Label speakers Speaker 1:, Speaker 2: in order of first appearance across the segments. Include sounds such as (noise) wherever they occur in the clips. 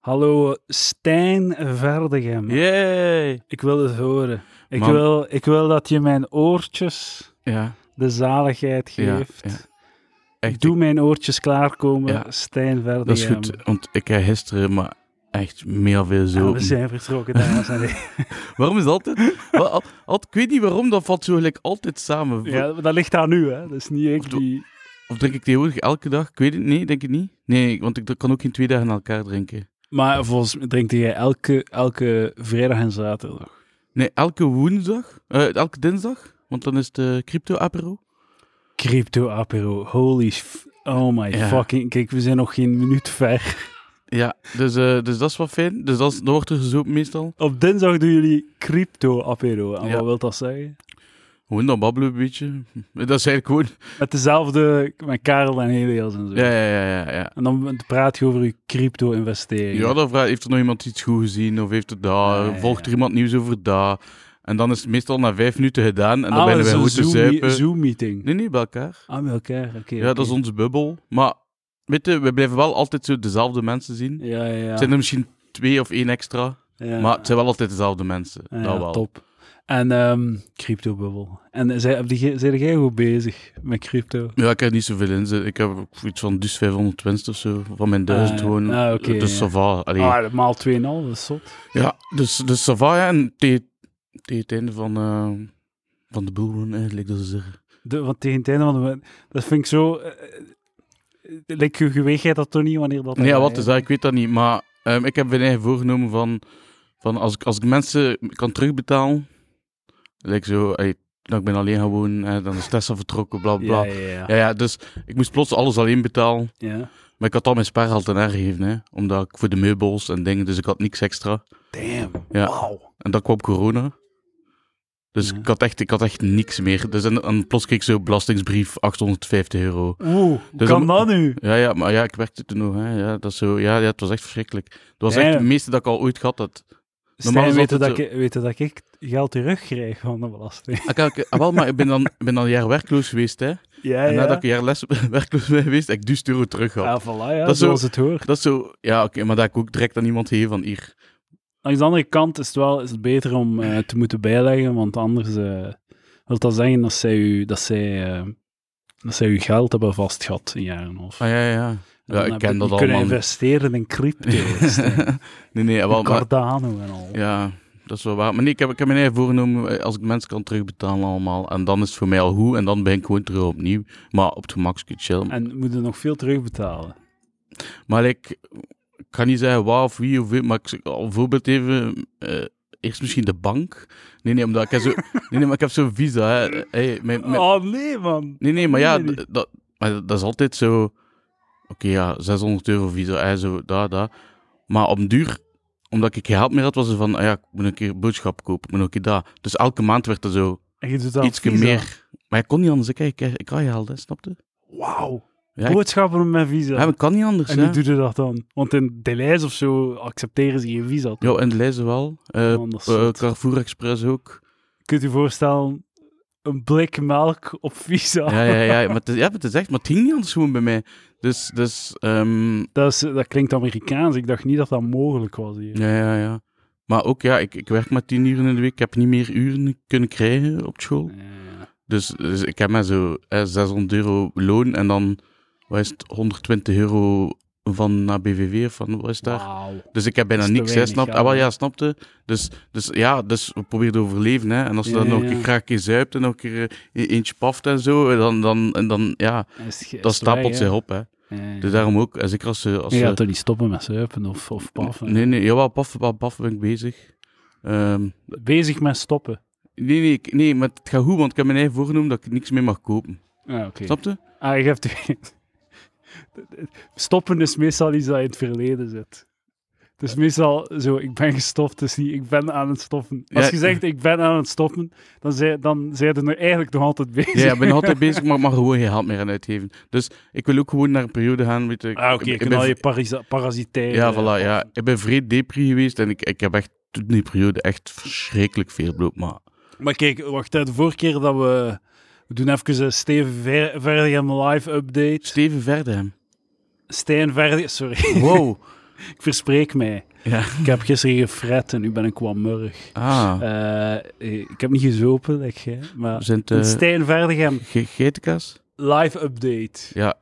Speaker 1: Hallo, Stijn Verdegem.
Speaker 2: Yay!
Speaker 1: Ik wil het horen. Ik
Speaker 2: Man.
Speaker 1: wil, ik wil dat je mijn oortjes
Speaker 2: Ja,
Speaker 1: de zaligheid
Speaker 2: ja,
Speaker 1: geeft.
Speaker 2: ja. Echt,
Speaker 1: Doe mijn oortjes klaarkomen,
Speaker 2: Ja.
Speaker 1: Stijn Verdegem.
Speaker 2: dat is goed, want ik heb gisteren maar echt meer veel
Speaker 1: ehm, Ja,
Speaker 2: zo.
Speaker 1: we zijn vertrokken, dames en
Speaker 2: (laughs)
Speaker 1: heren.
Speaker 2: Waarom is dat altijd? (laughs) wel, al- al- ik weet niet waarom, dat valt zo gelijk altijd samen.
Speaker 1: Ja, dat ligt aan u, hè. Dat is niet ik die...
Speaker 2: Of drink ik tegenwoordig elke dag? Ik weet het niet, denk ik niet. Nee, want ik kan ook geen twee dagen na elkaar drinken.
Speaker 1: Maar volgens mij drinkt jij elke, elke vrijdag en zaterdag.
Speaker 2: Nee, elke woensdag, eh, elke dinsdag, want dan is het eh, crypto-apero.
Speaker 1: Crypto Apero, holy... f- oh my
Speaker 2: Ja.
Speaker 1: fucking... Kijk, we zijn nog geen minuut ver.
Speaker 2: Ja, dus, eh, dus dat is wel fijn. Dus dat, is, dat wordt er gezopen meestal.
Speaker 1: Op dinsdag doen jullie Crypto Apero. En
Speaker 2: Ja.
Speaker 1: wat wil dat zeggen?
Speaker 2: Gewoon dan babbelen een beetje. (laughs) Dat is eigenlijk gewoon...
Speaker 1: Met dezelfde, met Karel en Helios en zo.
Speaker 2: Ja, ja, ja, ja. ja.
Speaker 1: En dan praat je over je crypto-investeringen.
Speaker 2: Ja, dan vraagt, heeft er nog iemand iets goed gezien? Of heeft het daar,
Speaker 1: Ja, ja,
Speaker 2: volgt er
Speaker 1: ja.
Speaker 2: iemand nieuws over daar? En dan is het meestal na vijf minuten gedaan en dan
Speaker 1: Ah,
Speaker 2: beginnen
Speaker 1: dat
Speaker 2: wij
Speaker 1: is
Speaker 2: goed te
Speaker 1: een Zoom-
Speaker 2: zuipen.
Speaker 1: Zoom-meeting.
Speaker 2: Nee, nee, bij elkaar.
Speaker 1: Ah, met elkaar, oké.
Speaker 2: Ja, dat is onze bubbel. Maar weet je, we blijven wel altijd zo dezelfde mensen zien.
Speaker 1: Ja, ja, ja.
Speaker 2: Het zijn er misschien twee of één extra,
Speaker 1: Ja.
Speaker 2: maar het zijn wel altijd dezelfde mensen.
Speaker 1: Ja,
Speaker 2: dat wel.
Speaker 1: top. En ehm crypto-bubbel. En zij- heb die- zijn jij goed bezig met crypto?
Speaker 2: Ja, ik heb niet zoveel in. Ik heb ook iets van dus 500 winst of zo, van mijn 1000
Speaker 1: Ah,
Speaker 2: gewoon.
Speaker 1: ah, oké,
Speaker 2: dus
Speaker 1: ja.
Speaker 2: ça va. Allee.
Speaker 1: Ah, maal 2,5, dat is zot.
Speaker 2: Ja, dus, dus ça va. ja. En tegen tegen het einde van, eh, van de bullrun eigenlijk, dat ze zeggen.
Speaker 1: De, want tegen het einde van de... Dat vind ik zo... eh, eh, Like, je geweeg jij dat toch niet wanneer dat...
Speaker 2: Nee, ja, wat is dat? Ik weet dat niet. Maar ehm, ik heb mijn eigen voorgenomen van, van als, ik, als ik mensen kan terugbetalen, like zo, ey, nou, ik ben alleen gewoon, eh, dan is Tessa vertrokken, bla bla.
Speaker 1: Ja,
Speaker 2: Ja.
Speaker 1: ja, ja.
Speaker 2: Ja, dus ik moest plots alles alleen betalen.
Speaker 1: ja.
Speaker 2: Maar ik had al mijn spaargeld aan haar gegeven, hè, omdat ik voor de meubels en dingen, dus ik had niks extra.
Speaker 1: Damn,
Speaker 2: Ja.
Speaker 1: wauw.
Speaker 2: En dan kwam corona. Dus
Speaker 1: Ja.
Speaker 2: ik, had echt, ik had echt niks meer. Dus en, en plots kreeg ik zo belastingsbrief, 850 euro.
Speaker 1: Oeh, hoe
Speaker 2: Dus
Speaker 1: kan
Speaker 2: om-
Speaker 1: dat nu?
Speaker 2: Ja, ja, maar ja, ik werkte toen nog. Hè. Ja, dat is zo, ja, ja, het was echt verschrikkelijk. Dat was
Speaker 1: Ja,
Speaker 2: echt
Speaker 1: ja.
Speaker 2: het meeste dat ik al ooit gehad had. Normaal
Speaker 1: Stijn
Speaker 2: is
Speaker 1: weten dat,
Speaker 2: altijd
Speaker 1: ik, weten dat ik geld terugkrijg van de
Speaker 2: (laughs)
Speaker 1: belasting.
Speaker 2: Ik, ik, ah, wel, maar ik ben dan, ik ben dan een jaar werkloos geweest. Hè.
Speaker 1: Ja,
Speaker 2: en nadat
Speaker 1: ja.
Speaker 2: ik een jaar les, (laughs) werkloos ben geweest, heb ik duizend euro terug gehad.
Speaker 1: ja, voilà, ja,
Speaker 2: Dat is zo-
Speaker 1: zoals het hoort.
Speaker 2: Dat is zo, ja, oké, maar dat heb ik ook direct aan iemand gegeven van hier.
Speaker 1: Aan de andere kant is het wel is het beter om eh, te moeten bijleggen, want anders eh, wil dat zeggen dat zij, u, dat, zij, eh dat zij uw geld hebben vastgehad in jaren of.
Speaker 2: Ah ja, ja. Ja, ik ken
Speaker 1: kunnen
Speaker 2: dat allemaal.
Speaker 1: investeren in
Speaker 2: (laughs)
Speaker 1: crypto, Stijn.
Speaker 2: nee, nee, ah, wel, maar,
Speaker 1: Cardano en al.
Speaker 2: ja, dat is wel waar. Maar nee, ik heb, ik heb mijn eigen voorgenomen, eh, als ik mensen kan terugbetalen allemaal. En dan is het voor mij al goed. En dan ben ik gewoon terug opnieuw. Maar op het gemak is het chill.
Speaker 1: En moeten nog veel terugbetalen.
Speaker 2: Maar ik, ik kan niet zeggen waar of wie of wie, maar ik, al een voorbeeld even. eh, eerst misschien de bank. Nee, nee, omdat ik
Speaker 1: (laughs)
Speaker 2: heb zo, nee, nee, maar ik heb zo'n visa. Hè. Hey, mijn, mijn-
Speaker 1: Oh nee, man.
Speaker 2: nee, nee, maar ja,
Speaker 1: nee, nee.
Speaker 2: d- dat, maar dat dat is altijd zo. Oké, ja, 600 euro visa, hè, zo, daar, daar. Maar op den duur, omdat ik geen geld meer had, was het van, ah ja, ik moet een keer boodschap kopen, ik moet een keer daar. Dus elke maand werd er zo
Speaker 1: En je doet dat
Speaker 2: iets
Speaker 1: Visa.
Speaker 2: meer. Maar ik kon niet anders, ik, ik, ik kan je helden, snapte?
Speaker 1: Wauw.
Speaker 2: Ja, ik-
Speaker 1: Boodschappen met Visa.
Speaker 2: Ja, maar ik kan niet anders.
Speaker 1: En
Speaker 2: hè.
Speaker 1: hoe doe je dat dan? Want in Deleuze of zo accepteren ze je visa. toch?
Speaker 2: Ja, en lezen wel. Eh,
Speaker 1: Anders
Speaker 2: eh,
Speaker 1: zot.
Speaker 2: Carrefour Express ook.
Speaker 1: Kunt u voorstellen, een blik melk op visa?
Speaker 2: Ja, ja, ja. Maar het, is- ja, maar het is echt, maar het ging niet anders gewoon bij mij. Dus, dus ehm,
Speaker 1: (laughs) Dat, is, dat klinkt Amerikaans. Ik dacht niet dat dat mogelijk was hier.
Speaker 2: ja, ja, ja. Maar ook, ja, ik, ik werk maar tien uren in de week. Ik heb niet meer uren kunnen krijgen op school.
Speaker 1: Ja.
Speaker 2: Dus, dus ik heb maar zo eh, 600 euro loon en dan, wat is het, 120 euro van naar BVV of van, wat is daar?
Speaker 1: Wauw.
Speaker 2: Dus ik heb bijna
Speaker 1: Dat is te
Speaker 2: niks, hè,
Speaker 1: weinig
Speaker 2: snap
Speaker 1: geld,
Speaker 2: Ah, wel,
Speaker 1: hè.
Speaker 2: ja, snapte. Dus, dus ja, dus we proberen te overleven, hè. En als je
Speaker 1: Ja,
Speaker 2: dan
Speaker 1: ja,
Speaker 2: nog
Speaker 1: ja.
Speaker 2: een graag een keer zuipt en nog een keer eh, e- eentje paft en zo, eh, dan, dan, en dan ja,
Speaker 1: Dat, is ge-
Speaker 2: dat
Speaker 1: is waar,
Speaker 2: stapelt
Speaker 1: hè.
Speaker 2: zich op, hè.
Speaker 1: Ja, ja.
Speaker 2: Dus daarom ook, en zeker als ze... Als
Speaker 1: Je
Speaker 2: ze-
Speaker 1: gaat toch niet stoppen met zuipen of, of paffen?
Speaker 2: Nee, nee, jawel, paffen, paffen, paffen ben ik bezig. Ehm,
Speaker 1: Bezig met stoppen.
Speaker 2: nee, nee, ik- nee, maar het gaat goed, want ik heb mijn eigen voorgenomen dat ik niks meer mag kopen.
Speaker 1: Ah, oké.
Speaker 2: Snapte?
Speaker 1: (laughs) Ah, je hebt... (laughs) Stoppen is meestal iets dat in het verleden zit. Het is meestal zo, ik ben gestopt, dus niet, ik ben aan het stoppen. Als
Speaker 2: Ja.
Speaker 1: je zegt, ik ben aan het stoppen, dan zijn dan zij er nog eigenlijk nog altijd bezig.
Speaker 2: Ja, ik ben altijd bezig, maar ik mag er gewoon geen geld meer aan uitgeven. Dus ik wil ook gewoon naar een periode gaan, weet je. ik-
Speaker 1: Ah, oké,
Speaker 2: ik- ik
Speaker 1: je
Speaker 2: ben
Speaker 1: kan al je eh, parisa- parasitaire...
Speaker 2: Ja, voilà, ja. Ik ben vreed depri geweest en ik, ik heb echt toen die periode echt verschrikkelijk veel bloot, maar...
Speaker 1: Maar kijk, wacht, hè, de vorige keer dat we... We doen even een Steven Ver- Verdegem live update. (laughs)
Speaker 2: Steven Verdem.
Speaker 1: Stijn Verdegem, sorry. (laughs)
Speaker 2: Wow.
Speaker 1: Ik verspreek mij.
Speaker 2: Ja.
Speaker 1: Ik heb gisteren gefret en nu ben ik kwammurrig.
Speaker 2: Ah,
Speaker 1: Eh, ik heb niet gezopen, like jij. Maar
Speaker 2: zijn het eh,
Speaker 1: Stijn Verdegem,
Speaker 2: ge- geitenkaas?
Speaker 1: live update.
Speaker 2: Ja.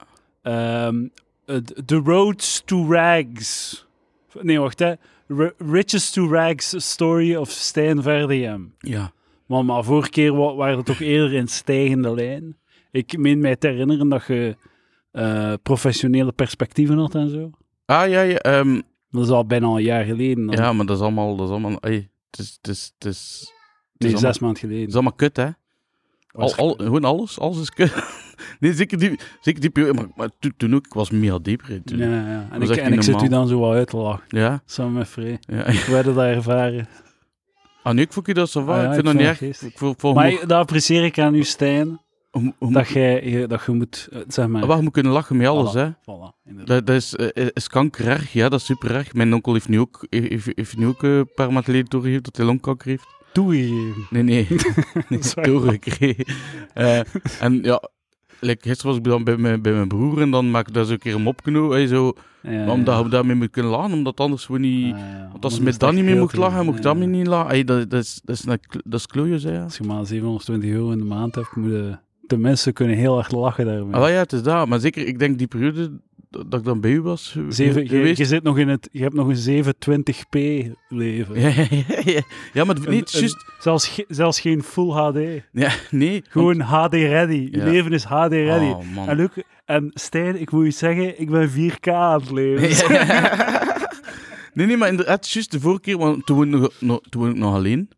Speaker 1: Ehm, eh, the Roads to Rags. Nee, wacht hè. R- Riches to Rags Story of Stijn Verdegem.
Speaker 2: Ja.
Speaker 1: Maar, maar vorige keer wa- waren het toch eerder in stijgende lijn. Ik meen mij te herinneren dat je eh, professionele perspectieven had en zo.
Speaker 2: Ah, ja, ja. ehm,
Speaker 1: Dat is al bijna een jaar geleden. Dan.
Speaker 2: ja, maar dat is allemaal... Dat is allemaal ey, het is... Het is, het is, het is
Speaker 1: nee,
Speaker 2: allemaal-
Speaker 1: zes maanden
Speaker 2: Het
Speaker 1: geleden.
Speaker 2: is allemaal kut, hè? Al, al, gewoon alles, alles is kut. (laughs) nee, zeker die, zeker die periode. Maar, maar toen, toen ook, ik was mega dieper. Toen.
Speaker 1: Ja, ja. En,
Speaker 2: was
Speaker 1: ik,
Speaker 2: echt
Speaker 1: en
Speaker 2: niet
Speaker 1: ik zit u
Speaker 2: normaal.
Speaker 1: dan zo wel uit te lachen.
Speaker 2: Ja,
Speaker 1: Samen met Free.
Speaker 2: ja. (laughs)
Speaker 1: We hebben dat ervaren.
Speaker 2: Ah, nee, ik vond je dat zo
Speaker 1: Ah, ja,
Speaker 2: ik
Speaker 1: ik
Speaker 2: vind dat
Speaker 1: vond
Speaker 2: niet
Speaker 1: dat
Speaker 2: erg.
Speaker 1: geestig.
Speaker 2: Ik vond, vond,
Speaker 1: Maar dat apprecieer ik aan u, Stijn.
Speaker 2: hoe, hoe,
Speaker 1: Dat, jij, je- dat je Ah. moet, eh, zeg maar...
Speaker 2: waar, we kunnen lachen met alles,
Speaker 1: Voilà.
Speaker 2: hè?
Speaker 1: Voilà, inderdaad.
Speaker 2: Dat, dat is, eh, is kanker erg, ja, dat is super erg. Mijn onkel heeft nu ook, heeft, heeft nu ook eh, een paar maanden geleden doorgegeven dat hij longkanker heeft.
Speaker 1: (laughs) Toegegeven.
Speaker 2: Nee, nee, (laughs)
Speaker 1: Dat is waar.
Speaker 2: doorgekregen. Eh, en ja, like, gisteren was ik dan bij mijn, bij mijn broer en dan maak ik daar zo een keer een mop genoeg. hè, zo,
Speaker 1: Ja,
Speaker 2: omdat
Speaker 1: ja.
Speaker 2: we daarmee moeten kunnen lachen, omdat anders we niet...
Speaker 1: Ah, ja.
Speaker 2: Want als
Speaker 1: Anders
Speaker 2: ze
Speaker 1: Eh.
Speaker 2: met
Speaker 1: is het
Speaker 2: dat niet
Speaker 1: echt
Speaker 2: meer
Speaker 1: veel
Speaker 2: mocht
Speaker 1: te
Speaker 2: lachen,
Speaker 1: doen.
Speaker 2: mocht ik
Speaker 1: Ja,
Speaker 2: dat
Speaker 1: ja.
Speaker 2: mee niet lachen. Ey, dat, dat is, dat is, een, kl- dat is kloeien, zei ja.
Speaker 1: Als je maar 720 euro in de maand hebt, moet je... De mensen kunnen heel hard lachen daarmee.
Speaker 2: Ah, wel ja, het is dat. Maar zeker, ik denk die periode dat dat ik dan bij u was ge-
Speaker 1: Zeven, je,
Speaker 2: geweest. (laughs)
Speaker 1: je, zit nog in het, je hebt nog een 720p leven.
Speaker 2: Ja, ja, ja, ja. ja, maar
Speaker 1: Een-
Speaker 2: niet
Speaker 1: een-
Speaker 2: juist...
Speaker 1: Zelfs, ge- zelfs geen full HD.
Speaker 2: Ja, nee.
Speaker 1: Gewoon HD ready. Je
Speaker 2: Ja.
Speaker 1: leven is HD ready.
Speaker 2: Oh, man.
Speaker 1: en, Luc, en Stijn, ik moet je zeggen, ik ben 4K aan het leven.
Speaker 2: nee, nee, maar inderdaad, juist de vorige keer, want toen woonde ik nog, nog, toen woonde ik nog alleen.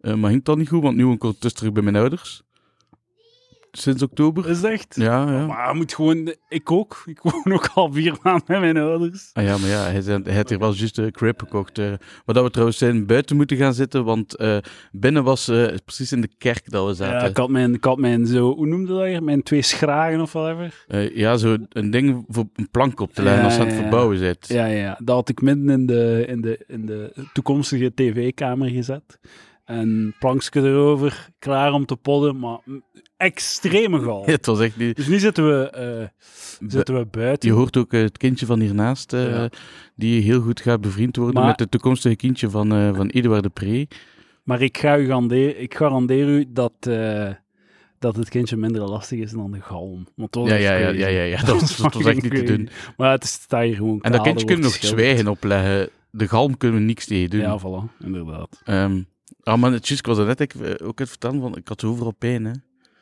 Speaker 2: Eh, maar ging dat niet goed, want nu woon ik ondertussen terug bij mijn ouders. Sinds oktober.
Speaker 1: (laughs) Is echt?
Speaker 2: Ja, ja.
Speaker 1: Maar je moet gewoon... Ik ook. Ik woon ook al vier (laughs) maanden met mijn ouders.
Speaker 2: Ah ja, maar ja, hij, zei, hij had hier wel juist een crib gekocht. eh. maar dat we trouwens zijn buiten moeten gaan zitten, want eh, binnen was eh, precies in de kerk dat we
Speaker 1: Ja,
Speaker 2: zaten.
Speaker 1: ik had mijn, ik had mijn zo... Hoe noemde dat hier? Mijn twee schragen of whatever.
Speaker 2: Eh, ja, zo een ding voor een plank op te leggen
Speaker 1: Ja,
Speaker 2: als je aan het
Speaker 1: ja, ja.
Speaker 2: verbouwen bent.
Speaker 1: Ja, ja. Dat had ik midden in de, in de, in de toekomstige tv-kamer gezet. En plankje erover, klaar om te podden, maar extreme gal.
Speaker 2: (laughs) (laughs) Het was echt niet...
Speaker 1: Dus nu zitten we, eh, zitten we buiten.
Speaker 2: Je hoort ook eh, het kindje van hiernaast, eh,
Speaker 1: Ja.
Speaker 2: die heel goed gaat bevriend worden
Speaker 1: Maar-
Speaker 2: met het toekomstige kindje van, eh van Eduard de Pre.
Speaker 1: Maar ik, ga u garandeer, ik garandeer u dat, eh, dat het kindje minder lastig is dan de galm. Want dat was
Speaker 2: Ja,
Speaker 1: echt
Speaker 2: ja, ja,
Speaker 1: crazy.
Speaker 2: ja, ja, ja,
Speaker 1: (laughs)
Speaker 2: dat was, dat was echt niet te doen.
Speaker 1: Maar het is- staat hier gewoon
Speaker 2: En dat kindje kunnen we nog zwijgen opleggen. De galm kunnen we niks tegen doen.
Speaker 1: Ja, voilà, inderdaad.
Speaker 2: Ehm, ah, maar het juist, ik was daarnet ik, eh, ook aan het vertellen van, ik had overal pijn, hè.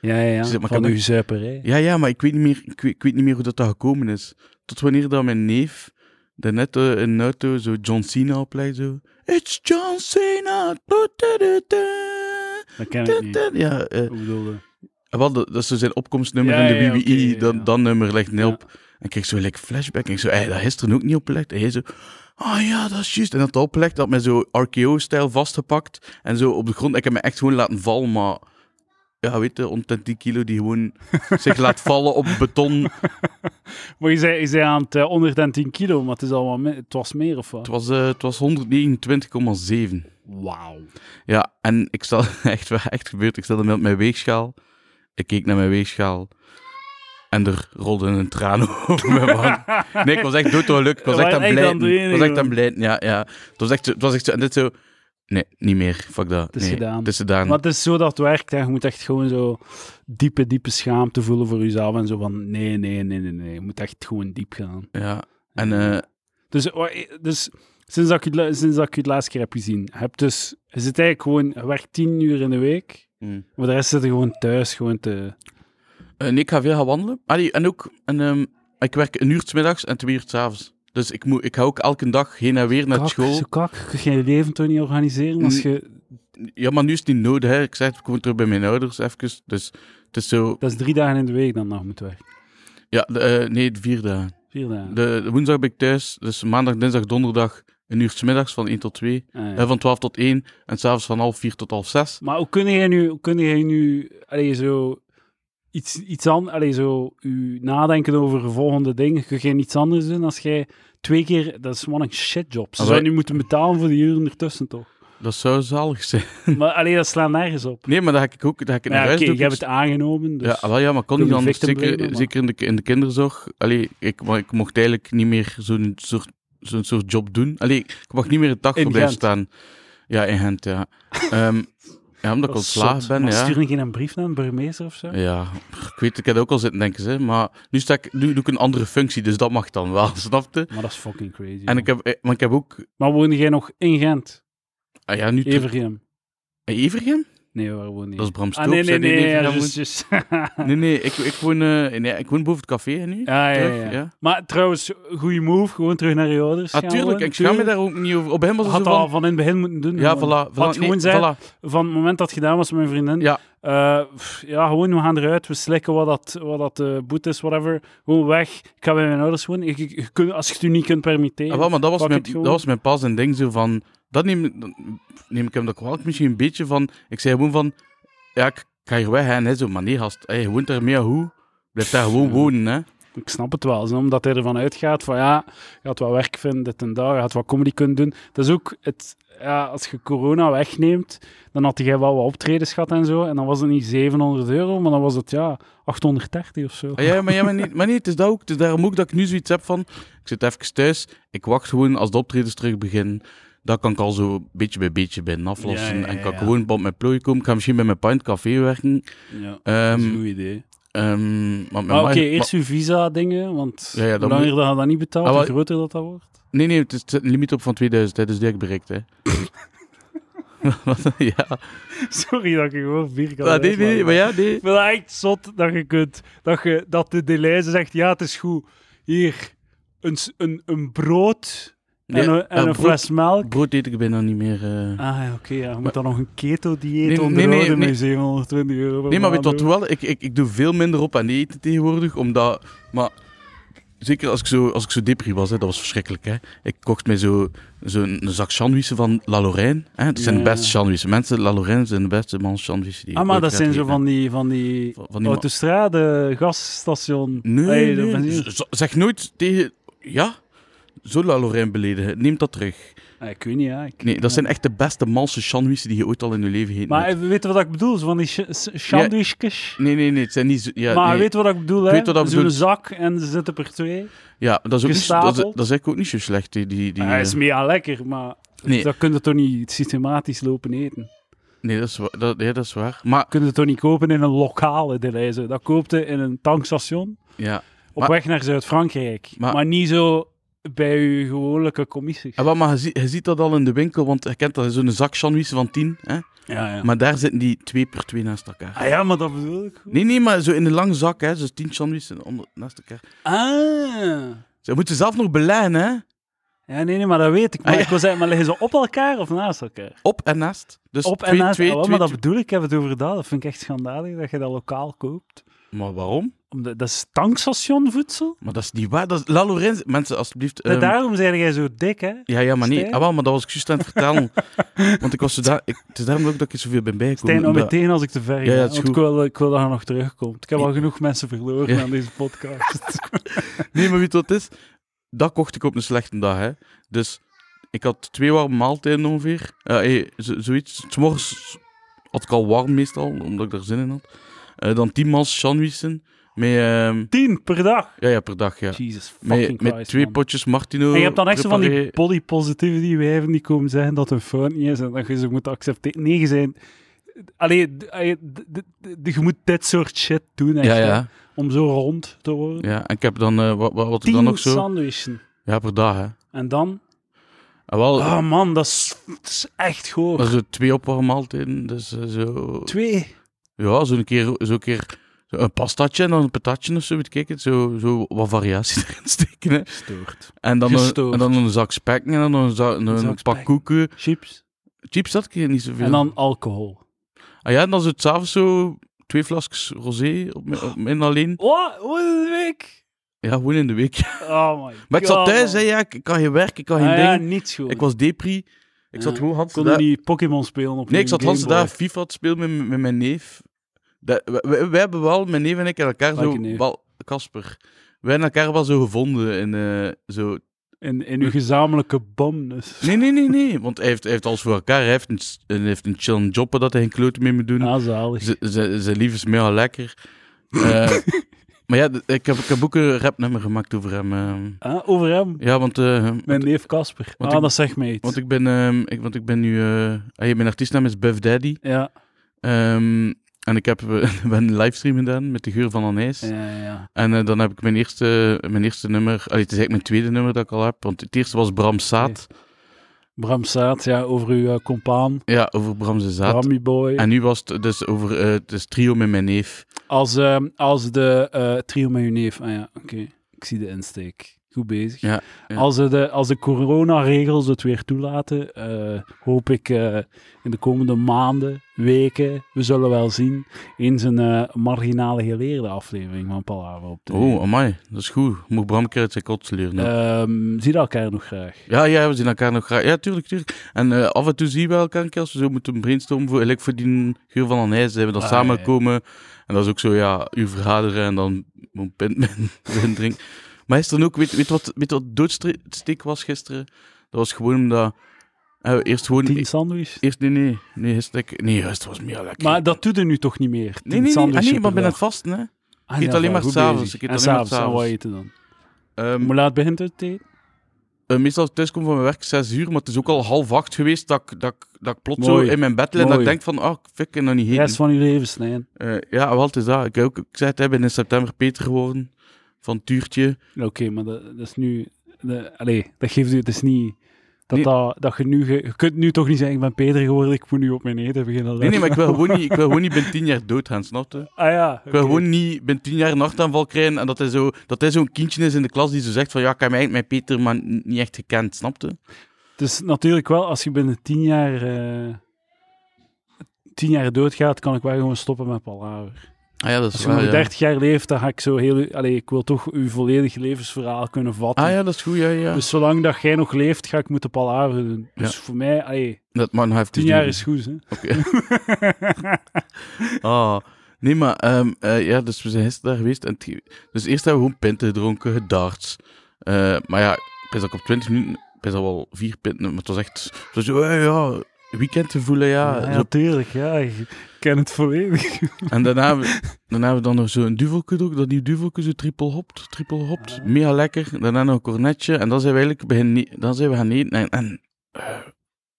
Speaker 1: Ja, ja, ja.
Speaker 2: Ze- maar
Speaker 1: van
Speaker 2: kan
Speaker 1: uw
Speaker 2: ik-
Speaker 1: zuiperij.
Speaker 2: Ja, ja, maar ik weet niet meer, ik weet, ik weet niet meer hoe dat, dat gekomen is. Tot wanneer dat mijn neef daarnet eh, in een auto zo John Cena opleidt, zo... It's John Cena! Du- du- du- du-
Speaker 1: Dat ken ik
Speaker 2: du-
Speaker 1: niet.
Speaker 2: du- Ja, eh,
Speaker 1: Ik bedoelde...
Speaker 2: Ah, wel, dat dat is zo zijn opkomstnummer
Speaker 1: Ja,
Speaker 2: in de
Speaker 1: ja, ja,
Speaker 2: BBI,
Speaker 1: oké, ja,
Speaker 2: dat,
Speaker 1: ja.
Speaker 2: dat nummer legt niet
Speaker 1: Ja.
Speaker 2: op. En ik kreeg zo like, flashback, en ik zo, hey, dat is er ook niet opgelegd. En hij zo, ah ja, dat is juist. En dat dat opgelegd, dat had mij zo RKO-stijl vastgepakt, en zo op de grond. Ik heb me echt gewoon laten vallen, maar... Ja, weet je, omtrent 10 kilo die gewoon (laughs) zich laat vallen op beton.
Speaker 1: Maar je zei, je zei aan het eh, 110 kilo, maar het, is al wat me- het was meer of wat?
Speaker 2: Het was, eh, het was 129,7.
Speaker 1: Wauw.
Speaker 2: Ja, en ik stel (laughs) echt waar echt gebeurd. Ik stelde me op mijn weegschaal. Ik keek naar mijn weegschaal. En er rolde een traan (laughs) over mijn wang. Nee, ik was echt doodongeluk. Ik was
Speaker 1: We
Speaker 2: echt aan
Speaker 1: waren
Speaker 2: het
Speaker 1: echt aan
Speaker 2: blijten.
Speaker 1: het
Speaker 2: Ik was echt aan het
Speaker 1: doen,
Speaker 2: blijten, ja. ja. Het, was echt, zo- het was echt zo... En dit zo... Nee, niet meer. Fuck dat.
Speaker 1: Het is
Speaker 2: Nee,
Speaker 1: gedaan.
Speaker 2: Het is gedaan.
Speaker 1: Maar het is zo dat het werkt. Hè. Je moet echt gewoon zo diepe, diepe schaamte voelen voor jezelf. En zo van, nee, nee, nee, nee, nee. Je moet echt gewoon diep gaan.
Speaker 2: Ja. En eh,
Speaker 1: Dus, wa- dus sinds, dat ik, je het la- sinds dat ik je het laatste keer heb gezien, heb dus, je zit eigenlijk gewoon, je werkt tien uur in de week,
Speaker 2: Mm.
Speaker 1: maar de rest zit je gewoon thuis, gewoon te...
Speaker 2: eh, nee, ik ga veel gaan wandelen. Allee, en ook... En, ehm, ik werk een uur 's middags en twee uur 's avonds. Dus ik, moet, ik ga ook elke dag heen en weer naar
Speaker 1: Kak,
Speaker 2: school.
Speaker 1: Zo kak, kun je je leven toch niet organiseren als
Speaker 2: Mm.
Speaker 1: je...
Speaker 2: Ja, maar nu is het niet nodig. Hè. Ik zeg, ik kom terug bij mijn ouders even. Dus het is zo...
Speaker 1: Dat is drie dagen in de week dan nog moet werken.
Speaker 2: Ja, de, eh, nee, de vier dagen.
Speaker 1: Vier dagen.
Speaker 2: De, de woensdag ben ik thuis. Dus maandag, dinsdag, donderdag. Een uur 's middags van 1 tot 2.
Speaker 1: Ah, ja.
Speaker 2: eh, van 12 tot 1. En s'avonds van half 4 tot half 6.
Speaker 1: Maar hoe kun jij nu, hoe kun jij nu allee, zo iets, iets aan, allee, zo u nadenken over de volgende dingen? Kun jij iets anders doen als jij twee keer, dat is wel een shitjob. Ze
Speaker 2: Ah,
Speaker 1: zou
Speaker 2: wij-
Speaker 1: nu moeten betalen voor die uren ertussen toch? (laughs)
Speaker 2: Dat zou zalig zijn. (laughs)
Speaker 1: maar alleen dat slaat nergens op.
Speaker 2: Nee, maar dat ga ik ook dat ga ik naar
Speaker 1: Maar ja,
Speaker 2: huis
Speaker 1: oké,
Speaker 2: doen.
Speaker 1: je hebt het aangenomen, dus...
Speaker 2: Ja, ah, wel, ja, maar kon
Speaker 1: Kun
Speaker 2: niet
Speaker 1: je
Speaker 2: anders.
Speaker 1: victim
Speaker 2: Zeker,
Speaker 1: blamen, maar-
Speaker 2: zeker in, de, in de kinderzorg. Allee, ik, maar ik mocht eigenlijk niet meer zo'n soort zo'n soort job doen. Allee, ik mag niet meer een dag
Speaker 1: In
Speaker 2: voor blijven
Speaker 1: Gent.
Speaker 2: staan. Ja, in Gent, ja. Ehm, ja, omdat ik
Speaker 1: Dat is
Speaker 2: ontslagen
Speaker 1: zot.
Speaker 2: ben,
Speaker 1: Maar
Speaker 2: ja.
Speaker 1: Stuur ik geen een brief naar een burgemeester of zo?
Speaker 2: Ja, ik weet, ik heb dat ook al zitten denken, hè, maar nu, sta ik, nu doe ik een andere functie, dus dat mag dan wel, (laughs) snapte?
Speaker 1: Maar dat is fucking crazy.
Speaker 2: En
Speaker 1: man.
Speaker 2: ik heb, eh, maar ik heb ook,
Speaker 1: Maar woonde jij nog in Gent?
Speaker 2: ah ja, nu... terug-
Speaker 1: Evergem?
Speaker 2: Eh, Evergem?
Speaker 1: Nee, waar woon je?
Speaker 2: Dat is Bram Stoop.
Speaker 1: ah, nee, nee,
Speaker 2: zei die
Speaker 1: nee.
Speaker 2: in
Speaker 1: ja,
Speaker 2: Evergem
Speaker 1: juist,
Speaker 2: woont.
Speaker 1: juist. (laughs)
Speaker 2: nee, nee, ik, ik, woon, eh, nee, ik woon boven het café hè, nu.
Speaker 1: ja, ja,
Speaker 2: terug,
Speaker 1: ja.
Speaker 2: ja.
Speaker 1: Maar trouwens, goede move. Gewoon terug naar je ouders gaan
Speaker 2: Natuurlijk,
Speaker 1: wonen,
Speaker 2: ik schaam me
Speaker 1: tuurlijk.
Speaker 2: daar ook niet over. Op hem was het
Speaker 1: Had
Speaker 2: zo
Speaker 1: dat al
Speaker 2: van...
Speaker 1: van in het begin moeten doen.
Speaker 2: Ja,
Speaker 1: gewoon.
Speaker 2: voilà. voilà
Speaker 1: Had gewoon
Speaker 2: nee,
Speaker 1: zei-
Speaker 2: voilà.
Speaker 1: Van het moment dat het gedaan was met mijn vriendin.
Speaker 2: Ja.
Speaker 1: eh, pff, ja, gewoon, we gaan eruit. We slikken wat dat, wat dat eh, boet is, whatever. Gewoon weg. Ik ga bij mijn ouders wonen. Ik, ik- je kunt- als je het u niet kunt permitteren.
Speaker 2: Ah, wel, maar dat was,
Speaker 1: pak
Speaker 2: mijn,
Speaker 1: het gewoon.
Speaker 2: dat was mijn pas en ding zo van... Dat neem, ik- dan neem ik hem dat kwalijk misschien een beetje van... Ik zei gewoon van... Ja, ik ga hier weg hè, en hij zo... Maar nee, gast, hey, je woont daar meer hoe? Blijf daar gewoon
Speaker 1: Ja.
Speaker 2: wonen, hè.
Speaker 1: Ik snap het wel, zo, omdat hij ervan uitgaat van ja, je gaat wat werk vinden, dit en dat, je gaat wat comedy kunnen doen. Dat is ook het, ja, als je corona wegneemt, dan had hij wel wat optredens gehad en zo. En dan was het niet 700 euro, maar dan was het ja, 830 of zo.
Speaker 2: Ah, ja, maar, ja, maar, niet, maar nee, het is, dat ook, het is daarom ook dat ik nu zoiets heb van... Ik zit even thuis, ik wacht gewoon als de optredens terug beginnen. Dat kan ik al zo beetje bij beetje bij aflossen.
Speaker 1: Ja, ja, ja,
Speaker 2: en kan ik
Speaker 1: ja.
Speaker 2: gewoon op mijn plooien komen. Ik ga misschien bij mijn Pint Café werken.
Speaker 1: Ja,
Speaker 2: Ehm,
Speaker 1: goed idee.
Speaker 2: ehm, maar mijn
Speaker 1: Maar Ah, oké,
Speaker 2: ma-
Speaker 1: eerst je visa-dingen, want
Speaker 2: Ja, ja, dat
Speaker 1: hoe langer dat je dat niet betaalt,
Speaker 2: Ah,
Speaker 1: hoe
Speaker 2: wel-
Speaker 1: groter dat dat wordt. (laughs)
Speaker 2: ma- nee, nee, het is het zit een limiet op van 2000, hè, dus die heb ik bereikt, hè. (laughs) ja.
Speaker 1: Sorry dat ik je gewoon vier kan
Speaker 2: Ah, nee, nee, maar ja, nee.
Speaker 1: Ik vind het echt zot dat je kunt, dat, je, dat de Deleuze zegt, ja, het is goed. Hier, een, s- een, een brood en,
Speaker 2: Nee,
Speaker 1: een, en een
Speaker 2: eh, brood-
Speaker 1: fles melk.
Speaker 2: Brood eet ik bijna niet meer. eh.
Speaker 1: Ah, ja, oké, ja. Je moet dan nog een keto-dieet
Speaker 2: Nee, nee,
Speaker 1: onderhouden
Speaker 2: nee, nee.
Speaker 1: met 720 euro per
Speaker 2: Nee, maar weet
Speaker 1: maand
Speaker 2: je wat
Speaker 1: doen.
Speaker 2: wel? Ik, ik, ik doe veel minder op aan eten tegenwoordig, omdat... Maar zeker als ik zo, als ik zo depri was, hè, dat was verschrikkelijk. Hè. Ik kocht mij zo'n zo een zak sandwichen van La Lorraine. Hè. Dat zijn
Speaker 1: Ja.
Speaker 2: de beste sandwiches. Mensen, La Lorraine zijn de beste man sandwiches die ik
Speaker 1: Ah, maar
Speaker 2: ooit
Speaker 1: dat
Speaker 2: ga
Speaker 1: zijn zo
Speaker 2: eten.
Speaker 1: van Oh, die, van die,
Speaker 2: Van- van
Speaker 1: van
Speaker 2: die ma-
Speaker 1: autostrade, gasstation.
Speaker 2: Nee, dus-
Speaker 1: Hey, dat
Speaker 2: nee,
Speaker 1: benzine.
Speaker 2: Z- z- Zeg nooit tegen... Ja? Zo La Lorraine beledigen. Neem dat terug.
Speaker 1: Ah, ik weet niet, ja. Ik-
Speaker 2: Nee, dat zijn echt de beste malse sandwiches die je ooit al in je leven heet.
Speaker 1: Maar weet je wat ik bedoel? Zo van die sh- sh- sandwichjes.
Speaker 2: Nee, nee, nee. Het zijn niet... zo- Ja,
Speaker 1: maar
Speaker 2: nee.
Speaker 1: weet je wat ik bedoel,
Speaker 2: Ik
Speaker 1: hè?
Speaker 2: weet wat dat
Speaker 1: Zo'n
Speaker 2: bedoelt.
Speaker 1: zak en ze zitten per twee.
Speaker 2: Ja, dat is, ook niet, dat, is,
Speaker 1: Gestapeld.
Speaker 2: dat is eigenlijk ook niet zo slecht. Die, die, die,
Speaker 1: Ah, Hij is
Speaker 2: eh,
Speaker 1: meer aan lekker, maar
Speaker 2: Nee.
Speaker 1: dan kun je toch niet systematisch lopen eten.
Speaker 2: Nee, dat is, wa- dat, ja, dat is waar. Maar,
Speaker 1: Kun je toch niet kopen in een lokale deleize. Dat koopt je in een tankstation
Speaker 2: ja.
Speaker 1: op
Speaker 2: Maar-
Speaker 1: weg naar Zuid-Frankrijk. Maar,
Speaker 2: Maar- Ah,
Speaker 1: niet zo bij je gewone commissies.
Speaker 2: En wat, maar je, zie- je ziet dat al in de winkel, want je kent dat, zo'n zak sandwiches van 10. Hè?
Speaker 1: Ja, ja.
Speaker 2: Maar daar zitten die twee per twee naast elkaar.
Speaker 1: ah ja, maar dat bedoel ik.
Speaker 2: Nee, nee, maar zo in de lange zak, hè. Zo'n 10 sandwiches onder- naast elkaar.
Speaker 1: Ah.
Speaker 2: Ze moeten zelf nog beleggen, hè.
Speaker 1: Ja, nee, nee, maar dat weet ik. Maar
Speaker 2: Ah, ja.
Speaker 1: ik wil zeggen, maar liggen ze op elkaar of naast elkaar?
Speaker 2: Op en naast. Dus
Speaker 1: op en
Speaker 2: twee-
Speaker 1: naast
Speaker 2: twee-
Speaker 1: elkaar.
Speaker 2: twee-
Speaker 1: maar dat bedoel ik, ik heb het over dat. Dat vind ik echt schandalig dat je dat lokaal koopt.
Speaker 2: twee- Maar waarom?
Speaker 1: Omdat, dat is tankstationvoedsel.
Speaker 2: Maar dat is niet waar. Dat is... La Lorenz... Mensen, alsjeblieft...
Speaker 1: En
Speaker 2: ehm,
Speaker 1: Daarom zei jij zo dik, hè?
Speaker 2: Ja, ja, maar nee.
Speaker 1: Stijn?
Speaker 2: Ah, wel, maar dat was ik juist aan het
Speaker 1: (laughs)
Speaker 2: vertellen. Want ik was zo daar... ik- Het is daarom ook dat ik er zoveel ben bijgekomen.
Speaker 1: Stijn, al
Speaker 2: omdat-
Speaker 1: meteen als ik te ver ga.
Speaker 2: Ja, ja, het is
Speaker 1: want ik wil, ik wil dat je nog terugkomt. Ik heb al genoeg mensen verloren
Speaker 2: Ja.
Speaker 1: aan deze
Speaker 2: (laughs)
Speaker 1: podcast.
Speaker 2: Nee, maar weet je wat het is? Dat kocht ik op een slechte dag, hè. Dus ik had twee warme maaltijden ongeveer. Eh, eh, z- zoiets. S'morgens had ik al warm meestal, omdat ik daar zin in had. Eh, dan tien maal sandwichen. Met, ehm,
Speaker 1: Tien per dag.
Speaker 2: ja, ja, per dag, ja.
Speaker 1: Jesus fucking
Speaker 2: Met, met
Speaker 1: Christ,
Speaker 2: twee
Speaker 1: man.
Speaker 2: potjes Martino.
Speaker 1: En je hebt dan echt zo van die
Speaker 2: preparé.
Speaker 1: body positivity wijven die komen zeggen dat het een fout niet is en dat je ze moet accepteren. Nee, je zijn... Allee, d- allee, d- d- d- je moet dit soort shit doen, echt,
Speaker 2: Ja,
Speaker 1: hè,
Speaker 2: ja,
Speaker 1: om zo rond te worden.
Speaker 2: ja. En ik heb dan... eh, wat, wat, wat er
Speaker 1: Tien
Speaker 2: dan nog zo...
Speaker 1: sandwichen.
Speaker 2: Ja, per dag, hè.
Speaker 1: En dan...
Speaker 2: En wel,
Speaker 1: Oh man, dat is, dat is echt hoog.
Speaker 2: maar zo twee opwarme maaltijden. Dus eh, zo...
Speaker 1: Twee.
Speaker 2: Ja, zo'n keer, zo keer zo een pastatje en dan een patatje of zo, weet ik het. Zo, zo wat variatie (laughs) erin steken. Hè.
Speaker 1: Gestoord.
Speaker 2: En, dan een,
Speaker 1: Gestoord.
Speaker 2: en dan een zak spek en dan een, za- een,
Speaker 1: Een zak
Speaker 2: een pak
Speaker 1: spek.
Speaker 2: koeken.
Speaker 1: Chips.
Speaker 2: Chips had ik hier niet zoveel.
Speaker 1: En dan alcohol.
Speaker 2: Ah ja, en dan zo 's avonds zo twee flasjes rosé op mijn, op mijn alleen.
Speaker 1: Wat? Oh, Hoe is het week?
Speaker 2: Ja, gewoon in de week. (laughs)
Speaker 1: Oh my
Speaker 2: Maar ik
Speaker 1: God,
Speaker 2: zat thuis, hè,
Speaker 1: man.
Speaker 2: ja, ik ik kan geen werk, ik kan geen
Speaker 1: Ah
Speaker 2: ding.
Speaker 1: ja, niets gewoon.
Speaker 2: Ik was depri. Ik
Speaker 1: Ja.
Speaker 2: zat gewoon Hansen
Speaker 1: kon er
Speaker 2: daar.
Speaker 1: niet Pokémon spelen op
Speaker 2: Nee, ik
Speaker 1: een
Speaker 2: zat
Speaker 1: Game
Speaker 2: Hansen
Speaker 1: Boy.
Speaker 2: daar FIFA te spelen met, met mijn neef. Dat, wij, wij- wij hebben wel, mijn neef en ik, en elkaar
Speaker 1: Welke
Speaker 2: zo...
Speaker 1: neef?
Speaker 2: Wel, Kasper. Wij hebben elkaar wel zo gevonden in eh, zo
Speaker 1: In, in uw gezamenlijke dus. bomnus.
Speaker 2: Nee, nee, nee, nee. Want hij heeft, hij heeft alles voor elkaar. Hij heeft een, s- een- heeft een chillen
Speaker 1: Nou,
Speaker 2: job dat hij geen klote mee moet doen.
Speaker 1: Ah, zalig. (laughs)
Speaker 2: Z- z- Zijn lief is meer al lekker. Eh, Maar ja, d- ik heb, ik heb ook een rapnummer gemaakt over hem. ehm.
Speaker 1: Ah, over hem.
Speaker 2: Ja, want, eh,
Speaker 1: Mijn neef Casper.
Speaker 2: want
Speaker 1: Ah,
Speaker 2: ik-
Speaker 1: dat zegt mij iets.
Speaker 2: want, ik ben, ehm, ik, want ik ben nu... eh, ah, ja, mijn artiestnaam is Buff Daddy.
Speaker 1: Ja,
Speaker 2: Ehm, en ik heb (laughs) eh, ben een livestream gedaan met de geur van Anijs.
Speaker 1: ja, ja.
Speaker 2: En eh, dan heb ik mijn eerste, mijn eerste nummer... Allee, het is eigenlijk mijn tweede nummer dat ik al heb. Want het eerste was Bram Saat.
Speaker 1: Bram Saat, ja, over uw eh, compaan.
Speaker 2: Ja, over Bram zijn Zaad.
Speaker 1: Brammy Boy.
Speaker 2: En nu was het dus over eh, het is trio met mijn neef.
Speaker 1: Als, ehm, als de eh, trio met uw neef. Ah ja, oké. Ik zie de insteek. Goed bezig.
Speaker 2: Ja, ja.
Speaker 1: Als, ze de, als de coronaregels het weer toelaten, eh, hoop ik eh, in de komende maanden, weken, we zullen wel zien, eens een eh, marginale geleerde aflevering van Palaver op de
Speaker 2: Oh, amai. Dat is goed. Ik Moet Bram een keer uit zijn kot leren. hè.
Speaker 1: Ehm, zie elkaar nog graag.
Speaker 2: Ja, ja, we zien elkaar nog graag. Ja, tuurlijk, tuurlijk. En eh, af en toe zien we elkaar een keer als we zo moeten brainstormen. Voor, like voor die Geur van Anijs zijn we dan
Speaker 1: Ah,
Speaker 2: samenkomen. En dat is ook zo, ja, u vergaderen en dan een pint (laughs) met een drink. Maar is dan ook, weet je wat, weet je wat doodsteek was gisteren? Dat was gewoon omdat... eh, eerst gewoon...
Speaker 1: Tien sandwich.
Speaker 2: Eerst, nee, nee. Nee, gisteren, nee, gisteren was meer lekker.
Speaker 1: Maar dat doet er nu toch niet meer?
Speaker 2: Nee, nee, nee, ah, nee maar ben het vast, hè?
Speaker 1: Ik
Speaker 2: eet alleen maar s'avonds, ik eet
Speaker 1: En
Speaker 2: alleen maar
Speaker 1: Ah, s'avonds, dan
Speaker 2: s'avonds.
Speaker 1: wat eten dan?
Speaker 2: Ehm,
Speaker 1: Hoe laat begint het eten?
Speaker 2: Eh, meestal als ik thuis kom van mijn werk 6 uur, maar het is ook al half acht geweest dat ik, dat ik, dat ik plots
Speaker 1: Mooi.
Speaker 2: zo in mijn bed lig en dat ik
Speaker 1: Mooi.
Speaker 2: denk van, ah, ik fik kan nog niet
Speaker 1: De
Speaker 2: heen.
Speaker 1: rest van uw leven snijden.
Speaker 2: ja, wat is dat? Ik, heb ook, ik zei het, hè, ik ben in september Peter geworden, van Tuurtje.
Speaker 1: Oké, maar dat, dat is nu... De, allee, dat geeft u... Het is niet... Dat,
Speaker 2: Nee.
Speaker 1: dat, dat je nu... ge- je kunt nu toch niet zeggen, ik ben Peter geworden, ik moet nu op mijn eten beginnen.
Speaker 2: Nee, nee, maar ik wil gewoon niet, ik wil gewoon niet binnen tien jaar dood gaan, snap je? Ik
Speaker 1: Ah ja, oké.
Speaker 2: wil gewoon niet binnen tien jaar een hartaanval krijgen en dat hij zo- dat hij zo'n kindje is in de klas die zo zegt van, ja, ik heb mij eigenlijk met Peter, maar n- niet echt gekend, snap je?
Speaker 1: Het is natuurlijk wel, als je binnen tien jaar... eh, tien jaar doodgaat, kan ik wel gewoon stoppen met palaver.
Speaker 2: Ah ja, dat
Speaker 1: Als
Speaker 2: is
Speaker 1: je nog
Speaker 2: waar, ja.
Speaker 1: 30 jaar leeft, dan ga ik zo heel... uw- Allee, ik wil toch uw volledig levensverhaal kunnen vatten.
Speaker 2: Ah ja, dat is goed, ja, ja.
Speaker 1: Dus zolang dat jij nog leeft, ga ik moeten palaver doen. Dus voor mij, allee,
Speaker 2: dat dus mag nog even
Speaker 1: tien jaar
Speaker 2: duren.
Speaker 1: is goed, hè.
Speaker 2: Ah, nee, maar ehm, eh, ja, dus we zijn gisteren daar geweest. En het ge- dus eerst hebben we gewoon pinten gedronken, gedarts. Eh, maar ja, ik wist dat ik op 20 minuten, ik wist al wel vier pinten, maar het was echt zo, zo eh, ja, weekendgevoelen, ja.
Speaker 1: Ja,
Speaker 2: Zo.
Speaker 1: natuurlijk, ja. Ik ken het volledig.
Speaker 2: En daarna, hebben we- daarna hebben we dan nog zo'n duvelke ook, dat die duvelke zo triple hopt, triple hopt.
Speaker 1: Ah.
Speaker 2: Mega lekker. Daarna nog een cornetje. En dan zijn we eigenlijk begin, dan zijn we gaan eten. En, en eh,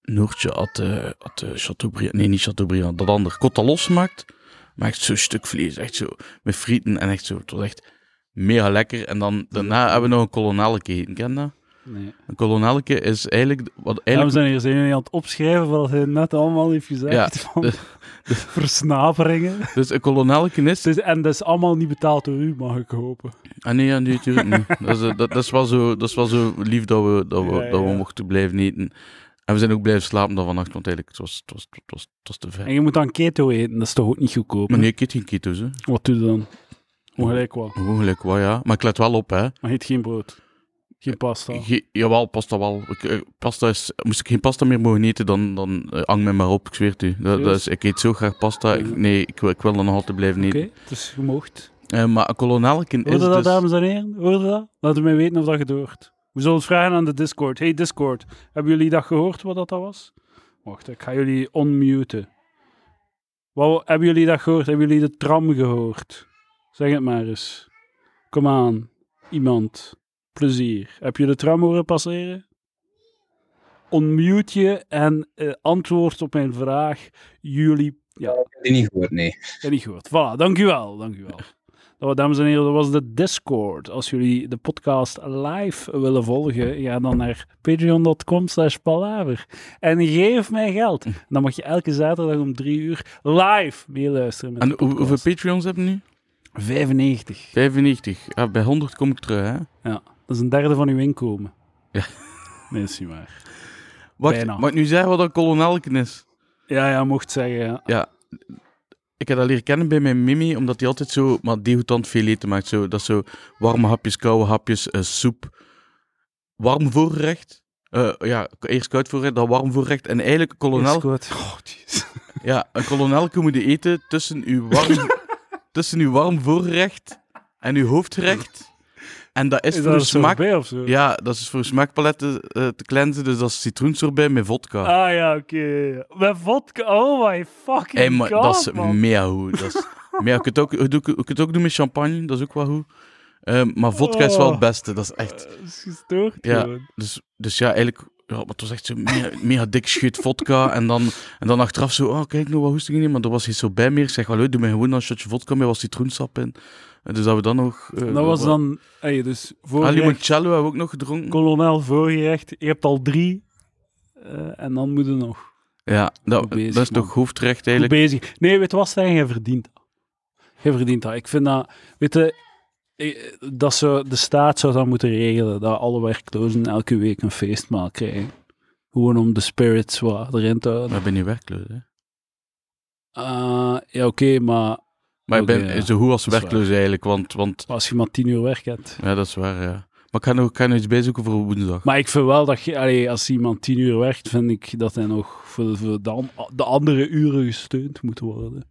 Speaker 2: Noortje had, eh had eh, Chateaubriand, nee niet Chateaubriand, dat ander, kotta losgemaakt. Maar echt zo'n stuk vlees, echt zo, met frieten en echt zo. Het was echt mega lekker. En dan, daarna hebben we nog een kolonelleke gegeten, ken je dat?
Speaker 1: Nee.
Speaker 2: Een kolonelleke is eigenlijk, wat
Speaker 1: Dames
Speaker 2: eigenlijk...
Speaker 1: en heren, zijn jullie aan het opschrijven wat hij net allemaal heeft gezegd? (laughs)
Speaker 2: Ja, dus-
Speaker 1: van
Speaker 2: de-
Speaker 1: versnaperingen.
Speaker 2: Dus een kolonelleke is...
Speaker 1: Het is, en dat is allemaal niet betaald door u, mag ik hopen.
Speaker 2: Ah nee, ja, nee, natuurlijk (laughs) niet. Dat is, eh, dat, dat, is wel zo, dat is wel zo lief dat we, dat we,
Speaker 1: Ja,
Speaker 2: dat we
Speaker 1: ja.
Speaker 2: mochten blijven eten. En we zijn ook blijven slapen dan vannacht, want eigenlijk het was, het was, het was, het was te ver.
Speaker 1: En je moet dan keto eten, dat is toch ook niet goedkoop?
Speaker 2: Maar
Speaker 1: hè?
Speaker 2: nee, ik eet geen keto's, hè.
Speaker 1: Wat doe je dan? Ongelijk wel.
Speaker 2: Gewoon Oh, gelijk wat, ja. Maar ik let wel op, hè.
Speaker 1: Maar je eet geen brood. Geen pasta.
Speaker 2: Ge- jawel, pasta wel. Ik, eh, pasta is, moest ik geen pasta meer mogen eten, dan, dan eh, hang mij maar op, ik zweer het u. Dat, dat is, ik eet zo graag pasta. Ik- nee, ik, wil- ik wil dan nog altijd blijven
Speaker 1: Oké,
Speaker 2: eten.
Speaker 1: dus je moogt.
Speaker 2: Eh, maar een kolonelken is
Speaker 1: Hoorde dat,
Speaker 2: dus...
Speaker 1: dames en heren? Hoorde dat? Laat het mij weten of dat je het hoort. We zullen het vragen aan de Discord. Hey Discord, hebben jullie dat gehoord, wat dat dat was? Wacht, ik ga jullie onmuten. Wat, hebben jullie dat gehoord? Hebben jullie de tram gehoord? Zeg het maar eens. Kom aan, iemand. Plezier. Heb je de tram horen passeren? Onmute je en eh, antwoord op mijn vraag. Jullie... Ja,
Speaker 3: heb die niet gehoord, nee.
Speaker 1: ja, niet gehoord. Voilà, dankjewel, dankjewel. Nou, dames en heren, dat was de Discord. Als jullie de podcast live willen volgen, ga dan naar patreon.com slash palaver. En geef mij geld. Dan mag je elke zaterdag om drie uur live meeluisteren met
Speaker 2: En
Speaker 1: de
Speaker 2: hoe- hoeveel
Speaker 1: podcast.
Speaker 2: Patreons hebben we nu?
Speaker 1: 95.
Speaker 2: 95. Ja, bij 100 kom ik terug, hè.
Speaker 1: Ja, dat is een derde van uw inkomen.
Speaker 2: Ja.
Speaker 1: Nee, is niet waar.
Speaker 2: Wacht,
Speaker 1: Bijna.
Speaker 2: mag ik nu zeggen wat een kolonelken is?
Speaker 1: Ja, ja, mocht zeggen, ja.
Speaker 2: Ja, ik heb dat leren kennen bij mijn Mimi, omdat hij altijd zo maar degoutant veel eten maakt. Zo, dat is zo warme hapjes, koude hapjes, eh, soep. Warm voorgerecht. Eh, ja, eerst koud voorgerecht, dan warm voorgerecht. En eigenlijk een kolonel,
Speaker 1: Discord. Oh, jeez.
Speaker 2: ja, een kolonel moet je eten tussen uw
Speaker 1: (laughs)
Speaker 2: warm, tussen uw warm voorgerecht en uw hoofdgerecht. En dat
Speaker 1: Is
Speaker 2: is, voor
Speaker 1: dat
Speaker 2: uw
Speaker 1: een
Speaker 2: smaak...
Speaker 1: sorbet of zo?
Speaker 2: Ja, dat is voor uw smaakpaletten eh, te cleansen, dus dat is citroensorbet met vodka.
Speaker 1: Ah ja, oké. Met vodka. Oh my fucking
Speaker 2: Hey, maar
Speaker 1: god,
Speaker 2: dat is
Speaker 1: man. (laughs)
Speaker 2: mega goed. Dat is, Maar ja, je kunt, ook, je doet- je kunt het ook doen met champagne, dat is ook wel goed. Ehm, maar vodka is wel het
Speaker 1: Oh.
Speaker 2: beste, dat is echt...
Speaker 1: Dat is gestoord,
Speaker 2: Ja.
Speaker 1: gewoon.
Speaker 2: Dus, dus ja, eigenlijk... Ja, maar het was echt zo mega, mega dik scheut vodka. En dan, en dan achteraf zo, oh, kijk, nog wat hoesting in. Maar er was iets zo bij meer. Ik zeg, wel, doe mij gewoon een shotje vodka met wat citroensap in. En dus dat we dan nog... eh,
Speaker 1: Dat was
Speaker 2: wat-
Speaker 1: dan... Hey, dus
Speaker 2: Ah,
Speaker 1: voorgerecht,
Speaker 2: limoncello hebben we ook nog gedronken.
Speaker 1: kolonel, voorgerecht. Je hebt al drie. eh, en dan moet je nog. Goed
Speaker 2: Ja, dat,
Speaker 1: Goed bezig,
Speaker 2: dat is
Speaker 1: man.
Speaker 2: toch hoofdrecht eigenlijk.
Speaker 1: bezig. Nee, weet je wat, Stijn? Jij verdient dat. Jij verdient dat. Ik vind dat... Weet je... eh, Dat ze, de staat zou dat moeten regelen. Dat alle werklozen elke week een feestmaal krijgen. Gewoon om de spirits wat erin te houden.
Speaker 2: Maar ik ben niet werkloos, hè.
Speaker 1: Ah, ja, oké, maar
Speaker 2: Maar ik ben
Speaker 1: Oké, ja.
Speaker 2: zo goed als
Speaker 1: Dat is waar.
Speaker 2: werkloos eigenlijk, want, want...
Speaker 1: als je maar tien uur werk hebt.
Speaker 2: Ja, dat is waar, ja. Maar ik ga nog, ik ga nog iets bijzoeken voor woensdag.
Speaker 1: Maar ik vind wel dat je, allee, als iemand tien uur werkt, vind ik dat hij nog voor, voor de, an- de andere uren gesteund moet worden.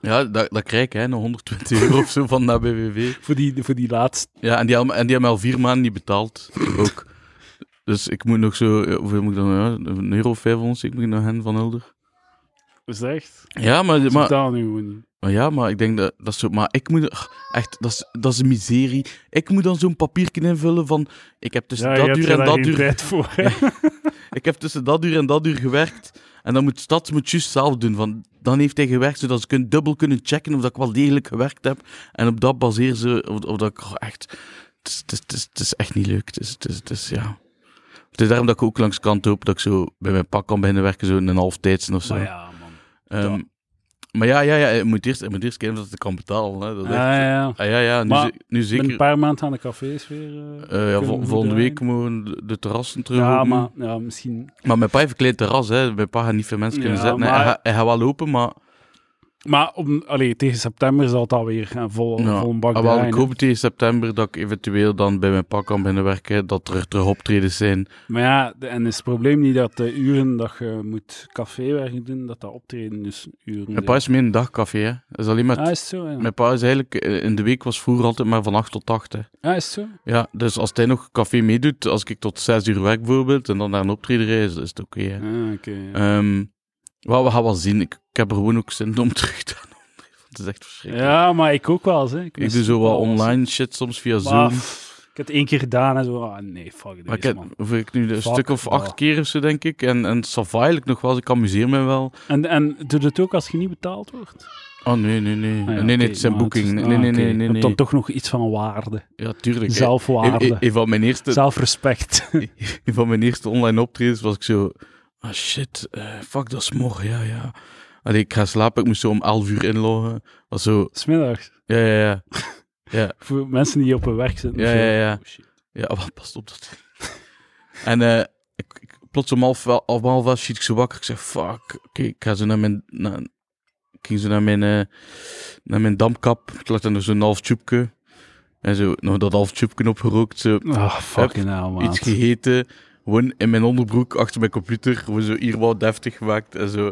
Speaker 2: Ja, dat, dat krijg ik, hè. Nog 120 (laughs) euro of zo van de BBW.
Speaker 1: Voor die, voor die laatste.
Speaker 2: Ja, en die, hebben- en die hebben al vier maanden niet betaald. Ook. Dus ik moet nog zo... eh, Hoeveel moet ik dan? Ja, een euro of vijf ons. Ik moet naar hen van Hulder.
Speaker 1: Is dat echt?
Speaker 2: Ja, maar...
Speaker 1: Maar,
Speaker 2: maar
Speaker 1: dat nu gewoon niet.
Speaker 2: Maar ja, maar ik denk dat dat is zo. Maar ik moet ach, echt, dat is, dat is een miserie. Ik moet dan zo'n papiertje invullen van. Ik heb tussen
Speaker 1: Ja, je hebt
Speaker 2: Dus dat uur
Speaker 1: er daar
Speaker 2: en dat
Speaker 1: geen
Speaker 2: uur.
Speaker 1: tijd voor. hè.
Speaker 2: Ik heb tussen dat uur en dat uur gewerkt. En dan moet Stads moet juist zelf doen. Van, dan heeft hij gewerkt zodat ze kunnen, dubbel kunnen checken of dat ik wel degelijk gewerkt heb. En op dat baseren ze. Of, of dat ik oh, echt. Het is, het, is, het, is, het is echt niet leuk. Het is, het is, het is, ja. Het is daarom dat ik ook langs de kant hoop dat ik zo bij mijn pak kan beginnen werken, zo in een half tijdsen of
Speaker 1: (laughs)
Speaker 2: zo.
Speaker 1: Maar ja, man.
Speaker 2: Ehm, maar ja, ja, ja, je moet eerst, je moet eerst kijken of dat ik kan betalen. Hè. Dat is echt-
Speaker 1: Ja, ja.
Speaker 2: Ah, ja, ja, nu,
Speaker 1: Maar
Speaker 2: ze- nu
Speaker 1: Ben
Speaker 2: zeker.
Speaker 1: een paar maanden aan de cafés weer. eh,
Speaker 2: Eh, ja,
Speaker 1: kunnen
Speaker 2: vol-
Speaker 1: we
Speaker 2: volgende week
Speaker 1: draaien.
Speaker 2: moeten we de, de terrassen terug.
Speaker 1: Ja,
Speaker 2: openen.
Speaker 1: maar ja, misschien.
Speaker 2: maar mijn pa heeft een klein terras, hè. Mijn pa gaat niet veel mensen kunnen
Speaker 1: Ja,
Speaker 2: zetten. hè.
Speaker 1: maar-
Speaker 2: Hij, gaat- hij gaat wel lopen, maar
Speaker 1: Maar om, allee, tegen september zal het alweer gaan vol,
Speaker 2: ja.
Speaker 1: vol een bak
Speaker 2: Ah, wel,
Speaker 1: draaien,
Speaker 2: ik
Speaker 1: hè.
Speaker 2: hoop tegen september dat ik eventueel dan bij mijn pa kan binnenwerken, dat er terug optredens zijn.
Speaker 1: Maar ja, de- en is het probleem niet dat de uren dat je moet caféwerk doen, dat dat optreden dus uren
Speaker 2: Mijn pa
Speaker 1: zijn.
Speaker 2: is meer een dagcafé, hè. Dat is alleen maar...
Speaker 1: Ah, is het zo? Ja,
Speaker 2: Mijn pa is eigenlijk... eh, In de week was vroeger altijd maar van 8 tot 8, hè.
Speaker 1: Ah, is het zo?
Speaker 2: Ja, dus als hij nog café meedoet, als ik tot 6 uur werk bijvoorbeeld, en dan naar een optreden reis, is het oké, hè.
Speaker 1: Ah, oké. ja.
Speaker 2: Ehm wel, we gaan wel zien. Ik, ik heb er gewoon ook zin om (laughs) terug te gaan. Het is echt verschrikkelijk.
Speaker 1: ja, maar ik ook wel eens. Hè.
Speaker 2: ik
Speaker 1: mis
Speaker 2: doe zo
Speaker 1: ook
Speaker 2: wat
Speaker 1: wel eens.
Speaker 2: online shit soms via
Speaker 1: Maar,
Speaker 2: Zoom.
Speaker 1: pff, ik heb het één keer gedaan en zo. Ah, nee, fuck
Speaker 2: Maar ik
Speaker 1: deze,
Speaker 2: heb,
Speaker 1: man.
Speaker 2: hoeveel ik nu een
Speaker 1: Fuck
Speaker 2: stuk of acht
Speaker 1: dat.
Speaker 2: keer of zo, denk ik. En, en ça va eigenlijk nog wel. eens. Ik amuseer me wel.
Speaker 1: En, en doe je het ook als je niet betaald wordt?
Speaker 2: Oh, nee, nee, nee.
Speaker 1: Ah, ja,
Speaker 2: nee, nee,
Speaker 1: oké,
Speaker 2: het zijn
Speaker 1: maar
Speaker 2: boeking.
Speaker 1: is-
Speaker 2: Nee,
Speaker 1: ah,
Speaker 2: nee, nee,
Speaker 1: oké.
Speaker 2: nee,
Speaker 1: Je
Speaker 2: nee,
Speaker 1: hebt
Speaker 2: nee.
Speaker 1: dan toch nog iets van waarde.
Speaker 2: Ja, tuurlijk. hè.
Speaker 1: Zelfwaarde.
Speaker 2: Een- een van mijn eerste,
Speaker 1: Zelfrespect. (laughs)
Speaker 2: een van mijn eerste online optredens was ik zo... Ah, shit. eh, fuck, dat is morgen. Ja, ja. Allee, ik ga slapen. Ik moest zo om 11 uur inloggen. Was zo...
Speaker 1: Smiddags.
Speaker 2: Ja, ja, ja.
Speaker 1: Voor mensen die op hun werk zitten.
Speaker 2: Ja,
Speaker 1: of zo.
Speaker 2: ja, ja.
Speaker 1: Oh, shit.
Speaker 2: Ja, (laughs) wat past op dat. en eh, ik, ik, plots om half, wel, om half elf schiet ik zo wakker. Ik zeg, fuck, oké, ik ga zo naar mijn... Naar, ik ging zo naar mijn, eh, naar mijn damkap. Ik lag dan nog zo'n half tjoepke. En zo, nog dat half tjoepke opgerookt. Zo,
Speaker 1: Ah, fucking hell, man.
Speaker 2: iets gegeten. Gewoon in mijn onderbroek, achter mijn computer. Gewoon zo hier wat deftig gemaakt. En zo...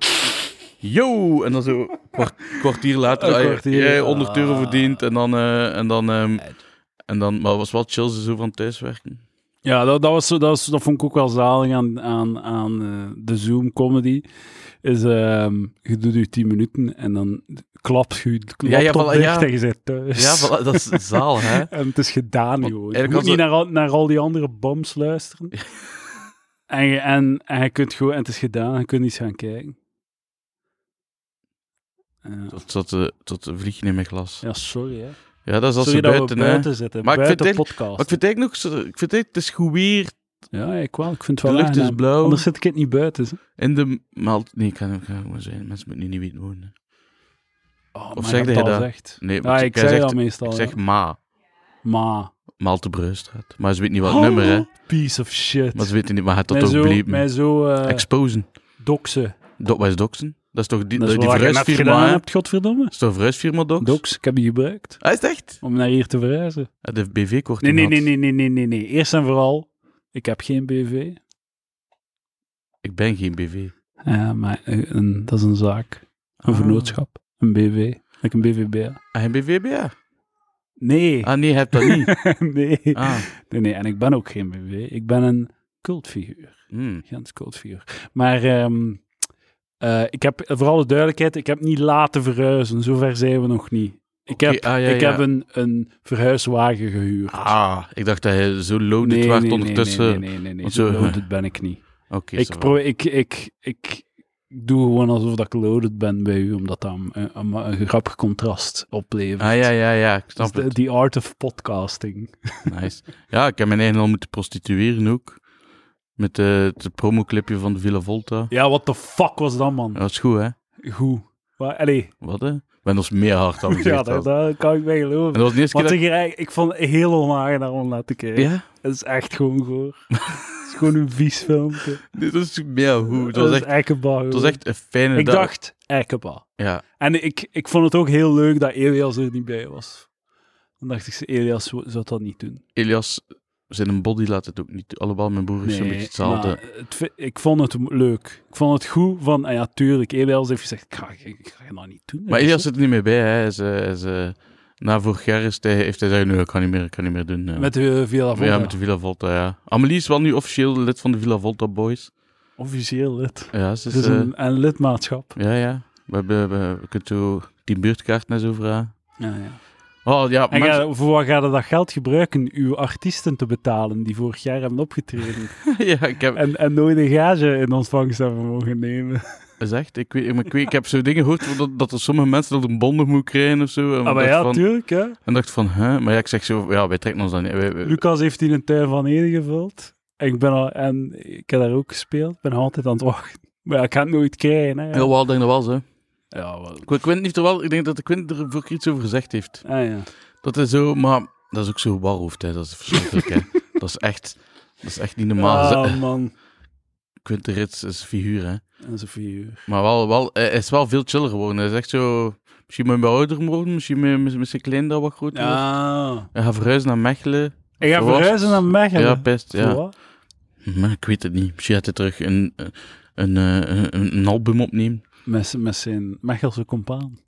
Speaker 2: Yo! En dan zo kwart- kwartier later,
Speaker 1: Een
Speaker 2: ah,
Speaker 1: kwartier,
Speaker 2: jij 100 euro
Speaker 1: ah.
Speaker 2: verdiend. En dan... eh, en dan ehm, en dan, maar het was wel chill, ze zo van thuiswerken.
Speaker 1: Ja, dat, dat, was, zo- dat, was, dat vond ik ook wel zalig aan, aan, aan eh, de Zoom-comedy. Is, ehm, je doet je 10 minuten en dan klapt je de
Speaker 2: Ja, ja,
Speaker 1: laptop
Speaker 2: voilà,
Speaker 1: dicht
Speaker 2: ja.
Speaker 1: en je zit thuis.
Speaker 2: (laughs) Ja,
Speaker 1: (laughs)
Speaker 2: voilà, dat is zaal, hè?
Speaker 1: En het is gedaan,
Speaker 2: Want
Speaker 1: gewoon. Je
Speaker 2: eigenlijk
Speaker 1: moet
Speaker 2: als
Speaker 1: niet
Speaker 2: we-
Speaker 1: naar, al- naar al die andere bums luisteren. (laughs) en, je, en, en je kunt gewoon... En het is gedaan, je kunt iets gaan kijken. Ja,
Speaker 2: Tot, tot, de, tot de vliegen in mijn glas. Ja,
Speaker 1: Ja, sorry, hè.
Speaker 2: dat is als
Speaker 1: sorry
Speaker 2: ze
Speaker 1: dat
Speaker 2: buiten,
Speaker 1: we
Speaker 2: hè?
Speaker 1: buiten zitten,
Speaker 2: Maar ik vind
Speaker 1: buiten
Speaker 2: het
Speaker 1: podcast.
Speaker 2: Maar ik vind het eigenlijk nog zo, ik vind het, eigenlijk- het is goed weer.
Speaker 1: Ja, ik wel. Ik vind het
Speaker 2: De
Speaker 1: wel
Speaker 2: lucht is
Speaker 1: aangenaam.
Speaker 2: blauw.
Speaker 1: Anders zit ik het niet buiten. hè.
Speaker 2: In de maal. Nee, ik kan ik kan gewoon zijn. Mensen moeten nu niet weten wonen.
Speaker 1: Oh,
Speaker 2: Of
Speaker 1: maar
Speaker 2: zegde
Speaker 1: hebt
Speaker 2: hij
Speaker 1: al
Speaker 2: dat?
Speaker 1: gezegd.
Speaker 2: Nee,
Speaker 1: Ja,
Speaker 2: maar
Speaker 1: ik
Speaker 2: jij
Speaker 1: zeg
Speaker 2: zegt-
Speaker 1: dat meestal.
Speaker 2: Ik
Speaker 1: ja.
Speaker 2: zeg ma.
Speaker 1: maar.
Speaker 2: Maal Breustraat. Maar ze weten
Speaker 1: Oh,
Speaker 2: niet wat het nummer, hè?
Speaker 1: Piece of shit.
Speaker 2: Maar ze weten niet, maar gaat dat
Speaker 1: mij
Speaker 2: toch
Speaker 1: zo,
Speaker 2: bleven?
Speaker 1: mij zo eh,
Speaker 2: Exposen.
Speaker 1: doxen.
Speaker 2: Dok, wat is doxen? Dat is toch die,
Speaker 1: Dat is
Speaker 2: die
Speaker 1: wat je net
Speaker 2: verhuisfirma,
Speaker 1: gedaan
Speaker 2: hè?
Speaker 1: hebt, godverdomme.
Speaker 2: Dat is toch een verhuisfirma, dox?
Speaker 1: Dox, ik heb die gebruikt.
Speaker 2: Ah, is het echt? Ah,
Speaker 1: Om naar hier te verhuizen.
Speaker 2: Hij heeft BV-korting
Speaker 1: Nee, nee, nee, nee, nee, nee, nee, nee. Eerst en vooral, ik heb geen BV.
Speaker 2: Ik ben geen BV.
Speaker 1: Ja, maar eh, een- dat is een zaak. Een vernootschap. Een BV. Ik een BVBA.
Speaker 2: Ah, geen BVBA?
Speaker 1: Nee.
Speaker 2: Ah, nee, je hebt dat niet.
Speaker 1: (laughs) nee.
Speaker 2: Ah,
Speaker 1: nee. Nee, en ik ben ook geen BV. Ik ben een cultfiguur.
Speaker 2: hmm.
Speaker 1: Gens cultfiguur. Maar ehm, Eh, ik heb, voor alle duidelijkheid, ik heb niet laten verhuizen. Zover zijn we nog niet. Ik
Speaker 2: Oké,
Speaker 1: heb,
Speaker 2: ah, ja,
Speaker 1: ik
Speaker 2: ja.
Speaker 1: heb een, een verhuiswagen gehuurd.
Speaker 2: Ah, ik dacht dat hij zo loaded werd ondertussen.
Speaker 1: Nee, nee, nee, nee, nee.
Speaker 2: want
Speaker 1: Zo
Speaker 2: zo-
Speaker 1: loaded ben ik niet.
Speaker 2: Oké, ça
Speaker 1: Ik,
Speaker 2: va.
Speaker 1: pro ik, ik, ik doe gewoon alsof dat ik loaded ben bij u, omdat dat een, een, een grappig contrast oplevert.
Speaker 2: Ah ja, ja, ja, ik snap
Speaker 1: Dus de-
Speaker 2: het.
Speaker 1: The art of podcasting.
Speaker 2: Nice. Ja, ik heb mijn eigen al moeten prostitueren ook. Met eh, het promoclipje van de Villa Volta.
Speaker 1: Ja, what the fuck was dat, man?
Speaker 2: Ja, Dat is goed, hè?
Speaker 1: Goed. Maar, allee,
Speaker 2: Wat, hè? Ik ben ons meer hard
Speaker 1: (laughs)
Speaker 2: aan
Speaker 1: ja,
Speaker 2: gezegd.
Speaker 1: daar,
Speaker 2: had.
Speaker 1: daar kan ik bij
Speaker 2: En
Speaker 1: geloven.
Speaker 2: dat was de eerste
Speaker 1: Want
Speaker 2: keer dat
Speaker 1: ik, eigenlijk- ik vond het heel onaangenaam om naar te kijken.
Speaker 2: ik- Ja?
Speaker 1: Het is echt gewoon
Speaker 2: (laughs)
Speaker 1: goor. het is gewoon een vies filmpje.
Speaker 2: Dit was meer hoe. Het was
Speaker 1: is
Speaker 2: echt,
Speaker 1: Eikeba,
Speaker 2: het
Speaker 1: gewoon.
Speaker 2: was echt een fijne
Speaker 1: Ik
Speaker 2: dag.
Speaker 1: dacht, Eikeba.
Speaker 2: Ja.
Speaker 1: En ik, ik vond het ook heel leuk dat Elias er niet bij was. Dan dacht ik, Elias zou zou dat niet doen.
Speaker 2: Elias, zijn een body laat het ook niet. Alhoewel, mijn broer is een beetje hetzelfde.
Speaker 1: maar het vi- ik vond het m- leuk. Ik vond het goed van, ah ja, tuurlijk, Elias heeft gezegd, ik ga, ik ga dat niet doen.
Speaker 2: Maar
Speaker 1: Dus,
Speaker 2: Elias zit er niet meer bij. Hè. Hij is, eh, hij is, eh, na vorig jaar is hij, heeft hij gezegd, nee, ik kan niet meer, ik kan niet meer doen. eh.
Speaker 1: Met de Villa
Speaker 2: ja, met de Villa Volta, ja. Amelie is wel nu officieel lid van de Villa Volta Boys.
Speaker 1: Officieel lid.
Speaker 2: Ja, ze
Speaker 1: Het
Speaker 2: is...
Speaker 1: is
Speaker 2: eh,
Speaker 1: een, een lidmaatschap.
Speaker 2: Ja, ja. We, hebben, we, we kunnen zo die buurtkaart naar zo vragen.
Speaker 1: Ja, ja.
Speaker 2: Oh, ja.
Speaker 1: En
Speaker 2: mensen- (laughs)
Speaker 1: ga- voor wat gaat dat geld gebruiken? Uw artiesten te betalen die vorig jaar hebben
Speaker 2: (laughs)
Speaker 1: opgetreden.
Speaker 2: ja, ik heb...
Speaker 1: en, en nooit een gage in ontvangst hebben mogen nemen.
Speaker 2: Is echt, ik, weet, maar ik, weet, ik heb zo dingen gehoord dat, dat er sommige mensen dat een bonden moet krijgen of zo. En
Speaker 1: Ah, maar
Speaker 2: dacht
Speaker 1: ja,
Speaker 2: van, Eh.
Speaker 1: tuurlijk. Hè?
Speaker 2: en dacht van, hè? Maar ja, ik zeg zo, ja, wij trekken ons dan niet. Wij- wij-
Speaker 1: Lucas heeft hier een tuin van Ede gevuld. En ik, ben al, en ik heb daar ook gespeeld. Ik ben altijd aan het wachten. Maar ja, ik ga het nooit krijgen. Hè?
Speaker 2: Ja, wel, ik denk dat wel, zo.
Speaker 1: Ja, wel.
Speaker 2: Ik, ik, weet niet of er wel, ik denk dat de Quint er vorige keer iets over gezegd heeft.
Speaker 1: Ah, ja.
Speaker 2: Dat is zo, maar dat is ook zo warhoofd, hè. Dat is verschrikkelijk,
Speaker 1: (laughs)
Speaker 2: hè. Dat is echt, dat is echt niet normaal. Ze-
Speaker 1: Ah, man.
Speaker 2: Quinten Rits is een figuur, hè.
Speaker 1: En zo vier
Speaker 2: Maar wel, wel, hij is wel veel chiller geworden. Hij is echt zo... Misschien moet hij ouder worden, misschien moet hij met zijn klein dat wat groter
Speaker 1: Ja.
Speaker 2: wordt. Hij gaat verhuizen naar Mechelen.
Speaker 1: Ik ga
Speaker 2: Voor wat?
Speaker 1: verhuizen naar
Speaker 2: Ja,
Speaker 1: Mechelen.
Speaker 2: pest,
Speaker 1: Voor
Speaker 2: ja.
Speaker 1: wat?
Speaker 2: Maar ik weet het niet. Misschien gaat hij terug een, een, een, een, een album opnemen.
Speaker 1: Met, z'n- met zijn Mechelse compaan.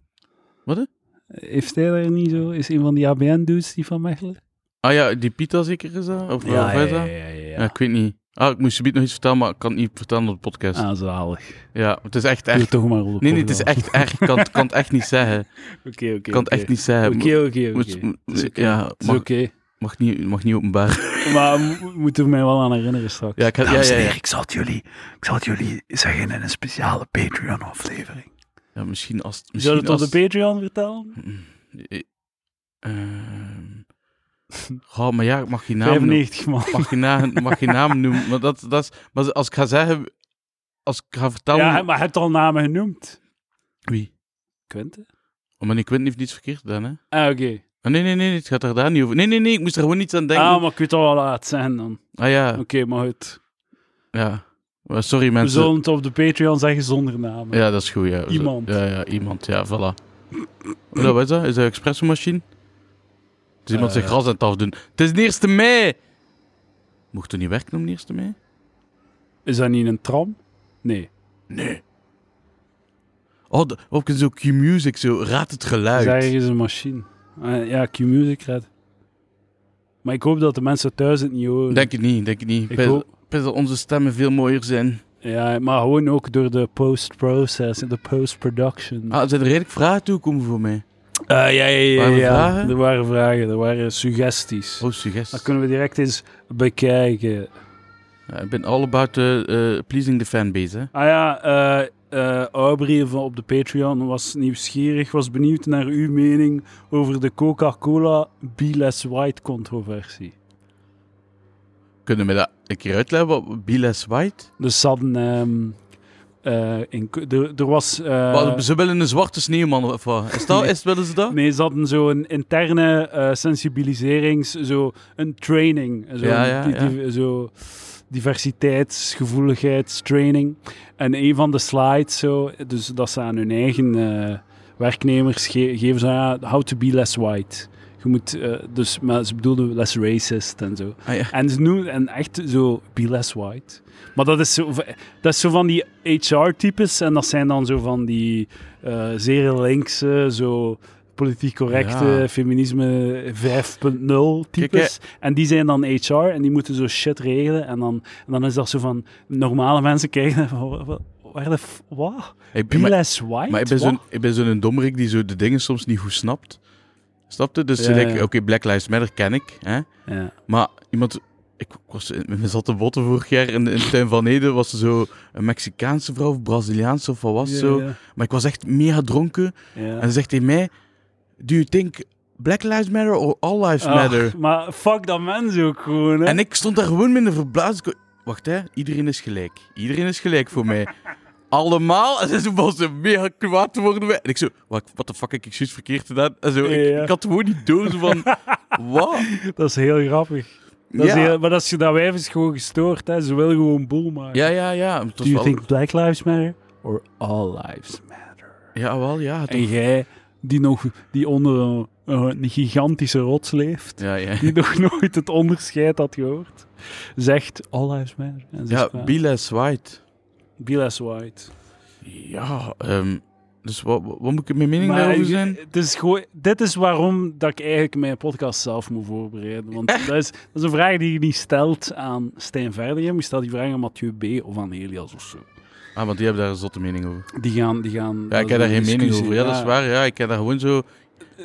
Speaker 2: Wat, hè?
Speaker 1: Heeft hij daar niet zo? Is een van die ABN-dudes die van Mechelen?
Speaker 2: Ah ja, die Pita zeker is dat? Of of is dat? Ja, ik weet niet. Ah, ik moest je nog iets vertellen, maar ik kan het niet vertellen op de podcast.
Speaker 1: Ah, zalig.
Speaker 2: Ja, het is echt
Speaker 1: Doe
Speaker 2: erg.
Speaker 1: het toch maar op.
Speaker 2: Nee, nee, het is echt erg. Ik kan, het- kan het echt niet zeggen. Ik
Speaker 1: Oké, (laughs) oké.
Speaker 2: kan het echt niet zeggen.
Speaker 1: Oké, oké,
Speaker 2: Moet-
Speaker 1: oké.
Speaker 2: moet-
Speaker 1: Het is oké.
Speaker 2: ja,
Speaker 1: Het is
Speaker 2: mag-
Speaker 1: oké.
Speaker 2: Mag, niet, mag niet openbaar.
Speaker 1: Maar mo- moet er mij wel aan herinneren straks.
Speaker 2: Ja, ik had, ja, ja, ja.
Speaker 1: ik zal het jullie, ik zal het jullie zeggen in een speciale Patreon-aflevering.
Speaker 2: ja, misschien als...
Speaker 1: Zullen
Speaker 2: Misschien
Speaker 1: we het op
Speaker 2: als,
Speaker 1: de Patreon vertellen?
Speaker 2: Eh, Ehm. Goh, maar ja, ik mag je naam noemen.
Speaker 1: 95 man.
Speaker 2: Mag je, na, mag je
Speaker 1: (laughs)
Speaker 2: naam noemen. Maar, dat, dat is, maar als ik ga zeggen... Als ik ga vertellen...
Speaker 1: Ja, maar je hebt al namen genoemd.
Speaker 2: Wie?
Speaker 1: Quinten?
Speaker 2: Oh, maar ik weet niet of niets verkeerd gedaan, hè?
Speaker 1: Ah, oké.
Speaker 2: Ah, nee, nee, nee, het gaat er daar niet over. Nee, nee, nee, ik moest er gewoon niet aan denken.
Speaker 1: Ah, maar ik weet al wel laat zijn dan.
Speaker 2: Ah ja,
Speaker 1: Oké, maar goed.
Speaker 2: ja. Maar Sorry,
Speaker 1: We
Speaker 2: mensen.
Speaker 1: zullen het op de Patreon zeggen zonder namen.
Speaker 2: Ja, dat is goed, ja.
Speaker 1: Iemand.
Speaker 2: Ja, ja, iemand, ja, voilà. Wat was dat? Is dat een expressomachine? Het is iemand
Speaker 1: Eh.
Speaker 2: zijn gras aan het afdoen. Het is de 1 mei! Mocht er niet werken om de 1 mei?
Speaker 1: Is dat niet een tram? Nee.
Speaker 2: Nee. Oh, de- ook in zo'n Q-music, zo raad het geluid.
Speaker 1: Zeg is een machine. Ah, ja, Q-Music Red. Maar ik hoop dat de mensen thuis het niet horen.
Speaker 2: Denk het niet, denk het niet.
Speaker 1: Ik
Speaker 2: Best-
Speaker 1: hoop-
Speaker 2: best dat onze stemmen veel mooier zijn.
Speaker 1: Ja, maar gewoon ook door de post-process en de post-production.
Speaker 2: Ah, er zijn er redelijk vragen toekomen voor mij.
Speaker 1: Eh, ja, ja, ja.
Speaker 2: Waren er
Speaker 1: ja.
Speaker 2: vragen?
Speaker 1: Er waren vragen, er waren suggesties.
Speaker 2: Oh, suggestie.
Speaker 1: Dat kunnen we direct eens bekijken.
Speaker 2: Ja, ik ben all about eh, eh, pleasing the fanbase, hè.
Speaker 1: Ah ja, eh eh, Aubrey van op de Patreon was nieuwsgierig, was benieuwd naar uw mening over de Coca-Cola Be Less White controversie.
Speaker 2: Kunnen we dat een keer uitleggen? Wat, Be Less White?
Speaker 1: Dus ze hadden... ehm, eh, in, Ko- er, er was... eh,
Speaker 2: Wat, ze willen een zwarte sneeuwman of wat? Is dat, is, willen ze dat?
Speaker 1: Nee, ze hadden zo'n interne eh, sensibiliserings, zo een training. Zo
Speaker 2: Ja, ja,
Speaker 1: di- di- zo diversiteitsgevoeligheidstraining. En een van de slides, zo, dus dat ze aan hun eigen eh, werknemers ge- geven, zo, ja, how to be less white. Je moet, eh, dus, maar ze bedoelden less racist en zo.
Speaker 2: Ah, ja.
Speaker 1: En ze noemen en echt zo, be less white. Maar dat is zo, v- dat is zo van die HR-types. En dat zijn dan zo van die eh, zeer linkse, zo politiek correcte,
Speaker 2: Ja.
Speaker 1: feminisme 5.0 types. En die zijn dan HR en die moeten zo shit regelen. En dan, en dan is dat zo van, normale mensen kijken van, "Wa- wa- wat, waar de... f- Wat?
Speaker 2: Ik ben,
Speaker 1: Bill
Speaker 2: maar,
Speaker 1: as White?
Speaker 2: maar ik ben zo'n,
Speaker 1: Wat?
Speaker 2: ik ben zo'n dommerik die zo de dingen soms niet goed snapt. Snap je? Dus
Speaker 1: Ja,
Speaker 2: like,
Speaker 1: ja.
Speaker 2: oké, Black Lives Matter ken ik. Hè?
Speaker 1: Ja.
Speaker 2: Maar iemand... Ik was in, we zaten botten vorig jaar in de, in de tuin van Ede. Was er zo een Mexicaanse vrouw of Braziliaanse of wat was
Speaker 1: Ja,
Speaker 2: zo.
Speaker 1: ja,
Speaker 2: Maar ik was echt mega dronken.
Speaker 1: ja.
Speaker 2: En dan zegt hij mij... Do you think Black Lives Matter or All Lives
Speaker 1: Ach,
Speaker 2: Matter?
Speaker 1: Ah, maar fuck dat mens ook gewoon, hè.
Speaker 2: En ik stond daar gewoon minder verblaasd. Ik- Wacht hè, iedereen is gelijk. Iedereen is gelijk
Speaker 1: (laughs)
Speaker 2: voor mij. Allemaal. En ze was ze mega kwaad worden. En ik zo, wat wat de fuck heb ik zoiets verkeerd gedaan? En zo,
Speaker 1: Ja, ja.
Speaker 2: ik, ik had gewoon die doos van,
Speaker 1: (laughs)
Speaker 2: wat?
Speaker 1: Dat is heel grappig. Dat
Speaker 2: ja.
Speaker 1: is heel- maar dat, is, dat wijf is gewoon gestoord, hè. Ze wil gewoon boel maken.
Speaker 2: ja, ja, ja. Het was
Speaker 1: Do you
Speaker 2: wel-
Speaker 1: think black lives matter? Or all lives matter?
Speaker 2: Ja, wel, ja. toch.
Speaker 1: En jij, die, nog, die onder een, een gigantische rots leeft,
Speaker 2: Ja, ja.
Speaker 1: die nog (laughs) nooit het onderscheid had gehoord, zegt all lives matter. En ze is
Speaker 2: (laughs) Ja,
Speaker 1: kwaad.
Speaker 2: Bill S. White.
Speaker 1: Bill as white.
Speaker 2: Ja, ehm, dus wat, wat wat moet ik mijn mening
Speaker 1: Maar
Speaker 2: daarover
Speaker 1: ik-
Speaker 2: zijn?
Speaker 1: het is gewoon, dit is waarom dat ik eigenlijk mijn podcast zelf moet voorbereiden. Want dat is, dat is een vraag die je niet stelt aan Stijn Verdegem. Je stelt die vraag aan Mathieu B. of aan Elias of zo.
Speaker 2: Ah, want die hebben daar een zotte mening over.
Speaker 1: Die gaan... Die gaan
Speaker 2: Ja, ik heb daar geen mening over. Ja, dat is
Speaker 1: Ah.
Speaker 2: waar. Ja, ik heb daar gewoon zo...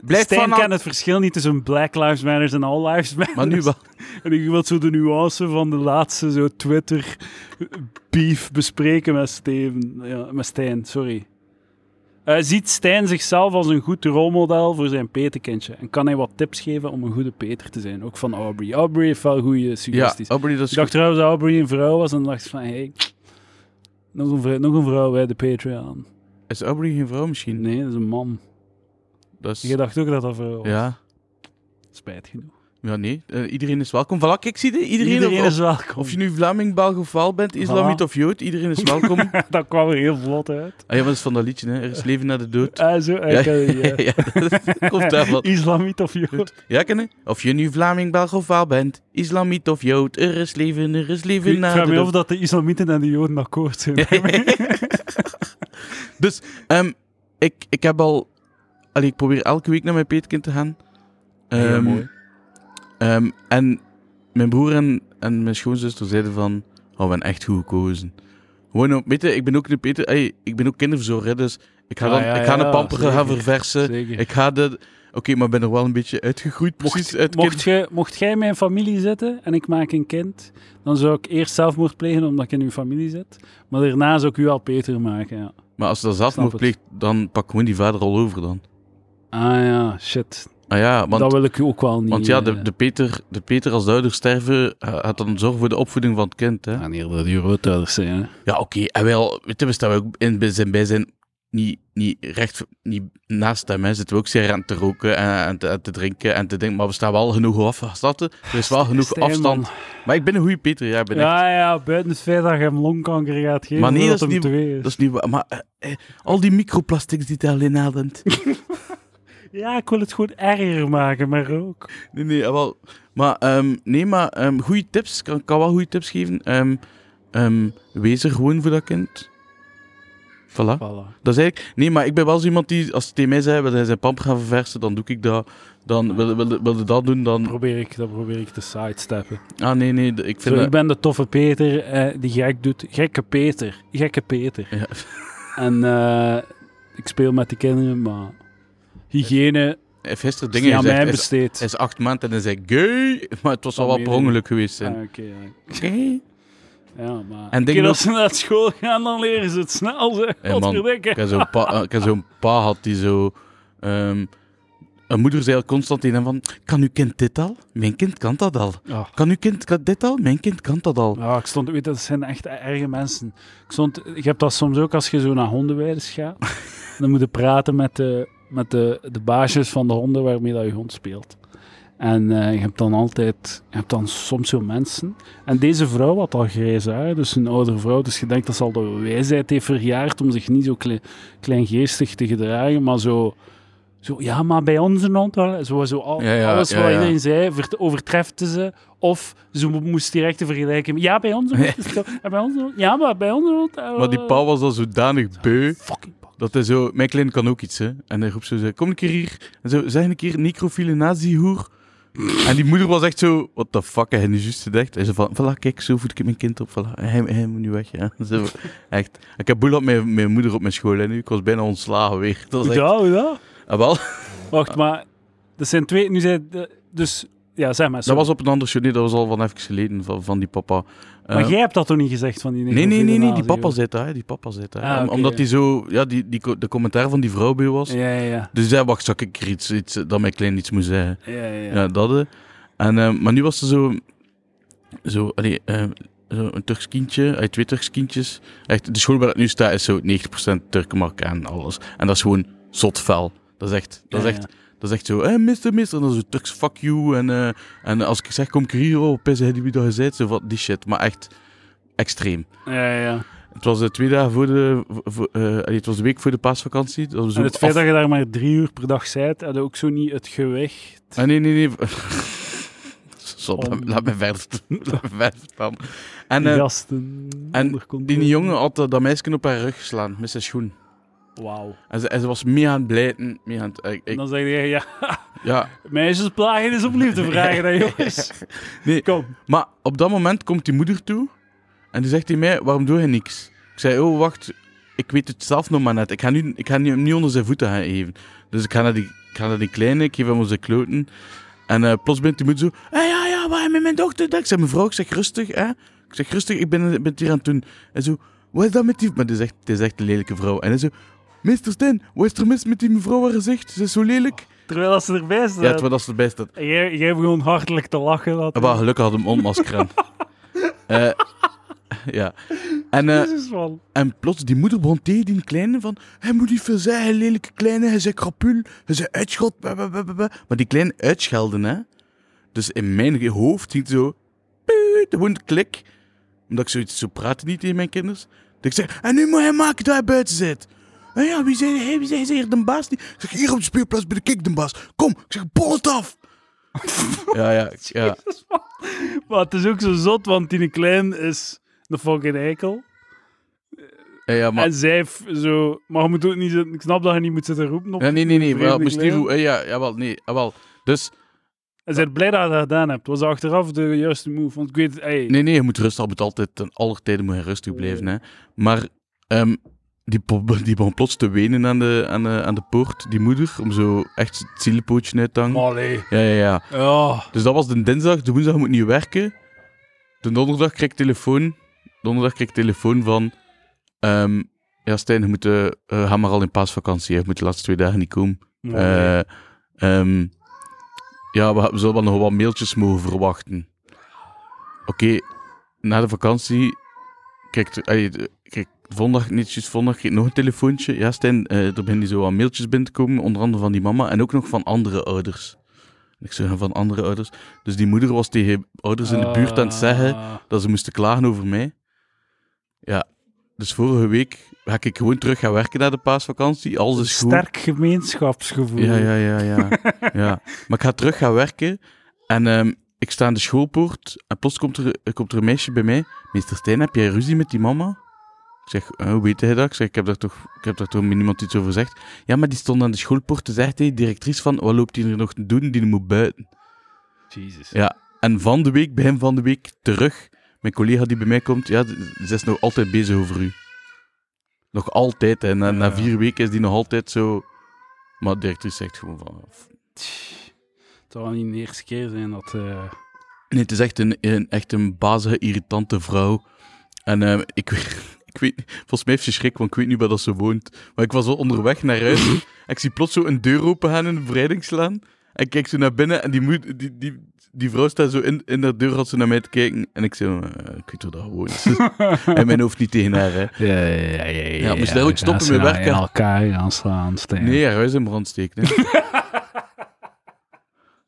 Speaker 2: Blijf
Speaker 1: Stijn
Speaker 2: van...
Speaker 1: kent
Speaker 2: al-
Speaker 1: het verschil niet tussen Black Lives Matter en All Lives Matter.
Speaker 2: Maar nu wel.
Speaker 1: (laughs) En ik wil zo de nuance van de laatste zo Twitter beef bespreken met Steven. Ja, met Stijn, sorry. Eh, ziet Stijn zichzelf als een goed rolmodel voor zijn petekindje? En kan hij wat tips geven om een goede peter te zijn? Ook van Aubrey. Aubrey heeft wel goede
Speaker 2: Ja,
Speaker 1: suggesties.
Speaker 2: Aubrey, dat is
Speaker 1: ik dacht trouwens dat Aubrey een vrouw was en dacht ik van, hey, nog een vrou- nog een vrouw bij de Patreon.
Speaker 2: Is Aubrey geen vrouw misschien?
Speaker 1: Nee, dat is een man.
Speaker 2: Dat is...
Speaker 1: Je dacht ook dat dat vrouw was.
Speaker 2: Ja.
Speaker 1: Spijt genoeg.
Speaker 2: Ja, nee. Eh, iedereen is welkom. Voilà, kijk, zie je? Iedereen, of,
Speaker 1: is welkom.
Speaker 2: of je nu Vlaming, Belg of Waal bent, Islamiet of Jood, iedereen is welkom. ah
Speaker 1: dat kwam er heel vlot uit.
Speaker 2: ja, maar dat is van dat liedje, hè. Er is leven na de
Speaker 1: (laughs)
Speaker 2: dood.
Speaker 1: Ah, zo, ik ken
Speaker 2: (laughs)
Speaker 1: het, ja.
Speaker 2: ja, dat komt daarvan.
Speaker 1: (laughs) Islamiet of Jood.
Speaker 2: Ja, ken je? Of je nu Vlaming, Belg of Waal bent, Islamiet of Jood, er is leven, er is leven
Speaker 1: Ik
Speaker 2: na
Speaker 1: vraag
Speaker 2: de
Speaker 1: me af
Speaker 2: dood.
Speaker 1: of dat de Islamieten en de Joden akkoord zijn. (laughs)
Speaker 2: (laughs) Dus, ehm, ik, ik heb al... Allee, ik probeer elke week naar mijn peetkind te gaan. Ehm, Ehm, en mijn broer en, en mijn schoonzuster zeiden van, oh, we hebben echt goed gekozen. Gewoon, op- weet je, ik ben ook de Peter, ey, ik ben ook kinderverzorger, hè, dus ik ga,
Speaker 1: Ja,
Speaker 2: dan,
Speaker 1: Ah, ja,
Speaker 2: ik ga
Speaker 1: ja,
Speaker 2: een pamper
Speaker 1: zeker.
Speaker 2: gaan verversen.
Speaker 1: Zeker.
Speaker 2: Ik ga de, oké, maar ik ben er wel een beetje uitgegroeid, precies. uit
Speaker 1: mocht,
Speaker 2: kind-
Speaker 1: je, mocht jij mijn familie zitten en ik maak een kind, dan zou ik eerst zelfmoord plegen omdat ik in uw familie zit. Maar daarna zou ik u al Peter maken. Ja.
Speaker 2: Maar als ze dat zelf nog
Speaker 1: het.
Speaker 2: pleegt, dan pak gewoon die vader al over dan.
Speaker 1: Ah ja, shit.
Speaker 2: Ah ja, want,
Speaker 1: dat wil ik u ook wel niet.
Speaker 2: want ja, de,
Speaker 1: eh.
Speaker 2: de, Peter, de Peter als duider sterven, eh, gaat dan zorgen voor de opvoeding van het kind, hè.
Speaker 1: Wanneer dat die roodhuiders zijn. Hè.
Speaker 2: Ja, oké. En wel, weet je, we staan ook in bij zijn bijzijn niet, niet recht niet naast hem. Hè. Zitten we ook zeer aan te roken en, en, te, en te drinken en te denken. Maar we staan wel genoeg afstand. Er is wel genoeg
Speaker 1: Stijn, man.
Speaker 2: afstand. Maar ik ben een goede Peter. Ja, ik ben echt...
Speaker 1: Ja, ja, buiten het feit dat je hem longkanker gaat geven.
Speaker 2: Maar nee,
Speaker 1: omdat
Speaker 2: dat is
Speaker 1: hem
Speaker 2: niet-
Speaker 1: twee is.
Speaker 2: Dat is niet waar. Maar eh, eh, al die microplastics die hij alleen ademt.
Speaker 1: Ja, ik wil het gewoon erger maken, maar ook.
Speaker 2: nee, nee, eh, wel. Maar, ehm, nee, maar ehm goede tips. Ik kan, kan wel goede tips geven. Ehm, ehm, wees er gewoon voor dat kind. Voilà.
Speaker 1: Voilà.
Speaker 2: Dat is eigenlijk... Nee, maar ik ben wel zo iemand die, als het tegen mij zei, wil hij zijn pamp gaan verversen, dan doe ik dat. Dan wil, wil, wil je dat doen, dan...
Speaker 1: Probeer ik, dat probeer ik te sidesteppen.
Speaker 2: Ah, nee, nee, de- ik
Speaker 1: Zo,
Speaker 2: vind
Speaker 1: ik
Speaker 2: dat...
Speaker 1: ben de toffe Peter eh, die gek doet. Gekke Peter. Gekke Peter.
Speaker 2: Ja.
Speaker 1: En eh, ik speel met die kinderen, maar hygiëne
Speaker 2: Hij heeft gisteren
Speaker 1: is
Speaker 2: dingen
Speaker 1: niet aan
Speaker 2: gezegd.
Speaker 1: mij
Speaker 2: Hij is,
Speaker 1: besteed.
Speaker 2: hij is acht maanden en hij zei gay, (laughs) maar het was
Speaker 1: Dat
Speaker 2: al wel
Speaker 1: meen
Speaker 2: per
Speaker 1: je
Speaker 2: ongeluk geweest
Speaker 1: Ah,
Speaker 2: zijn.
Speaker 1: Oké, ja.
Speaker 2: Gay?
Speaker 1: ja, maar...
Speaker 2: En
Speaker 1: En
Speaker 2: dingen
Speaker 1: denk
Speaker 2: ook-
Speaker 1: als ze naar school gaan, dan leren ze het snel, zeg.
Speaker 2: Hey, man.
Speaker 1: Godverdikke.
Speaker 2: Ik heb zo'n pa, eh, ik heb zo'n pa had die zo... ehm, een moeder zei al constant tegen hem van, kan uw kind dit al? Mijn kind kan dat al.
Speaker 1: Ah.
Speaker 2: Kan uw kind kan dit al? Mijn kind kan dat al.
Speaker 1: Ja, ik stond, weet, je, dat zijn echt erge mensen. Ik stond, je hebt dat soms ook als je zo naar hondenweiders
Speaker 2: (laughs)
Speaker 1: gaat. dan moet je praten met de, met de, de baasjes van de honden waarmee dat je hond speelt. En eh, je hebt dan altijd, je hebt dan soms zo mensen. En deze vrouw had al grijze haar, dus een oudere vrouw. Dus je denkt dat ze al de wijsheid heeft verjaard om zich niet zo klein, kleingeestig te gedragen, maar zo. Zo, ja, maar bij onze hond wel. Zo, zo al,
Speaker 2: Ja, ja,
Speaker 1: alles
Speaker 2: ja,
Speaker 1: wat
Speaker 2: ja.
Speaker 1: iedereen zei, vert- overtrefte ze. Of ze mo- moest direct te vergelijken. Ja, bij onze hond is het zo. En bij onze hond- (laughs) Ja, maar bij onze hond... eh,
Speaker 2: Maar die pa was al zodanig beu.
Speaker 1: Fucking pak.
Speaker 2: Dat hij zo, mijn klein kan ook iets, hè. En hij roept zo, zo, kom een keer hier. En zo, zeg een keer, necrofiele nazi-hoer. En die moeder was echt zo, what the fuck, en die juist gedacht. En ze van, voilà, kijk, zo voed ik mijn kind op, voilà, hij, hij moet nu weg. Ja. Zo, echt. Ik heb boel op mijn, mijn moeder op mijn school en nu, ik was bijna ontslagen weer.
Speaker 1: Hoe
Speaker 2: Dat was echt,
Speaker 1: dat, hoe dat?
Speaker 2: Ah, wel,
Speaker 1: Wacht, maar... Dat zijn twee... Nu zijn... de- Dus... Ja, zeg maar.
Speaker 2: dat
Speaker 1: sorry.
Speaker 2: was op een ander show, nee, dat was al van even geleden, van, van die papa.
Speaker 1: maar
Speaker 2: Eh,
Speaker 1: jij hebt dat toch niet gezegd van die
Speaker 2: Nee, nee, nee, nee, die papa
Speaker 1: papa
Speaker 2: zit daar, hè, die papa zit daar.
Speaker 1: Ah,
Speaker 2: Om-
Speaker 1: oké,
Speaker 2: Omdat
Speaker 1: ja.
Speaker 2: die zo, ja, die, die, co- de commentaar van die vrouw bij was.
Speaker 1: Ja, ja, ja.
Speaker 2: Dus zij wacht, zag ik er iets, iets eh, dat mijn klein iets moest zeggen.
Speaker 1: ja, ja.
Speaker 2: Ja, dat. eh. En, eh, maar nu was ze zo, zo, allee, eh, zo een Turks kindje, uit twee Turks kindjes. Echt, de school waar ik nu sta is zo 90% Turk, Marokkaan, alles. En dat is gewoon zot fel. Dat is echt, dat is
Speaker 1: Ja,
Speaker 2: echt, dat is echt zo, eh, mister, mister. En dan zo Turks, fuck you. En, eh, en als ik zeg, kom ik hier, oh, pissen, heb je wie dat gezegd? Zo van die shit, maar echt extreem.
Speaker 1: Ja, ja, ja.
Speaker 2: Het was de twee dagen voor de, voor, eh, allee, het was de week voor de paasvakantie. Dat was zo
Speaker 1: En het feit dat je daar maar drie uur per dag zijt, had ook zo niet het gewicht.
Speaker 2: Ah, nee, nee, nee. (laughs) Stop,
Speaker 1: Om-
Speaker 2: laat, laat me verder, (laughs) laat me verder staan. En
Speaker 1: Die
Speaker 2: eh,
Speaker 1: gasten.
Speaker 2: en
Speaker 1: onder controle.
Speaker 2: die jongen had eh, dat, dat meisje op haar rug geslaan met zijn schoen.
Speaker 1: Wauw.
Speaker 2: En ze, en ze was meer aan het blijten. Mee aan het, ik,
Speaker 1: En
Speaker 2: ik,
Speaker 1: dan zeg je, ja,
Speaker 2: ja.
Speaker 1: meisjes plagen is opnieuw te vragen,
Speaker 2: (laughs)
Speaker 1: hè, jongens.
Speaker 2: Nee.
Speaker 1: Kom.
Speaker 2: Maar op dat moment komt die moeder toe en die zegt tegen mij: Waarom doe je niks? Ik zei: Oh, wacht, ik weet het zelf nog maar net. Ik ga, nu, ik ga nu- hem niet onder zijn voeten gaan geven. Dus ik ga naar die, ik ga naar die kleine, ik geef hem onze kloten. En eh, plots bent die moeder zo: Hé, ja, ja, waar met mijn dochter? Ik zei: Mevrouw, ik zeg rustig, hè? Ik zeg rustig, ik ben, ben het hier aan het doen. En zo: Wat is dat met die. Maar die is echt, die is echt een lelijke vrouw. En hij zo: Meester Stijn, wat is er mis met die mevrouw haar gezicht? Ze is zo lelijk.
Speaker 1: Terwijl als ze erbij staat.
Speaker 2: Ja, het was als het erbij staat.
Speaker 1: En jij, jij begon hartelijk te lachen. Dat
Speaker 2: Maar Ah, gelukkig had hem ontmasker aan. Eh, ja. En, eh,
Speaker 1: Jezus, man.
Speaker 2: en plots, die moeder begon tegen die kleine van... Hij moet niet veel zeggen, lelijke kleine. Hij zei krapul, hij zei uitschot. bah, bah, bah, bah, bah." Maar die kleine uitschelden, hè. Dus in mijn hoofd ging het zo... piep, Gewoon klik. Omdat ik zoiets... Zo praten niet tegen mijn kinders. Dat ik zei... En nu moet hij maken dat hij buiten zit. En ja, wie zei hij? Wie zei hij? De baas? Die... Ik zeg, hier op de speelplaats ben ik de baas. Kom, ik zeg, bol het af. ja, ja, ja.
Speaker 1: Jezus, man. Maar het is ook zo zot, want Tine Klein is de fucking eikel.
Speaker 2: ja, ja maar...
Speaker 1: En zij heeft zo... Maar je moet ook niet zitten... Ik snap dat je niet moet zitten roepen op...
Speaker 2: Ja, nee, nee, nee.
Speaker 1: Vreemde
Speaker 2: Wel, moest die
Speaker 1: kleren.
Speaker 2: roe- eh, ja, jawel, nee, jawel. Dus,
Speaker 1: En zij is blij dat je dat gedaan hebt. Was dat achteraf de juiste move? Want ik weet... Hey,
Speaker 2: nee, nee, je moet rustig, moet altijd, ten aller tijden moet je rustig blijven, hè. Maar, ehm, die, po- (laughs) die begon plots te wenen aan de, aan, de, aan de poort, die moeder, om zo echt het zielepootje uit te hangen.
Speaker 1: maar allee.
Speaker 2: Ja, ja, ja.
Speaker 1: Ja.
Speaker 2: Dus dat was de dinsdag, de woensdag moet niet werken. De donderdag kreeg ik telefoon, donderdag kreeg ik telefoon van, ehm, ja, Stijn, je moet, eh eh, ga maar al in paasvakantie, hè. je moet de laatste twee dagen niet komen.
Speaker 1: Maar allee.
Speaker 2: Eh, ehm, ja, we, we zullen wel nog wat mailtjes mogen verwachten. Oké, na de vakantie kijk, er- allee, de- kijk vondag, niet juist vondag, kreeg ik nog een telefoontje. Ja, Stijn, eh, er beginnen zo wat mailtjes binnen te komen, onder andere van die mama en ook nog van andere ouders. Ik zeg van andere ouders. Dus die moeder was tegen ouders in de buurt aan het zeggen
Speaker 1: Ah.
Speaker 2: dat ze moesten klagen over mij. Ja, dus vorige week ga ik gewoon terug gaan werken na de paasvakantie. Alles is goed.
Speaker 1: Sterk gemeenschapsgevoel.
Speaker 2: Ja, ja, ja, ja. ja. Maar ik ga terug gaan werken. En ehm, ik sta aan de schoolpoort. En plots komt er, er komt er een meisje bij mij. Meester Stijn, heb jij ruzie met die mama? Ik zeg, eh, hoe weet hij dat? Ik zeg, ik heb daar toch, ik heb daar toch met niemand iets over gezegd. Ja, maar die stond aan de schoolpoort dus te zeggen tegen de directrice van, wat loopt die er nog te doen? Die moet buiten.
Speaker 1: Jezus.
Speaker 2: Ja. En van de week, begin van de week, terug. Mijn collega die bij mij komt, ja, d- ze is nog altijd bezig over u. Nog altijd. En na, na
Speaker 1: Ja.
Speaker 2: vier weken is die nog altijd zo... Maar de directrice zegt gewoon van,
Speaker 1: Tch. Het zal wel niet de eerste keer zijn dat...
Speaker 2: (laughs)
Speaker 1: eh,
Speaker 2: Nee, het is echt een, een, echt een bazige, irritante vrouw. En ehm, ik, weet- (laughs) ik weet niet- volgens mij heeft ze schrik, want ik weet niet waar dat ze woont. Maar ik was al onderweg naar huis.
Speaker 1: (laughs)
Speaker 2: en ik zie plots zo een deur open gaan in een breidingslaan. En ik kijk zo naar binnen en die, moed- die, die, die vrouw staat zo in, in haar deur, had ze naar mij te kijken. En ik zei, eh, ik weet waar dat
Speaker 1: (laughs)
Speaker 2: woont. en mijn hoofd niet tegen haar, hè.
Speaker 1: Ja, ja, ja. ja,
Speaker 2: Ja, moest daar ook stoppen
Speaker 1: Gaan
Speaker 2: mee
Speaker 1: ze
Speaker 2: werken.
Speaker 1: aan elkaar aanslaan, staan.
Speaker 2: Nee, haar huis in brand
Speaker 1: (laughs)
Speaker 2: steken, hè.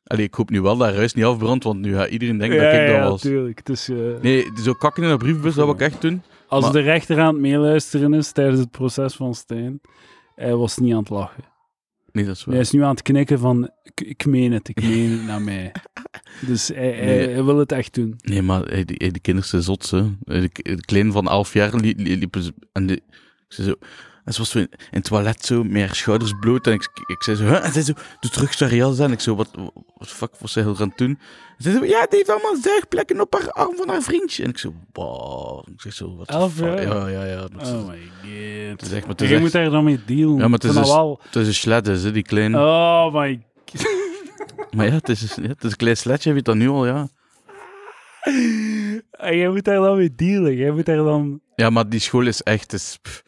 Speaker 2: Allee, ik hoop nu wel dat haar huis niet afbrandt, want nu gaat iedereen denken dat ik dat
Speaker 1: ja,
Speaker 2: was.
Speaker 1: tuurlijk. Het is, eh,
Speaker 2: Nee, zo kakken in een brievenbus, dat wil ik echt doen.
Speaker 1: als
Speaker 2: maar-
Speaker 1: de rechter aan het meeluisteren is tijdens het proces van Stijn, hij was niet aan het lachen.
Speaker 2: Nee, dat is waar.
Speaker 1: Hij is nu aan het knikken van, ik, ik meen het, ik meen het naar
Speaker 2: (laughs)
Speaker 1: mij. Dus hij, hij-
Speaker 2: Nee.
Speaker 1: hij wil het echt doen.
Speaker 2: Nee, maar hey, die, Eh, hey, die kinderen zijn zot, hè. Hey, De, de kleine van elf jaar li- li- liepen ze... En die, ik zei zo... En ze was zo in, in het toilet zo, met haar schouders bloot. En ik, ik zei zo, huh? En zij zo, doe terug Sariel zijn. En ik zo, wat, wat fuck was zij heel aan het doen? En zij zo, ja, die heeft allemaal zuigplekken op haar arm van haar vriendje. En ik zo, wow. Ik zeg zo, wat
Speaker 1: Elf jaar?
Speaker 2: Ja, ja, ja. Dat is-
Speaker 1: Oh my god.
Speaker 2: is echt- maar het
Speaker 1: je
Speaker 2: is echt-
Speaker 1: moet daar dan mee dealen.
Speaker 2: Ja, maar het is dus-
Speaker 1: Ik vind dat wel...
Speaker 2: Het is een slet, is, hè, die kleine.
Speaker 1: Oh my god.
Speaker 2: Maar ja, het is, ja, het is een klein sletje, weet dat nu al, ja.
Speaker 1: En jij moet daar dan mee dealen. Jij moet daar dan...
Speaker 2: Ja, maar die school is echt. Is, pff.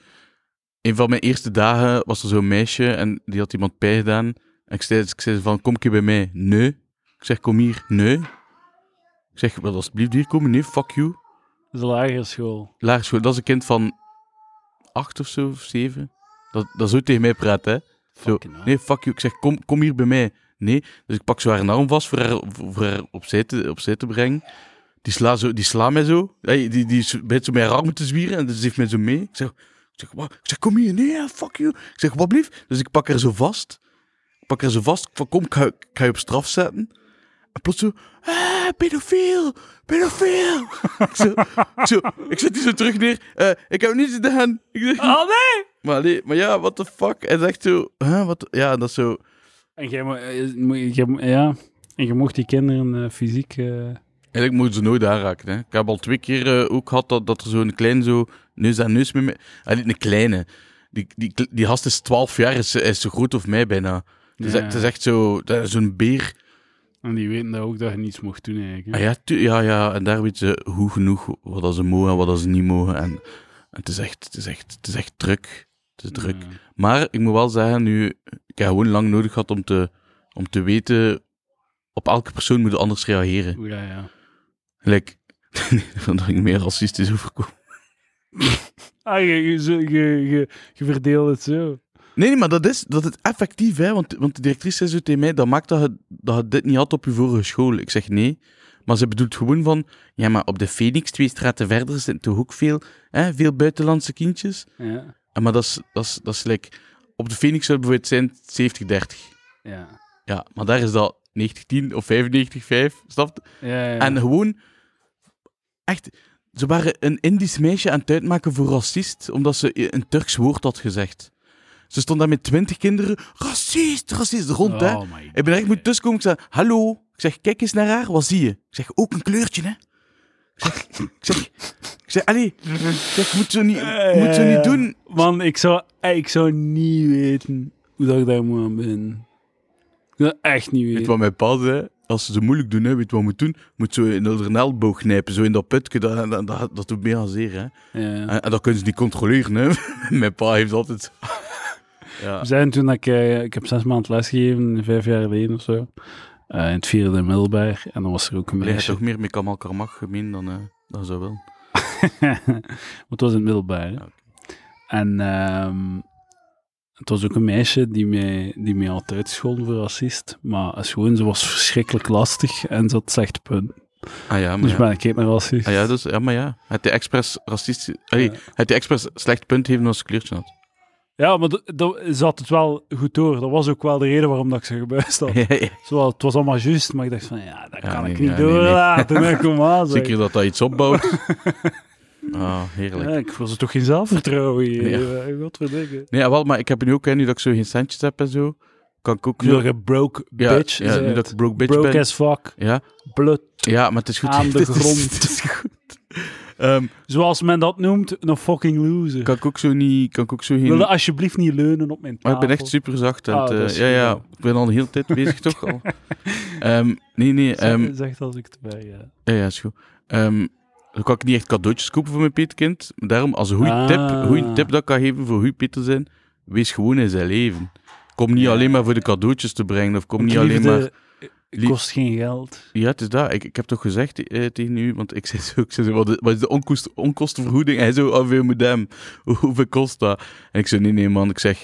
Speaker 2: Een van mijn eerste dagen was er zo'n meisje en die had iemand pijn gedaan. En ik zei, ik zei van, kom je bij mij? Nee. Ik zeg, kom hier. Nee. Ik zeg, wil alsjeblieft hier komen? Nee, fuck you.
Speaker 1: Dat is een lagere school.
Speaker 2: Lagere school, dat is een kind van acht of zo, of zeven. Dat, dat zo tegen mij praat, hè. Zo,
Speaker 1: Fucking hell.
Speaker 2: nee, fuck you. Ik zeg, kom, kom hier bij mij. Nee. Dus ik pak zo haar arm vast voor haar, voor haar opzij, te, opzij te brengen. Die sla, zo, die sla mij zo. Hey, die, die is- begint zo met haar arm te zwieren en dus ze heeft mij zo mee. Ik zeg, ik zeg, wat? Ik zeg kom hier. Nee, ja, fuck you. Ik zeg, wat blieft? Dus ik pak haar zo vast. Ik pak haar zo vast. Ik van, kom, ik ga, ik ga je op straf zetten. En plots zo, ah, pedofiel, pedofiel. (laughs) ik, zo, ik, zo, ik zet die zo terug neer. Eh, ik heb niets gedaan. Ik zeg, (laughs)
Speaker 1: Oh nee!
Speaker 2: maar, nee, maar ja, what the fuck? En zegt zo, huh, wat? Ja, dat is zo.
Speaker 1: En jij mo- eh, mo- jij mo- ja. En je mocht die kinderen eh, fysiek... eh,
Speaker 2: Eigenlijk moeten ze nooit aanraken. Hè. Ik heb al twee keer eh, ook gehad dat, dat er zo'n klein zo neus aan neus met mij. Allee, een kleine. Die, die, die, gast is 12 jaar, is, is zo groot of mij bijna. Het is,
Speaker 1: Ja.
Speaker 2: echt- het is echt zo, dat is zo'n beer.
Speaker 1: En die weten dat ook dat je niets mocht doen eigenlijk. hè.
Speaker 2: Ah, ja, tu- ja, ja, en daar weet ze hoe genoeg wat dat ze mogen en wat dat ze niet mogen. En, en het, is echt, het, is echt, het is echt druk. Het is druk.
Speaker 1: Ja.
Speaker 2: Maar ik moet wel zeggen, nu, ik heb gewoon lang nodig gehad om te, om te weten. Op elke persoon moet je anders reageren.
Speaker 1: Oeh, ja, ja.
Speaker 2: Like, (laughs) dat ging meer racistisch overkomen.
Speaker 1: Ah, je, je, zo- je, je, je verdeelt het zo.
Speaker 2: Nee, nee, maar dat is, dat is effectief, hè? Want, want de directrice zei zo tegen mij: dat maakt dat je, dat je dit niet had op je vorige school. Ik zeg nee. Maar ze bedoelt gewoon van: ja, maar op de Phoenix, twee straten verder, zijn toch ook veel, hè, veel buitenlandse kindjes.
Speaker 1: Ja.
Speaker 2: En, maar dat is, dat is, dat is like, op de Phoenix zou het bijvoorbeeld zijn 70-30.
Speaker 1: Ja.
Speaker 2: Ja, maar daar is dat 90-10 of 95-5, snap je?
Speaker 1: Ja, ja.
Speaker 2: En gewoon, echt, ze waren een Indisch meisje aan het uitmaken voor racist, omdat ze een Turks woord had gezegd. Ze stond daar met twintig kinderen, racist, racist, rond, hè.
Speaker 1: Oh my
Speaker 2: Ik ben er echt moeten tussenkomen, ik zei, hallo. Ik zeg, kijk eens naar haar, wat zie je? Ik zeg, ook een kleurtje, hè. Ik zeg, ik zeg, ik zeg allee, ik zeg, moet ze niet, moet ze
Speaker 1: Eh, ja, ja.
Speaker 2: niet doen.
Speaker 1: Man, ik zou, eh, ik zou niet weten hoe dat ik daar moet aan ben. Ik zou echt niet
Speaker 2: Weet
Speaker 1: weten.
Speaker 2: wat mijn pa zei? Als ze ze moeilijk doen, hè, weet wat moet doen? Moet zo in de elleboog knijpen, zo in dat putje. Dat, dat, dat, dat doet meer dan zeer, hè.
Speaker 1: Ja.
Speaker 2: En, en dat kunnen ze niet controleren, hè. (laughs) Mijn pa heeft altijd...
Speaker 1: We
Speaker 2: Ja.
Speaker 1: zijn toen dat ik, eh, ik heb zes maanden lesgegeven, vijf jaar geleden of zo. eh, in het vierde middelbaar. En dan was er ook een
Speaker 2: Ligt
Speaker 1: meisje.
Speaker 2: toch meer met Kamal Karmach gemeen dan, eh dan zo wel.
Speaker 1: (laughs) Maar het was in het middelbaar. hè.
Speaker 2: Ja, oké.
Speaker 1: En ehm, het was ook een meisje die mij, die mij had uitscholden voor racist. Maar is gewoon, ze was verschrikkelijk lastig en ze had slecht punt.
Speaker 2: Ah ja, maar
Speaker 1: Dus
Speaker 2: ja.
Speaker 1: ben ik keek naar racist.
Speaker 2: Ah, ja, dus, ja, maar ja. Het die expres racistisch... Allee,
Speaker 1: Ja.
Speaker 2: het die expres slecht punt heeft als ze kleurtje had.
Speaker 1: Ja, maar d- dat- ze had het wel goed door. Dat was ook wel de reden waarom dat ik ze gebuist had.
Speaker 2: (laughs) Ja, ja.
Speaker 1: Zowel, het was allemaal juist, maar ik dacht van, ja, dat
Speaker 2: Ja,
Speaker 1: kan
Speaker 2: nee,
Speaker 1: ik niet
Speaker 2: ja, nee, nee.
Speaker 1: doorlaten.
Speaker 2: (laughs)
Speaker 1: hè. Kom aan, zeg.
Speaker 2: Zeker dat dat iets (laughs) opbouwt. Ah, heerlijk.
Speaker 1: Ja, ik was er toch geen zelfvertrouwen eh, hier.
Speaker 2: Nee.
Speaker 1: Ja. Godverdikke.
Speaker 2: Nee, wel, maar ik heb nu ook, hè, nu dat ik zo geen centjes heb en zo, kan ik ook...
Speaker 1: Nu
Speaker 2: zo-
Speaker 1: dat je broke
Speaker 2: ja,
Speaker 1: bitch
Speaker 2: ja, nu
Speaker 1: bent.
Speaker 2: dat ik broke bitch
Speaker 1: Broke
Speaker 2: ben.
Speaker 1: as fuck.
Speaker 2: Ja,
Speaker 1: Blut.
Speaker 2: ja, maar het is goed.
Speaker 1: Aan de
Speaker 2: (laughs) Het is-
Speaker 1: grond.
Speaker 2: het is goed. Ehm,
Speaker 1: Zoals men dat noemt, een fucking loser.
Speaker 2: kan ik ook zo niet... Kan ik ook zo geen...
Speaker 1: Wil je alsjeblieft niet leunen op mijn
Speaker 2: Maar
Speaker 1: tafel?
Speaker 2: ik ben echt super zacht. En
Speaker 1: Ah,
Speaker 2: het, eh,
Speaker 1: dat is
Speaker 2: ja, ja,
Speaker 1: goed.
Speaker 2: ik ben al de hele
Speaker 1: (laughs)
Speaker 2: tijd bezig, toch? Al. Ehm, nee, nee.
Speaker 1: Zeg,
Speaker 2: ehm,
Speaker 1: zeg dat als ik erbij ja.
Speaker 2: ja, ja, is goed. Ehm, dan kan ik niet echt cadeautjes kopen voor mijn peetkind. Maar Daarom, als een goede
Speaker 1: Ah.
Speaker 2: tip, goeie tip dat ik kan geven voor goede Peter zijn, wees gewoon in zijn leven. Kom niet
Speaker 1: Ja.
Speaker 2: alleen maar voor de cadeautjes te brengen, of kom
Speaker 1: Want
Speaker 2: niet alleen
Speaker 1: liefde
Speaker 2: maar... lief-
Speaker 1: kost geen geld.
Speaker 2: Ja, het is dat. Ik, ik heb toch gezegd eh, tegen u, want ik zei zo, ik zei zo wat, is- wat is de onkost, onkostenvergoeding? Hij zo, oh, veel moet (laughs) hem. Hoeveel kost dat? En ik zei, nee, nee, man. Ik zeg,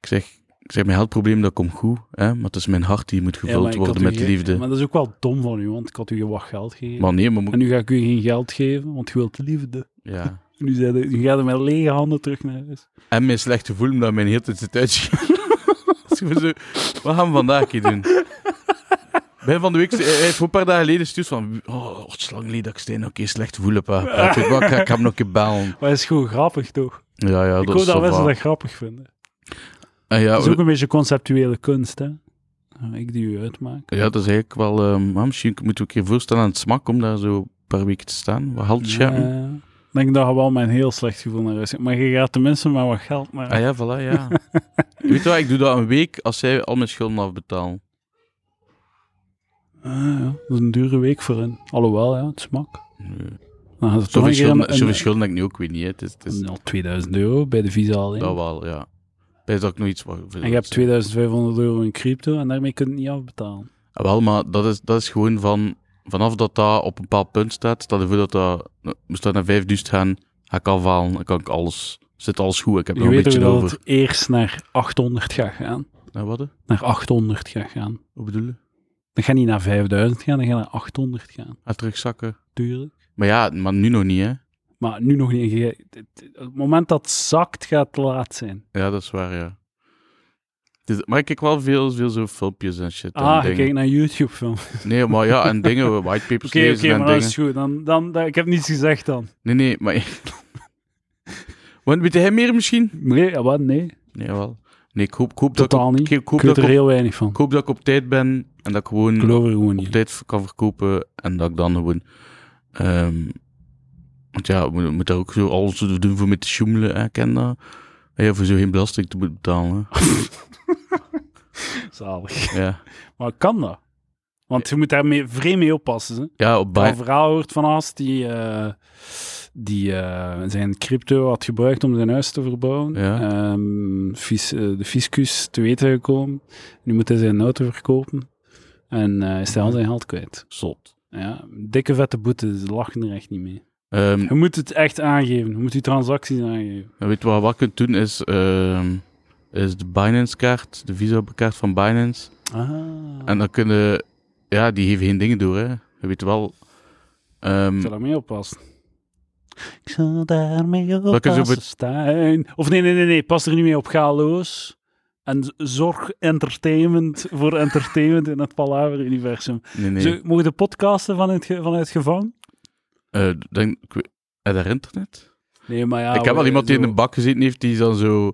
Speaker 2: ik zeg, ik zeg mijn geldprobleem, dat komt goed. Hè? Maar het is mijn hart die moet
Speaker 1: Ja,
Speaker 2: gevuld
Speaker 1: maar ik had
Speaker 2: worden
Speaker 1: u
Speaker 2: met
Speaker 1: ge-
Speaker 2: liefde.
Speaker 1: Maar dat is ook wel dom van u, want ik had u wat geld gegeven.
Speaker 2: Maar nee, maar moet...
Speaker 1: En nu ga ik u geen geld geven, want je wilt liefde.
Speaker 2: Ja.
Speaker 1: Nu, zei de- nu gaat hij met lege handen terug naar huis.
Speaker 2: En mijn slecht gevoel, omdat mijn hele tijd zit uitschieten. Dus ik ben (laughs) zo, wat gaan we vandaag hier doen? Begin van de week, eh, hij heeft voor een paar dagen geleden stuurd van, oh,
Speaker 1: (laughs)
Speaker 2: het is lang geleden dat ik steen, oké, slecht gevoel heb. hè. Ik, weet wat, ik ga ik ga hem nog een keer bellen.
Speaker 1: Maar dat is gewoon grappig, toch?
Speaker 2: Ja, ja,
Speaker 1: ik
Speaker 2: dat
Speaker 1: hoop
Speaker 2: is
Speaker 1: dat
Speaker 2: zo
Speaker 1: mensen
Speaker 2: waar.
Speaker 1: dat grappig vinden.
Speaker 2: En Ah, ja,
Speaker 1: Het is ook een beetje conceptuele kunst, hè. Ik die u uitmaak.
Speaker 2: ja, dat is eigenlijk wel... ehm, maar misschien moeten we een keer voorstellen aan het smak om daar zo een paar weken te staan. Wat handscheppen.
Speaker 1: Ja, ja. Ik denk dat je wel mijn heel slecht gevoel naar huis gaat. Maar je gaat tenminste maar wat geld naar
Speaker 2: Ah ja, voilà,
Speaker 1: (laughs)
Speaker 2: ja. Weet je wat, ik doe dat een week als zij al mijn schulden afbetalen.
Speaker 1: Ah, ja. Dat is een dure week voor hen. Alhoewel, ja, het smak.
Speaker 2: Nee.
Speaker 1: Dan gaat het toch een
Speaker 2: Zoveel
Speaker 1: keer
Speaker 2: schulden,
Speaker 1: een,
Speaker 2: zoveel
Speaker 1: een,
Speaker 2: schulden heb ik nu ook weer niet. hè. Het is, het is
Speaker 1: een- al 2000 euro bij de Visa alleen.
Speaker 2: dat wel, ja. Bij dat ik nog iets...
Speaker 1: en je hebt 2500 euro in crypto en daarmee kun je het niet afbetalen.
Speaker 2: Ah, Wel, maar dat is, dat is gewoon van... Vanaf dat dat op een bepaald punt staat, stel je voor dat dat... Moest dat naar 5000 gaan, ga ik afhalen, dan kan ik alles... Zit alles goed, ik heb
Speaker 1: Je
Speaker 2: nog een
Speaker 1: weet ook
Speaker 2: beetje
Speaker 1: dat
Speaker 2: over.
Speaker 1: het eerst naar 800 gaat gaan.
Speaker 2: Nou, wat? hè?
Speaker 1: Naar 800 gaat gaan.
Speaker 2: Wat bedoel je?
Speaker 1: Dan gaat niet naar 5000 gaan, dan gaat naar 800 gaan.
Speaker 2: Ah, terugzakken.
Speaker 1: Tuurlijk.
Speaker 2: Maar ja, maar nu nog niet, hè.
Speaker 1: Maar nu nog niet. je- het- het- Het moment dat het zakt, gaat het laat zijn.
Speaker 2: Ja, dat is waar, ja. Het is- maar ik kijk wel veel, veel zo filmpjes en shit. en
Speaker 1: Ah, je
Speaker 2: dingen.
Speaker 1: kijkt naar YouTube-film.
Speaker 2: Nee, maar ja, en
Speaker 1: (laughs)
Speaker 2: dingen, whitepapers
Speaker 1: Oké, oké,
Speaker 2: lezen en
Speaker 1: maar dat
Speaker 2: dingen.
Speaker 1: is goed. Dan, dan, dan- ik heb niets gezegd dan.
Speaker 2: Nee, nee, maar... (laughs) Want weet jij meer misschien?
Speaker 1: Nee, ja, wat? Nee,
Speaker 2: Nee, wel. Nee, ik hoop, ik hoop dat ik,
Speaker 1: totaal
Speaker 2: op-
Speaker 1: niet.
Speaker 2: ik
Speaker 1: Ik
Speaker 2: hoop
Speaker 1: weet
Speaker 2: dat
Speaker 1: er
Speaker 2: ik, op,
Speaker 1: heel weinig van.
Speaker 2: ik hoop dat ik op tijd ben en dat ik gewoon
Speaker 1: Ik geloof er gewoon
Speaker 2: op
Speaker 1: niet.
Speaker 2: tijd kan verkopen en dat ik dan gewoon... ehm, want ja, we moeten daar ook zo alles doen voor mee te sjoemelen, hè, ken dat? En ja, voor zo geen belasting te moeten
Speaker 1: (laughs)
Speaker 2: betalen. hè.
Speaker 1: Zalig.
Speaker 2: ja.
Speaker 1: Maar kan dat? Want je moet daar mee, vreemd mee oppassen. Hè?
Speaker 2: ja, op
Speaker 1: Ik heb
Speaker 2: bij...
Speaker 1: een verhaal hoort van Haas die, eh, die eh, zijn crypto had gebruikt om zijn huis te verbouwen.
Speaker 2: Ja.
Speaker 1: Ehm, fis- eh, de fiscus te weten gekomen. Nu moet hij zijn auto verkopen. En eh is hij al zijn geld kwijt.
Speaker 2: Zot.
Speaker 1: Ja, dikke vette boete, ze lachen er echt niet mee.
Speaker 2: Ehm,
Speaker 1: Je moet het echt aangeven, je moet je transacties aangeven.
Speaker 2: En weet je wat je wat kunt doen? Is, ehm, is de Binance-kaart, de Visa-kaart van Binance.
Speaker 1: Ah,
Speaker 2: En dan kunnen. Ja, die geven geen dingen door, hè? Je weet wel. ehm,
Speaker 1: ik zal daarmee oppassen. Ik zal daarmee
Speaker 2: ik zo
Speaker 1: oppassen,
Speaker 2: bet-
Speaker 1: Stijn. Of nee, nee, nee, nee, pas er niet mee op, ga los. En z- zorg entertainment voor entertainment in het Palaver-universum.
Speaker 2: nee, nee.
Speaker 1: Zo, Mogen de podcasten vanuit, ge- vanuit gevangen?
Speaker 2: Eh, denk, ik weet- eh, daar internet?
Speaker 1: Nee, maar ja...
Speaker 2: ik heb
Speaker 1: we-
Speaker 2: wel iemand die
Speaker 1: Ah, zo-
Speaker 2: in een bak gezeten heeft, die is dan zo.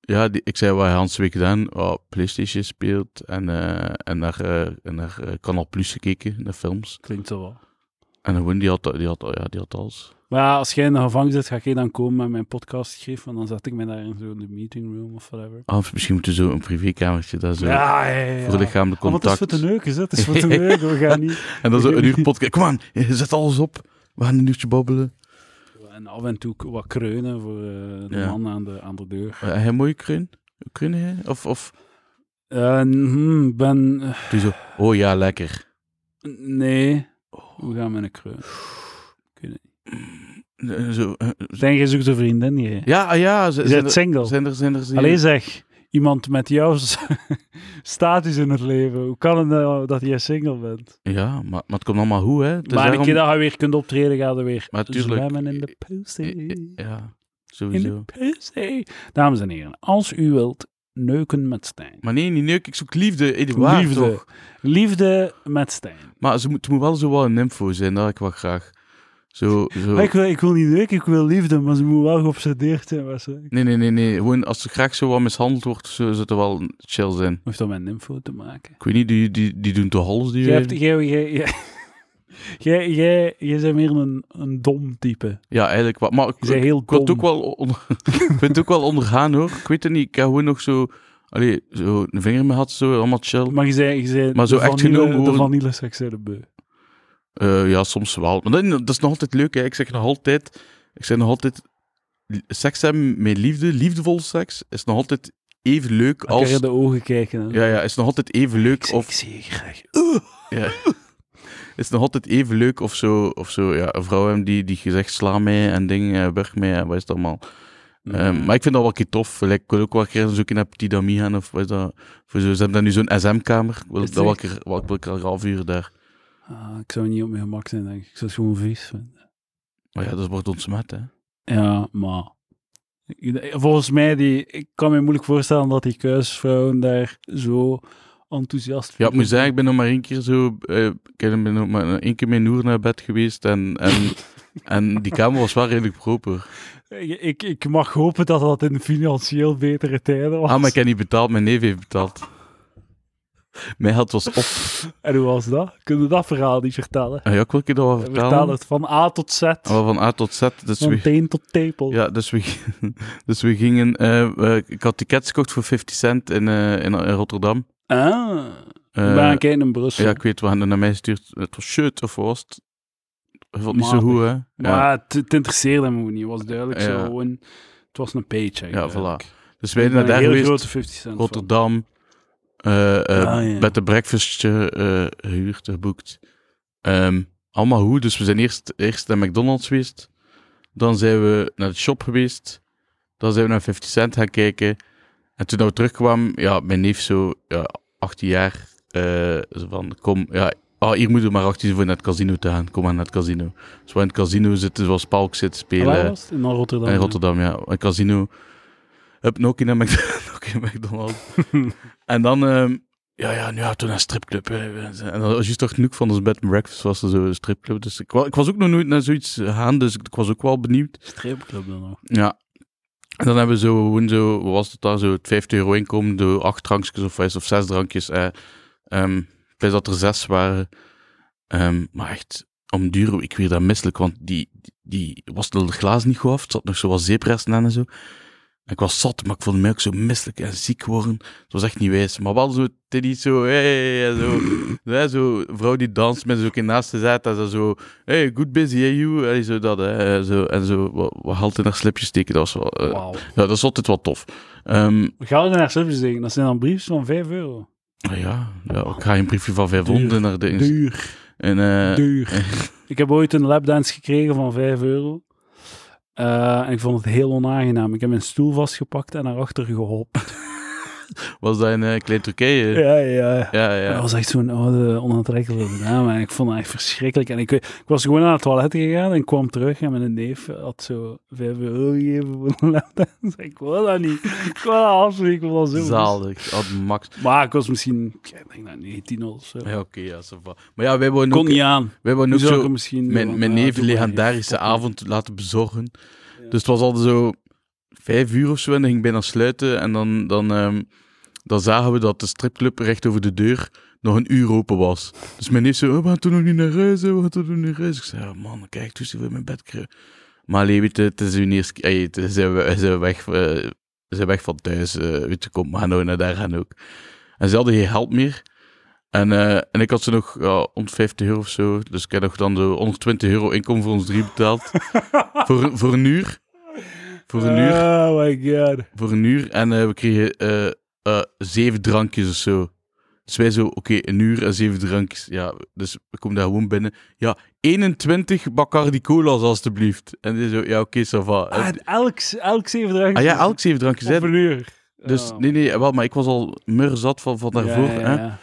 Speaker 2: Ja, die, ik zei wat Hans week gedaan. Oh, PlayStation speelt en, eh, en naar, eh, en naar eh, Canal Plus gekeken, naar films.
Speaker 1: Klinkt zo wel.
Speaker 2: En gewoon, die had, die had, ja, die had alles.
Speaker 1: Maar ja, als jij in de gevangenis zit, ga jij dan komen met mijn podcastgriff en dan zet ik mij daar in zo'n meeting room of whatever.
Speaker 2: Ah, of misschien moeten we zo een privékamertje daar zo.
Speaker 1: Ja, ja, ja.
Speaker 2: Voor lichamelijk
Speaker 1: Want het is
Speaker 2: contact.
Speaker 1: voor te neuken, hè. het is
Speaker 2: (laughs)
Speaker 1: voor te neuken. We gaan niet...
Speaker 2: En dan
Speaker 1: (laughs)
Speaker 2: zo een uur podcast. Kom aan, zet alles op. We gaan een uurtje babbelen.
Speaker 1: En af en toe wat kreunen voor eh, de
Speaker 2: Ja.
Speaker 1: man aan de, aan de deur.
Speaker 2: Uh, hij mooie kreun? Kreun hè? Of, of
Speaker 1: Eh, mhm, ben...
Speaker 2: doe zo, oh ja, lekker.
Speaker 1: Nee.
Speaker 2: Oh.
Speaker 1: Hoe gaan we een kreun?
Speaker 2: Eh, Zo, eh, zo.
Speaker 1: Zijn jij zoekt een vriendin? Jij?
Speaker 2: Ja, ah, ja. ze-
Speaker 1: Is
Speaker 2: Zijn
Speaker 1: het
Speaker 2: er,
Speaker 1: single?
Speaker 2: zijn er, zijn er...
Speaker 1: Allee zeg, iemand met jouw s- (laughs) status in het leven. Hoe kan het nou dat jij single bent?
Speaker 2: Ja, maar, maar het komt allemaal hoe, hè? Het is
Speaker 1: maar een
Speaker 2: daarom-
Speaker 1: keer dat je weer kunt optreden, ga je weer
Speaker 2: Maar tuurlijk. Eh,
Speaker 1: zwemmen in de pussy.
Speaker 2: Ja,
Speaker 1: In
Speaker 2: sowieso.
Speaker 1: de pussy. Dames en heren, als u wilt neuken met Stijn.
Speaker 2: Maar nee, niet neuk. Ik zoek liefde, Eduard,
Speaker 1: liefde.
Speaker 2: toch?
Speaker 1: Liefde met Stijn.
Speaker 2: Maar ze moet, het moet wel zo wel een info zijn, dat ik wel graag. Zo, zo.
Speaker 1: Maar Ik wil, ik wil niet neuken, ik wil liefde, maar ze moet wel geobsedeerd zijn. Wat ze...
Speaker 2: Nee, nee, nee, nee. Gewoon, als ze graag zo wat mishandeld wordt, zo, zou het wel chill zijn.
Speaker 1: Hoeft dat met een info te maken?
Speaker 2: Ik weet niet, die, die, die doen toch alles, die...
Speaker 1: Jij, hebt, jij, jij, jij, jij, jij, jij bent meer een, een dom type.
Speaker 2: Ja, eigenlijk wat. Maar ik,
Speaker 1: Je bent
Speaker 2: ik,
Speaker 1: heel
Speaker 2: wil het
Speaker 1: dom.
Speaker 2: ook wel on- (laughs) ik wil het ook wel ondergaan hoor. Ik weet het niet. Ik heb gewoon nog zo. Allee, zo een vinger me had, zo allemaal chill.
Speaker 1: Maar je bent, je bent
Speaker 2: Maar zo
Speaker 1: de
Speaker 2: echt
Speaker 1: vanille-
Speaker 2: genomen
Speaker 1: de
Speaker 2: worden-
Speaker 1: vanille seksuele beu.
Speaker 2: Eh, ja, soms wel. Maar dat, dat is nog altijd leuk. Hè. Ik zeg nog altijd. Ik zeg nog altijd. li- Seks hebben met liefde, liefdevol seks, is nog altijd even leuk
Speaker 1: Als... Kan
Speaker 2: als.
Speaker 1: je de ogen kijken. hè.
Speaker 2: Ja, ja, is nog altijd even
Speaker 1: ik,
Speaker 2: leuk.
Speaker 1: of... (laughs)
Speaker 2: Of, Eh,
Speaker 1: ik zie je graag.
Speaker 2: ja. Is nog altijd even leuk of zo. Of zo ja, een vrouw hem die, die gezegd sla mij en dingen, eh, weg mij en wat is dat allemaal.
Speaker 1: Mm.
Speaker 2: Ehm, maar ik vind dat wel een keer tof. Like, ik wil ook wel een keer zoeken naar Petit Ami gaan. Of wat is dat? Voor zo, ze hebben daar nu zo'n SM-kamer. Ik wil
Speaker 1: Is het
Speaker 2: dat wel een
Speaker 1: echt?
Speaker 2: keer, wel, ik wil een keer een half uur daar.
Speaker 1: Ah, ik zou niet op mijn gemak zijn, denk ik. Ik zou het gewoon vies vinden.
Speaker 2: Maar ja, dat wordt ontsmet, hè.
Speaker 1: Ja, maar... ik- Volgens mij, die, ik kan me moeilijk voorstellen dat die kuisvrouwen daar zo enthousiast
Speaker 2: Ja, ik
Speaker 1: (laughs)
Speaker 2: moet zeggen, ik ben nog maar één keer zo... eh, ik ben nog maar één keer met Noer naar bed geweest. En, en En die kamer was wel redelijk proper. Ah,
Speaker 1: Ik, Eh, ik, ik mag hopen dat dat in financieel betere tijden was.
Speaker 2: Ah, maar ik heb niet betaald, mijn neef heeft betaald. Mijn geld was op.
Speaker 1: En hoe was dat? Kunnen we dat verhaal niet vertellen?
Speaker 2: Ah Ja, ik wil je dat wel vertellen.
Speaker 1: Vertel het van A tot Z,
Speaker 2: Ah, Van A tot Z. Dus
Speaker 1: van
Speaker 2: we,
Speaker 1: teen tot tepel.
Speaker 2: Ja, dus we, (laughs) dus we gingen. eh, eh, ik had tickets gekocht voor 50 cent in, eh, in, in Rotterdam.
Speaker 1: Ah,
Speaker 2: Eh,
Speaker 1: ben ik in Brussel.
Speaker 2: ja, ik weet, we hadden het naar mij gestuurd. Het was shit of was het? Ik vond het niet zo
Speaker 1: Matig.
Speaker 2: goed, hè? Ja.
Speaker 1: Maar het, het interesseerde hem ook niet, was duidelijk zo.
Speaker 2: Ja.
Speaker 1: Gewoon, het was een paycheck.
Speaker 2: Ja, voilà.
Speaker 1: eigenlijk.
Speaker 2: Dus wij
Speaker 1: Ik ben
Speaker 2: zijn naar daar
Speaker 1: een hele
Speaker 2: geweest.
Speaker 1: grote 50 cent. fan.
Speaker 2: Rotterdam. eh, eh,
Speaker 1: Ah, ja.
Speaker 2: Met de breakfastje eh, gehuurd, geboekt. Ehm, allemaal goed. Dus we zijn eerst, eerst naar McDonald's geweest. Dan zijn we naar de shop geweest. Dan zijn we naar 50 Cent gaan kijken. En toen we terugkwamen, ja, mijn neef zo, ja, 18 jaar, eh, zo van, kom, ja, ah, hier moeten we maar 18 zijn voor naar het casino te gaan. Kom maar naar het casino. Dus we in het casino zitten, zoals Palk zit
Speaker 1: En
Speaker 2: spelen.
Speaker 1: waar was het? In Rotterdam.
Speaker 2: In
Speaker 1: ja.
Speaker 2: Rotterdam, ja. Een casino. Heb Noki naar Mc- (laughs) nog in McDonald's. en dan, ehm, ja, ja, nu ja, toen naar stripclub. hè. En dan was juist toch genoeg van ons bed and breakfast, was er zo'n stripclub. Dus ik, wa- ik was ook nog nooit naar zoiets gaan, dus ik was ook wel benieuwd.
Speaker 1: Stripclub dan nog.
Speaker 2: Ja. En dan hebben we zo, gewoon zo, wat was het daar, zo het 50 euro inkomen, door acht drankjes of, vijf of zes drankjes. Eh, ehm, ik wist dat er zes waren. Ehm, maar echt, om duur, ik weer daar misselijk, want die, die was de glaas niet goed af. Het zat nog zo wat zeepresten aan en zo. En ik was zat, maar ik voelde mij ook zo misselijk en ziek worden. Het was echt niet wijs. Maar wel zo, Teddy, zo, hey, en zo. hè, zo, een vrouw die danst met zo naast te zetten. En ze zo, hey, good busy, hey, you. En zo dat, hè. En zo, en zo wat, wat halt in haar slipjes steken. Dat was wel, eh,
Speaker 1: Wauw.
Speaker 2: ja, dat is altijd wel tof. Ehm,
Speaker 1: We gaan er naar Service zeggen. Dat zijn dan briefs van 5 euro.
Speaker 2: ja, ja, ik ga een briefje van 500
Speaker 1: Duur,
Speaker 2: naar dingen.
Speaker 1: Duur,
Speaker 2: En, eh,
Speaker 1: duur. (laughs) Ik heb ooit een lapdance gekregen van 5 euro. Eh, en ik vond het heel onaangenaam. Ik heb mijn stoel vastgepakt en naar achter geholpen.
Speaker 2: was dat in eh, Klein Turkije?
Speaker 1: Ja, ja.
Speaker 2: ja. ja.
Speaker 1: Dat was echt zo'n oude, onaantrekkelijke dame. En ik vond dat echt verschrikkelijk. En ik, weet- ik was gewoon naar het toilet gegaan en kwam terug. En mijn neef had zo 5 euro gegeven voor een lapdance. Ik wil dat niet. Ik wil dat absoluut. Ik wil dat zo.
Speaker 2: Zalig, oh, max.
Speaker 1: Maar ik was misschien, ik denk dat 19 of zo.
Speaker 2: Ja, oké, ja, ça va. Maar ja, wij wonen
Speaker 1: Kon
Speaker 2: ook,
Speaker 1: niet aan.
Speaker 2: wij wonen
Speaker 1: Nu
Speaker 2: ook
Speaker 1: zou ik
Speaker 2: zo...
Speaker 1: hem misschien... eh,
Speaker 2: mijn, mijn neef een legendarische avond laten bezorgen. Dus het was altijd zo vijf uur of zo en dan ging ik bijna sluiten. En dan, dan, ehm, dan zagen we dat de stripclub recht over de deur nog een uur open was. Dus mijn neef zo, "Oh, we gaan toen nog niet naar huis, hè, we gaan toen nog niet naar huis. Ik zei, "Ja, man, kijk, toen zitten we in mijn bed. kru." Maar allee, weet je, het is hun eerste keer, ey, het is- zijn we we zijn weg, eh, we zijn weg van thuis, eh, weet je, kom maar nou naar daar gaan ook. En ze hadden geen geld meer. En, eh, en ik had ze nog ja, 150 euro of zo. Dus ik heb nog dan de 120 euro inkomen voor ons drie betaald. voor, voor een uur. Voor een uur.
Speaker 1: Oh my god.
Speaker 2: Voor een uur. En eh, we kregen eh, eh, zeven drankjes of zo. Dus wij zo, oké, een uur en zeven drankjes. Ja, dus we komen daar gewoon binnen. Ja, 21 Bacardi Cola's alstublieft. En die zo, ja, oké, ça va.
Speaker 1: Ah, en elk, elk zeven drankjes.
Speaker 2: ah ja, elk zeven drankjes.
Speaker 1: Op
Speaker 2: Hè?
Speaker 1: een uur.
Speaker 2: Dus
Speaker 1: Oh.
Speaker 2: nee, nee, wel, maar ik was al murzat van, van daarvoor.
Speaker 1: Ja, ja,
Speaker 2: Hè?
Speaker 1: ja.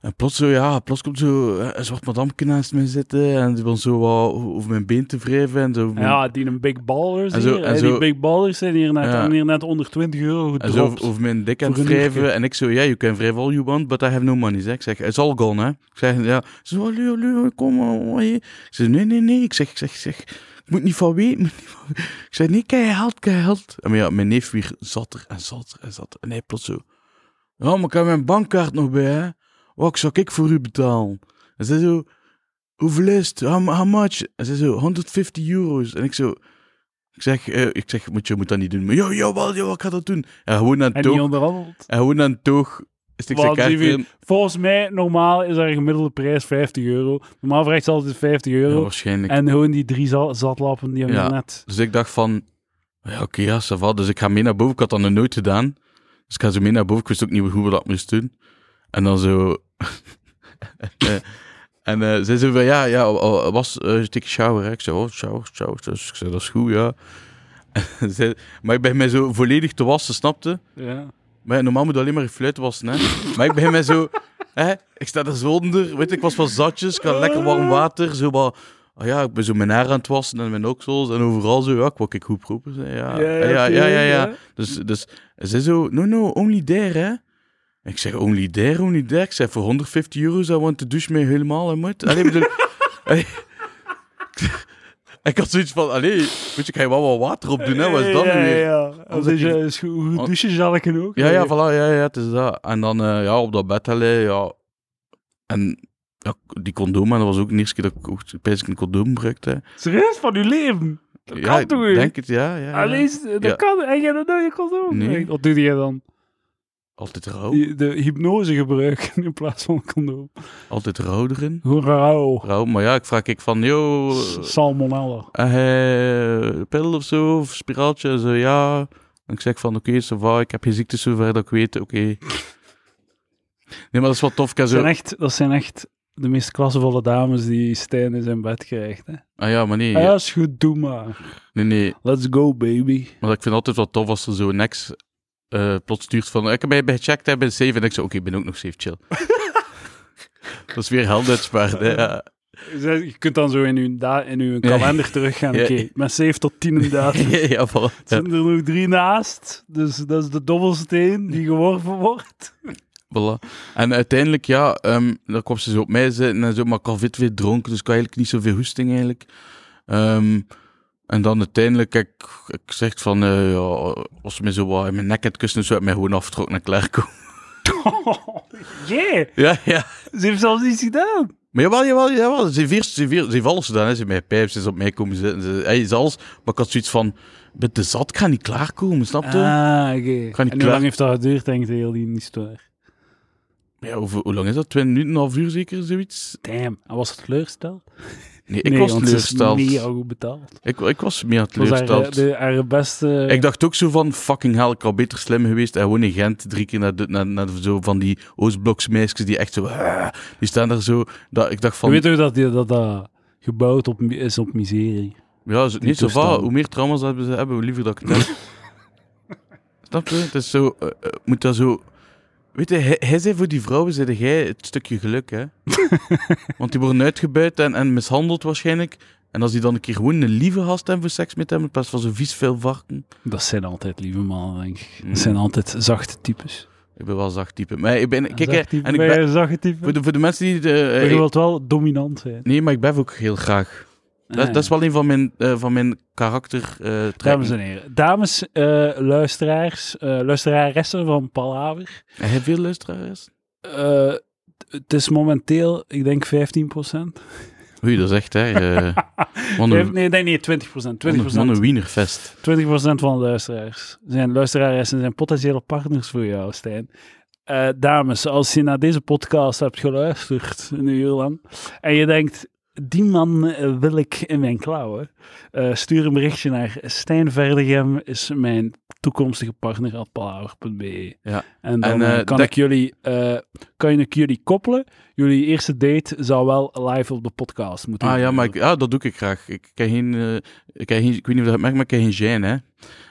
Speaker 2: En plots zo, ja, plots komt zo eh, een zwart madameke naast mij zitten en die wil zo wat over mijn been te wrijven en zo. over mijn-
Speaker 1: Ja, die een big ballers
Speaker 2: En zo-
Speaker 1: hier,
Speaker 2: en
Speaker 1: hè,
Speaker 2: zo-
Speaker 1: die big ballers zijn hier net,
Speaker 2: Ja.
Speaker 1: hebben hier net 120 euro
Speaker 2: en zo
Speaker 1: gedropt.
Speaker 2: over, over mijn dik aan
Speaker 1: Voor
Speaker 2: het
Speaker 1: een uurtje.
Speaker 2: wrijven. En ik zo, ja, you can wrijve all you want, but I have no money. Zeg. Ik zeg, it's all gone, hè. Ik zeg, ja, ze zo, allee, allee, kom, oh, hey. Ik zeg, nee, nee, nee. Ik zeg, ik zeg, ik zeg, ik moet niet van weten. ik moet niet van weten. Ik zeg, nee, kijk, geld, kijk, geld. En maar ja, mijn neef weer zatter en zatter en zatter. En hij plots zo, ja, maar ik heb mijn bankkaart nog bij, hè. Wat zou ik voor u betalen? En zij zo, hoeveel is het? How, how much? En zij zo, 150 euro's. En ik zo... Ik zeg, eh, ik zeg moet, je moet dat niet doen. Maar, ja, jawel, jawel, ik ga dat doen. En gewoon aan
Speaker 1: en die
Speaker 2: het toog...
Speaker 1: onderhandeld.
Speaker 2: En gewoon aan het toog... Stik zijn
Speaker 1: Want
Speaker 2: kaart
Speaker 1: die weer-
Speaker 2: in.
Speaker 1: Volgens mij, normaal is er een gemiddelde prijs 50 euro. Normaal vraagt ze altijd 50
Speaker 2: Ja,
Speaker 1: euro.
Speaker 2: waarschijnlijk.
Speaker 1: en gewoon die drie za- zatlappen die hebben
Speaker 2: Ja.
Speaker 1: we net.
Speaker 2: Dus ik dacht van... Ja, oké, ja, ça va. Dus ik ga mee naar boven. Ik had dat nog nooit gedaan. Dus ik ga zo mee naar boven. Ik wist ook niet hoe we dat moesten doen. En dan zo... (laughs) Eh, en eh zij zei van, ja, ja, eh, was eh dikke shower. Hè? Ik zei, oh, shower, shower. Dus ik zei, dat is goed, ja. (laughs) En zij- maar ik ben mij zo volledig te wassen, snapte?
Speaker 1: Ja.
Speaker 2: Maar ja, normaal moet je alleen maar je fluit wassen, hè. Maar ik begin met zo... Hè, ik sta er zo onder. Weet je, ik was van zatjes. Ik had lekker warm water. Zo wat... ah ja, ik ben zo mijn haar aan het wassen en mijn oksels. En overal zo... Ja, ik wou ik goed proper zijn. Ja, ja, ja, ja. ja, Dus, dus ze zo... No, no, only there, hè. Ik zeg, only there, only there. Ik zeg, voor (laughs) 150 euro zou want de douche mee helemaal, hè, moet. Allee, bedoel... Allee. Ik had zoiets van, allee, weet je, ik ga je wel wat water op doen, hè? nou, Wat is dat
Speaker 1: ja,
Speaker 2: nu weer?
Speaker 1: Ja, ja. Als
Speaker 2: Omdat
Speaker 1: je is goed goed douchen zal ik ook.
Speaker 2: Ja, ja, voilà, ja, ja, het is dat. En dan, eh, ja, op dat bed, allee, ja. En ja, die condoom, en dat was ook de eerste keer dat ik ook basic een condoom gebruikte.
Speaker 1: Serieus, van uw leven. Dat
Speaker 2: ja,
Speaker 1: kan toch
Speaker 2: Ik
Speaker 1: niet?
Speaker 2: denk het, ja. ja, ja.
Speaker 1: Allee, Ah, dat
Speaker 2: Eh, Ja.
Speaker 1: kan. En jij dat nooit kon doen.
Speaker 2: Nee. Oh.
Speaker 1: Wat doe jij dan?
Speaker 2: Altijd rauw.
Speaker 1: Die- De hypnose gebruiken (laughs) in plaats van een condoom.
Speaker 2: Altijd rauw erin.
Speaker 1: Gewoon rauw.
Speaker 2: Rauw, maar ja, ik vraag ik van, yo,
Speaker 1: S- Salmonella.
Speaker 2: eh, pil of zo, of spiraaltje, en zo, ja. En ik zeg van, oké, ça va, ik heb geen ziekte zover dat ik weet, oké. Nee, maar dat is wel tof, ik heb
Speaker 1: Dat
Speaker 2: zo...
Speaker 1: zijn, echt, dat zijn echt de meest klassevolle dames die Stijn in zijn bed krijgt. Hè.
Speaker 2: Ah ja, maar nee,
Speaker 1: Ah, Ja, is goed, doe maar.
Speaker 2: nee, nee.
Speaker 1: Let's go, baby.
Speaker 2: Maar ik vind het altijd wel tof als er zo'n ex eh, plots stuurt van ik heb mij bij gecheckt, ik ben safe. En ik zo, oké, ik ben ook nog safe, (laughs) chill. dat is weer helduitspaard, hè. Ja.
Speaker 1: Zij- Je kunt dan zo in uw, da- in uw
Speaker 2: Ja.
Speaker 1: kalender teruggaan.
Speaker 2: (laughs) Ja.
Speaker 1: Oké, met 7 tot 10
Speaker 2: (laughs)
Speaker 1: inderdaad. Er
Speaker 2: (laughs) ja, voilà. Ja,
Speaker 1: zijn er nog drie naast. Dus dat is de dobbelsteen die geworpen wordt.
Speaker 2: voilà. En uiteindelijk, ja, ehm, dan kwam ze zo op mij zitten en zo, maar ik had wit weer dronken, dus ik had eigenlijk niet zoveel hoesting, eigenlijk. Ehm, en dan uiteindelijk, ik, ik zeg van, eh, ja, als ze me zo wat in mijn nek had kussen, zou ik mij gewoon afgetrokken en klaar komen.
Speaker 1: yeah,
Speaker 2: ja, ja.
Speaker 1: ze heeft zelfs iets gedaan.
Speaker 2: Maar jawel, jawel, jawel. Ze heeft, eerst- ze heeft, eerst- ze heeft alles gedaan. Hè. Ze heeft mij pijp, ze is op mij komen zitten. Ze, hij is alles. Maar ik had zoiets van, ik ben te zat, ik ga niet klaarkomen, snap je?
Speaker 1: Ah, oké.
Speaker 2: ga niet
Speaker 1: En hoe
Speaker 2: klaar-
Speaker 1: lang heeft dat geduurd, denk ik, heel die historie?
Speaker 2: Ja, hoe, hoe lang is dat? Twee minuten, een half uur zeker, zoiets?
Speaker 1: Damn. En was het teleurgesteld?
Speaker 2: Nee, ik was
Speaker 1: want ze is
Speaker 2: teleurgesteld.
Speaker 1: mega goed betaald.
Speaker 2: Ik, ik was meer
Speaker 1: Dat was haar, eh,
Speaker 2: teleurgesteld.
Speaker 1: de, haar beste...
Speaker 2: Ik dacht ook zo van, fucking hell, ik had beter slim geweest. En gewoon in Gent drie keer naar, de- naar, naar zo van die Oostbloksmeisjes die echt zo... "Ah," Die staan daar zo. Dat, ik dacht van...
Speaker 1: Je weet ook dat die- dat, dat gebouwd op, is op miserie.
Speaker 2: Ja, zo,
Speaker 1: Die
Speaker 2: niet zo vaak.
Speaker 1: toestanden.
Speaker 2: Hoe meer trauma's dat we ze hebben, hoe liever dat
Speaker 1: (laughs)
Speaker 2: ik het heb. Snap je? Het is zo... eh, eh, moet dat zo... Weet je, hij, hij zei voor die vrouwen, zei jij het stukje
Speaker 1: (laughs)
Speaker 2: geluk, hè. Want die worden uitgebuit en, en mishandeld waarschijnlijk. En als die dan een keer gewoon een lieve gast hebben voor seks met hem, in plaats van zo'n vies veel varken.
Speaker 1: Dat zijn altijd lieve mannen, denk ik.
Speaker 2: Mm.
Speaker 1: Dat zijn altijd zachte types.
Speaker 2: Ik ben wel zacht type. Maar ik ben... Kijk, hè,
Speaker 1: zacht type,
Speaker 2: en ik
Speaker 1: ben
Speaker 2: ben...
Speaker 1: jij een zachte type.
Speaker 2: Voor de, voor de mensen die... De, eh,
Speaker 1: Maar je wilt wel dominant zijn.
Speaker 2: nee, maar ik ben ook heel graag. Dat,
Speaker 1: Ah,
Speaker 2: dat is
Speaker 1: ja.
Speaker 2: wel een van mijn, eh, van mijn karakter eh
Speaker 1: Dames
Speaker 2: trekken.
Speaker 1: en heren. Dames, eh, luisteraars, eh luisteraressen van Palaver.
Speaker 2: Heb je veel luisteraars?
Speaker 1: Eh, t- het is momenteel, ik denk 15%.
Speaker 2: Oei, dat is echt
Speaker 1: (laughs)
Speaker 2: erg. eh wat
Speaker 1: Nee,
Speaker 2: een,
Speaker 1: nee, nee, nee 20%. 20%,
Speaker 2: wat een wienerfest.
Speaker 1: 20 van de luisteraars zijn luisteraressen zijn potentiële partners voor jou, Stijn. Eh, dames, als je naar deze podcast hebt geluisterd, een uur lang, en je denkt, die man eh, wil ik in mijn klauwen, eh, stuur een berichtje naar Stijn Verdegem, is mijn toekomstige partner at palaver.be.
Speaker 2: Ja.
Speaker 1: E. En dan
Speaker 2: En, eh,
Speaker 1: eh, kan,
Speaker 2: dat-
Speaker 1: ik jullie, eh, kan ik jullie koppelen. Jullie eerste date zou wel live op de podcast moeten
Speaker 2: Ah ja, maar ik,
Speaker 1: gebeuren.
Speaker 2: ah, dat doe ik graag. Ik, ken geen, eh, ik, ken geen, ik weet niet of je dat merkt, maar ik ken geen gêne. Hè.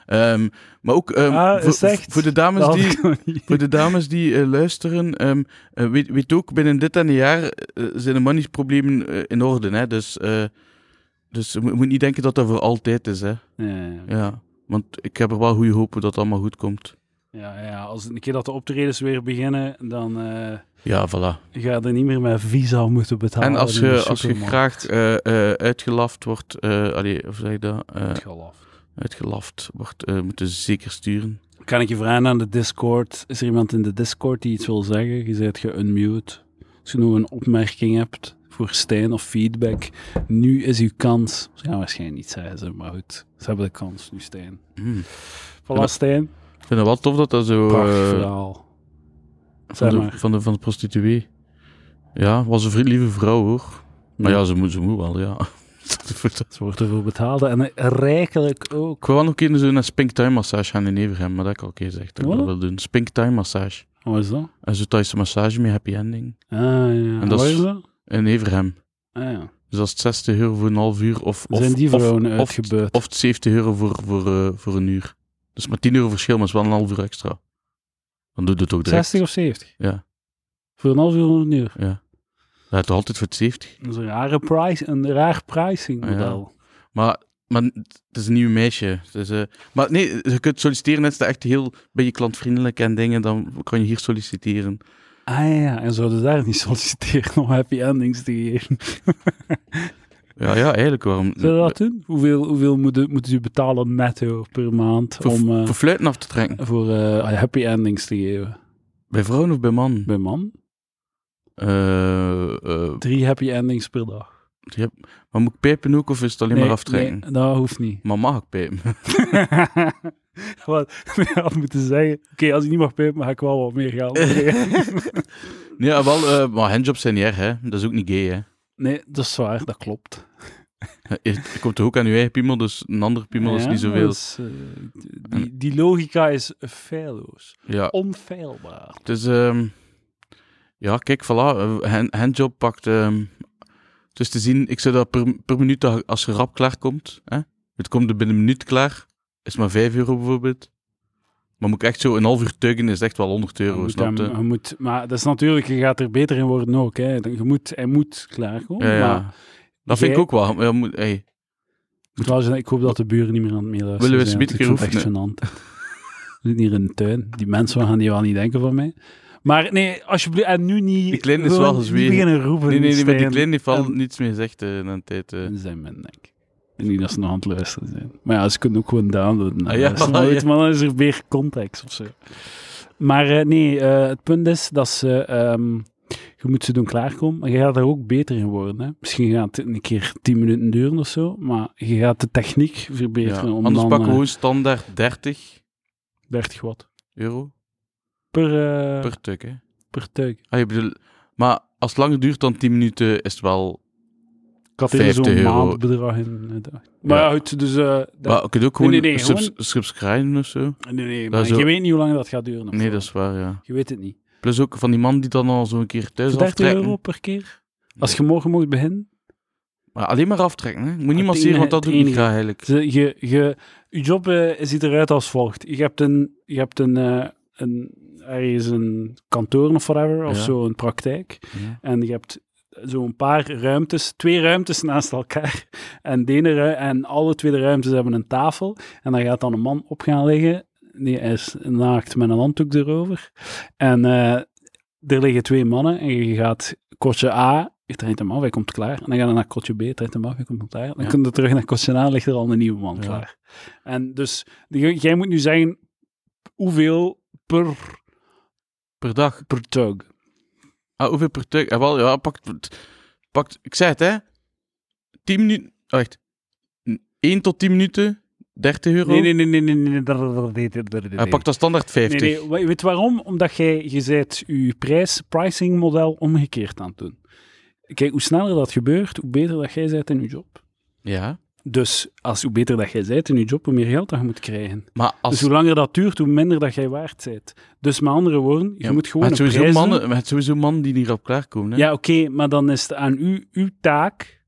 Speaker 2: Ehm, maar ook ehm,
Speaker 1: Ah,
Speaker 2: voor,
Speaker 1: is echt?
Speaker 2: voor de
Speaker 1: Dat
Speaker 2: dames
Speaker 1: had
Speaker 2: die,
Speaker 1: ik (laughs) nog niet.
Speaker 2: voor de dames die eh, luisteren, ehm, eh, weet, weet ook, binnen dit en een jaar eh, zijn de moneyproblemen eh, in orde. Hè. Dus, eh, dus je moet- je moet niet denken dat dat voor altijd is. Hè.
Speaker 1: Ja.
Speaker 2: Ja, want ik heb er wel goede hoop dat het allemaal goed komt.
Speaker 1: Ja, ja, als een keer dat de optredens weer beginnen, dan eh,
Speaker 2: Ja, voilà.
Speaker 1: ga je er niet meer met visa moeten betalen.
Speaker 2: En als
Speaker 1: in de
Speaker 2: je, als je
Speaker 1: supermarkt.
Speaker 2: graag eh, eh, uitgelaft wordt, eh allee, hoe zeg je dat? Eh,
Speaker 1: Het gaat af.
Speaker 2: uitgelaft wordt, eh, moeten ze zeker sturen.
Speaker 1: Kan ik je vragen aan de Discord? Is er iemand in de Discord die iets wil zeggen? Je bent geunmute. Als je nog een opmerking hebt voor Stijn of feedback, nu is uw kans. Ze gaan waarschijnlijk niet zeggen, ze, maar goed. Ze hebben de kans nu, Stijn.
Speaker 2: Hmm.
Speaker 1: Voilà,
Speaker 2: Ja.
Speaker 1: Stijn.
Speaker 2: Ik vind het wel tof dat dat zo...
Speaker 1: Prachtig
Speaker 2: eh,
Speaker 1: verhaal.
Speaker 2: van,
Speaker 1: Zeg
Speaker 2: de,
Speaker 1: maar.
Speaker 2: van, de, van de prostituee. Ja, was een vri- lieve vrouw, hoor. Maar ja, ze moet, ze moet wel, ja. (laughs)
Speaker 1: Ze wordt ervoor betaald en rijkelijk ook.
Speaker 2: ik wil wel nog een keer zo naar Spink Time Massage gaan in Everhem, maar dat heb ik al een keer gezegd dat ik dat
Speaker 1: Wat?
Speaker 2: wil doen. Spink Time Massage.
Speaker 1: Wat Oh, is dat?
Speaker 2: En zo Thaise massage met happy ending.
Speaker 1: Ah, ja.
Speaker 2: En dat
Speaker 1: Wat
Speaker 2: is-
Speaker 1: is dat?
Speaker 2: In Everhem.
Speaker 1: Ah, ja.
Speaker 2: Dus dat is 60 euro voor een half uur of... of
Speaker 1: zijn die
Speaker 2: of-
Speaker 1: vrouwen
Speaker 2: of-
Speaker 1: uitgebeurd?
Speaker 2: Of 70 euro voor, voor, eh, voor een uur. Dus maar 10 euro verschil, maar het is wel een half uur extra. Dan doe je het ook direct.
Speaker 1: 60 of 70?
Speaker 2: Ja.
Speaker 1: Voor een half uur een uur.
Speaker 2: Ja. Dat is toch altijd voor het 70.
Speaker 1: Dat is een, rare price, een raar pricing
Speaker 2: Ah, ja.
Speaker 1: model.
Speaker 2: Maar, maar het is een nieuw meisje. Dus, eh, maar nee, je kunt solliciteren. Het is echt heel ben je klantvriendelijk en dingen. Dan kan je hier solliciteren.
Speaker 1: Ah ja, en zouden ze daar niet solliciteren om happy endings te geven?
Speaker 2: Ja, ja, eigenlijk waarom...
Speaker 1: Zullen we dat doen? Hoeveel, hoeveel moeten moet u betalen netto per maand
Speaker 2: Voor,
Speaker 1: om eh,
Speaker 2: voor fluiten af te trekken.
Speaker 1: voor eh, happy endings te geven?
Speaker 2: Bij vrouwen of bij man?
Speaker 1: Bij man?
Speaker 2: Eh, eh,
Speaker 1: Drie happy endings per dag.
Speaker 2: je hebt- maar moet ik pijpen ook of is het alleen maar aftrekken?
Speaker 1: nee, dat hoeft niet.
Speaker 2: Maar mag ik pijpen? (laughs)
Speaker 1: (laughs) Wat ik had moeten zeggen, oké, als ik niet mag pijpen, ga ik wel wat meer geld.
Speaker 2: (laughs) ja, wel, eh, maar handjobs zijn niet erg, hè. Dat is ook niet gay, hè.
Speaker 1: nee, dat is waar, dat klopt.
Speaker 2: Ik kom toch ook aan uw eigen piemel, dus een andere piemel is
Speaker 1: Ja,
Speaker 2: niet zoveel.
Speaker 1: dat is, eh, die, die logica is feilloos.
Speaker 2: Ja,
Speaker 1: Onfeilbaar.
Speaker 2: het is... ehm, ja, kijk, voilà. eh, hand- handjob pakt... ehm, het is te zien, ik zou dat per, per minuut, dat- als je rap klaar komt, hè. Het komt er binnen een minuut klaar, is maar 5 euro bijvoorbeeld. Maar moet ik echt zo een half uur tuggen, is echt wel 100
Speaker 1: Je
Speaker 2: euro,
Speaker 1: moet
Speaker 2: snap je?
Speaker 1: hem- je moet, maar dat is natuurlijk, je gaat er beter in worden ook. Hè. Je moet, hij moet klaarkomen.
Speaker 2: Ja, ja.
Speaker 1: Maar
Speaker 2: Dat vind
Speaker 1: jij-
Speaker 2: ik ook wel. Ja, moet- hey.
Speaker 1: Trouwens, ik hoop dat de buren niet meer aan het meeluisteren
Speaker 2: Willen we
Speaker 1: zijn,
Speaker 2: eens
Speaker 1: want
Speaker 2: een
Speaker 1: ik
Speaker 2: beetje
Speaker 1: vind het echt gênant. (laughs) We zitten hier in de tuin. Die mensen gaan die wel niet denken van mij. Maar nee, alsjeblieft, en nu niet...
Speaker 2: Die kleine is
Speaker 1: gewoon
Speaker 2: wel gezwegen.
Speaker 1: Niet beginnen roepen.
Speaker 2: Nee, nee, nee, met die
Speaker 1: Stijn.
Speaker 2: kleine heeft al
Speaker 1: en-
Speaker 2: niets meer gezegd eh, na een tijd. eh.
Speaker 1: En zijn men, denk ik. En niet dat ze nog aan het luisteren zijn. Maar ja, ze kunnen ook gewoon downloaden.
Speaker 2: Ah, ja,
Speaker 1: Dat is nooit,
Speaker 2: ja.
Speaker 1: Maar dan is er meer context of zo. Maar eh, nee, eh, het punt is dat ze... ehm, je moet ze doen klaarkomen, maar je gaat er ook beter in worden. Hè? Misschien gaat het een keer 10 minuten duren of zo, maar je gaat de techniek
Speaker 2: Ja.
Speaker 1: verbeteren. Om
Speaker 2: Anders
Speaker 1: dan,
Speaker 2: pakken we
Speaker 1: eh,
Speaker 2: gewoon standaard 30
Speaker 1: 30 watt.
Speaker 2: euro
Speaker 1: Per, eh, per,
Speaker 2: per tuk. Hè.
Speaker 1: tuig.
Speaker 2: Ah, je bedoelt- maar als het langer duurt dan 10 minuten, is het wel...
Speaker 1: Ik had hier zo'n
Speaker 2: 50 euro.
Speaker 1: maandbedrag in. gedacht. Maar
Speaker 2: Ja.
Speaker 1: ja, goed, dus... eh, dat-
Speaker 2: Maar je kunt ook gewoon
Speaker 1: nee, nee,
Speaker 2: subs-
Speaker 1: gewoon-
Speaker 2: subscriben of zo.
Speaker 1: nee, nee,
Speaker 2: dat
Speaker 1: maar
Speaker 2: is zo-
Speaker 1: je weet niet hoe lang dat gaat duren. of
Speaker 2: Nee,
Speaker 1: zo.
Speaker 2: dat is waar, ja.
Speaker 1: Je weet het niet.
Speaker 2: Plus ook van die man die dan al zo'n keer thuis
Speaker 1: 30
Speaker 2: aftrekken.
Speaker 1: euro per keer? Als je morgen moet beginnen?
Speaker 2: Maar alleen maar aftrekken, hè. Moet
Speaker 1: Het
Speaker 2: niet
Speaker 1: enige-
Speaker 2: masseren, want dat
Speaker 1: het
Speaker 2: doe ik niet
Speaker 1: enige.
Speaker 2: graag eigenlijk.
Speaker 1: Je, je, je, je job eh, ziet eruit als volgt. Je hebt een, je hebt een, eh, een ergens een kantoor of whatever, of
Speaker 2: Ja.
Speaker 1: zo, een praktijk.
Speaker 2: Ja.
Speaker 1: En je hebt zo'n paar ruimtes, twee ruimtes naast elkaar. En, de ene ru- en alle twee de ruimtes hebben een tafel. En daar gaat dan een man op gaan liggen. Die is naakt met een handdoek erover. En eh, er liggen twee mannen. En je gaat kotje A, je trekt hem af, hij komt klaar. En dan ga je naar kotje B, trekt hem af, hij komt klaar. Dan
Speaker 2: Ja.
Speaker 1: kun je terug naar kotje A, ligt er al een nieuwe man
Speaker 2: Ja.
Speaker 1: klaar. En dus, j- jij moet nu zeggen hoeveel per,
Speaker 2: Per dag.
Speaker 1: per tug.
Speaker 2: Ah, hoeveel per tuk? Eh, wel, ja, pakt, pakt... Ik zei het, hè. 10 minuten... oh, Wacht. 1 tot 10 minuten, 30 euro.
Speaker 1: Nee, nee, nee, nee, nee, nee, nee, nee, nee.
Speaker 2: Hij pakt dan standaard 50.
Speaker 1: Nee, nee, wa- weet waarom? Omdat jij, je bent je prijs, pricing model omgekeerd aan het doen. Kijk, hoe sneller dat gebeurt, hoe beter dat jij bent in je job.
Speaker 2: Ja.
Speaker 1: Dus als, hoe beter dat jij bent in je job, hoe meer geld dat je moet krijgen.
Speaker 2: Maar als...
Speaker 1: Dus hoe langer dat duurt, hoe minder dat jij waard bent. Dus met andere woorden, je
Speaker 2: Ja,
Speaker 1: moet gewoon
Speaker 2: maar het
Speaker 1: een
Speaker 2: sowieso
Speaker 1: prijs doen.
Speaker 2: mannen, maar het sowieso mannen die niet op klaarkomen, hè.
Speaker 1: Ja, oké, maar dan is het aan u, uw taak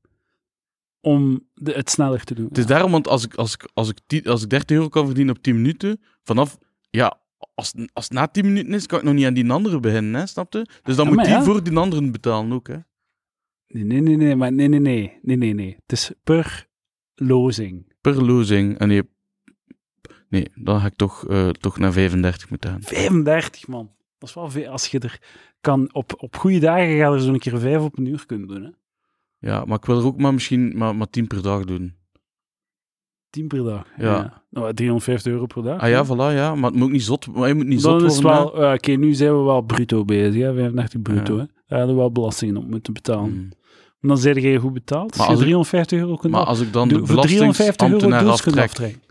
Speaker 1: om de, het sneller te doen.
Speaker 2: Het is daarom, want als ik, als, ik, als, ik 10 als ik 30 euro kan verdienen op 10 minuten, vanaf... Ja, als, als het na 10 minuten is, kan ik nog niet aan die andere beginnen, hè, snap je? Dus dan
Speaker 1: Ja,
Speaker 2: moet
Speaker 1: maar
Speaker 2: die
Speaker 1: ja.
Speaker 2: voor die anderen betalen ook, hè.
Speaker 1: Nee, nee, nee, nee, maar nee, nee, nee, nee, nee, nee. Het is per lozing.
Speaker 2: Per losing. En je... eh, Nee, dan ga ik toch, eh, toch naar 35 moeten gaan.
Speaker 1: 35 man. Dat is wel veel. Als je er kan, op, op goede dagen ga je er zo'n keer vijf op een uur kunnen doen. Hè?
Speaker 2: Ja, maar ik wil er ook maar misschien maar, maar 10 per dag doen.
Speaker 1: 10 per dag.
Speaker 2: Ja.
Speaker 1: Nou, 350 euro per dag.
Speaker 2: Ah ja, voilà, ja. Maar het moet ook niet zot, maar je moet niet
Speaker 1: Dan
Speaker 2: zot
Speaker 1: is het
Speaker 2: worden.
Speaker 1: wel, eh, oké, nu zijn we wel bruto bezig, hè? 35 bruto.
Speaker 2: Ja.
Speaker 1: Hè? Daar hadden we wel belastingen op moeten
Speaker 2: hè.
Speaker 1: betalen.
Speaker 2: Mm.
Speaker 1: En dan zijn je goed betaald. Als
Speaker 2: Maar
Speaker 1: je
Speaker 2: als ik-
Speaker 1: 350 euro kunt
Speaker 2: Maar
Speaker 1: af-
Speaker 2: als ik dan
Speaker 1: doe-
Speaker 2: de
Speaker 1: voor 350 euro
Speaker 2: belastingambtenaar
Speaker 1: deels kunt
Speaker 2: aftrek...
Speaker 1: aftrekken.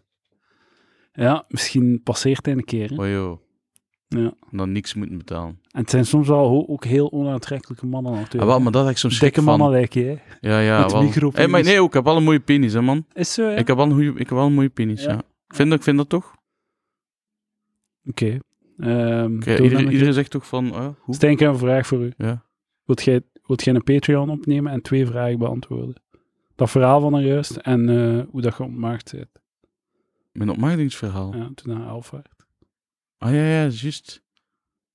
Speaker 1: Ja, misschien passeert hij een keer. Hè?
Speaker 2: Oh joh.
Speaker 1: Ja.
Speaker 2: Dan niks moeten betalen.
Speaker 1: En het zijn soms wel ho- ook heel onaantrekkelijke mannen natuurlijk.
Speaker 2: Ah, wel, maar dat heb ik soms schrik
Speaker 1: Dikke
Speaker 2: van.
Speaker 1: mannen lijken je. hè?
Speaker 2: Ja, ja,
Speaker 1: Met
Speaker 2: wel.
Speaker 1: micropenis.
Speaker 2: Hey, maar nee, ook, ik heb wel een mooie penis, hè, man.
Speaker 1: Is eh, zo, ja?
Speaker 2: Ik, heb wel een goeie, ik heb wel een mooie penis, ja.
Speaker 1: Ja.
Speaker 2: Ik, vind, dat- ik vind dat toch.
Speaker 1: Oké. Ehm, doe
Speaker 2: Oké,
Speaker 1: dan
Speaker 2: iedereen,
Speaker 1: een
Speaker 2: iedereen zegt toch van... eh, hoe?
Speaker 1: Stijn, ik heb een vraag voor u.
Speaker 2: Ja.
Speaker 1: Wilt jij, wilt jij een Patreon opnemen en twee vragen beantwoorden? Dat verhaal van er juist en eh, hoe dat je ontmaagd zit.
Speaker 2: Mijn opmaakdingsverhaal.
Speaker 1: Ja, toen naar Alfa.
Speaker 2: Ah ja, ja, juist.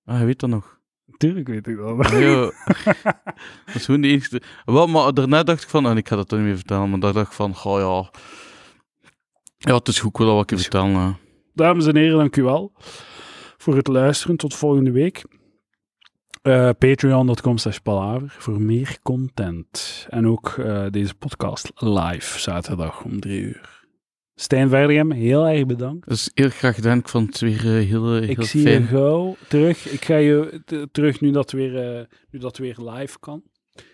Speaker 2: Ah, je weet
Speaker 1: (laughs)
Speaker 2: dat nog.
Speaker 1: Tuurlijk weet ik dat. (laughs)
Speaker 2: Ah, joh. dat is gewoon de enige. Wel, maar daarna dacht ik van, en ik ga dat toch niet meer vertellen, maar daar dacht ik van, goh ja. Ja, het is goed, ik wil dat wel een keer
Speaker 1: Het is
Speaker 2: vertellen. hè.
Speaker 1: Dames en heren, dank u wel voor het luisteren. Tot volgende week. Eh, Patreon.com slash palaver voor meer content. En ook eh, deze podcast live zaterdag om drie uur. Stijn Verdegem, heel erg bedankt.
Speaker 2: Dat is heel graag gedaan. Ik vond het weer eh, heel, eh, heel
Speaker 1: Ik zie
Speaker 2: fijn.
Speaker 1: je gauw terug. Ik ga je t- terug nu dat, weer, eh, nu dat weer live kan.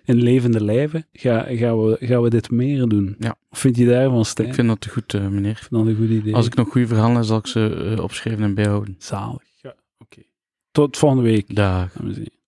Speaker 1: In levende lijven ga, gaan, we, gaan we dit meer doen.
Speaker 2: Ja.
Speaker 1: Wat vind je daarvan, Stijn?
Speaker 2: Ik vind dat goed, eh, meneer.
Speaker 1: dan een goed idee.
Speaker 2: Als ik nog goede verhalen heb, zal ik ze eh, opschrijven en bijhouden.
Speaker 1: Zalig. Ja, oké. Tot volgende week.
Speaker 2: Dag.
Speaker 1: Dames en heren.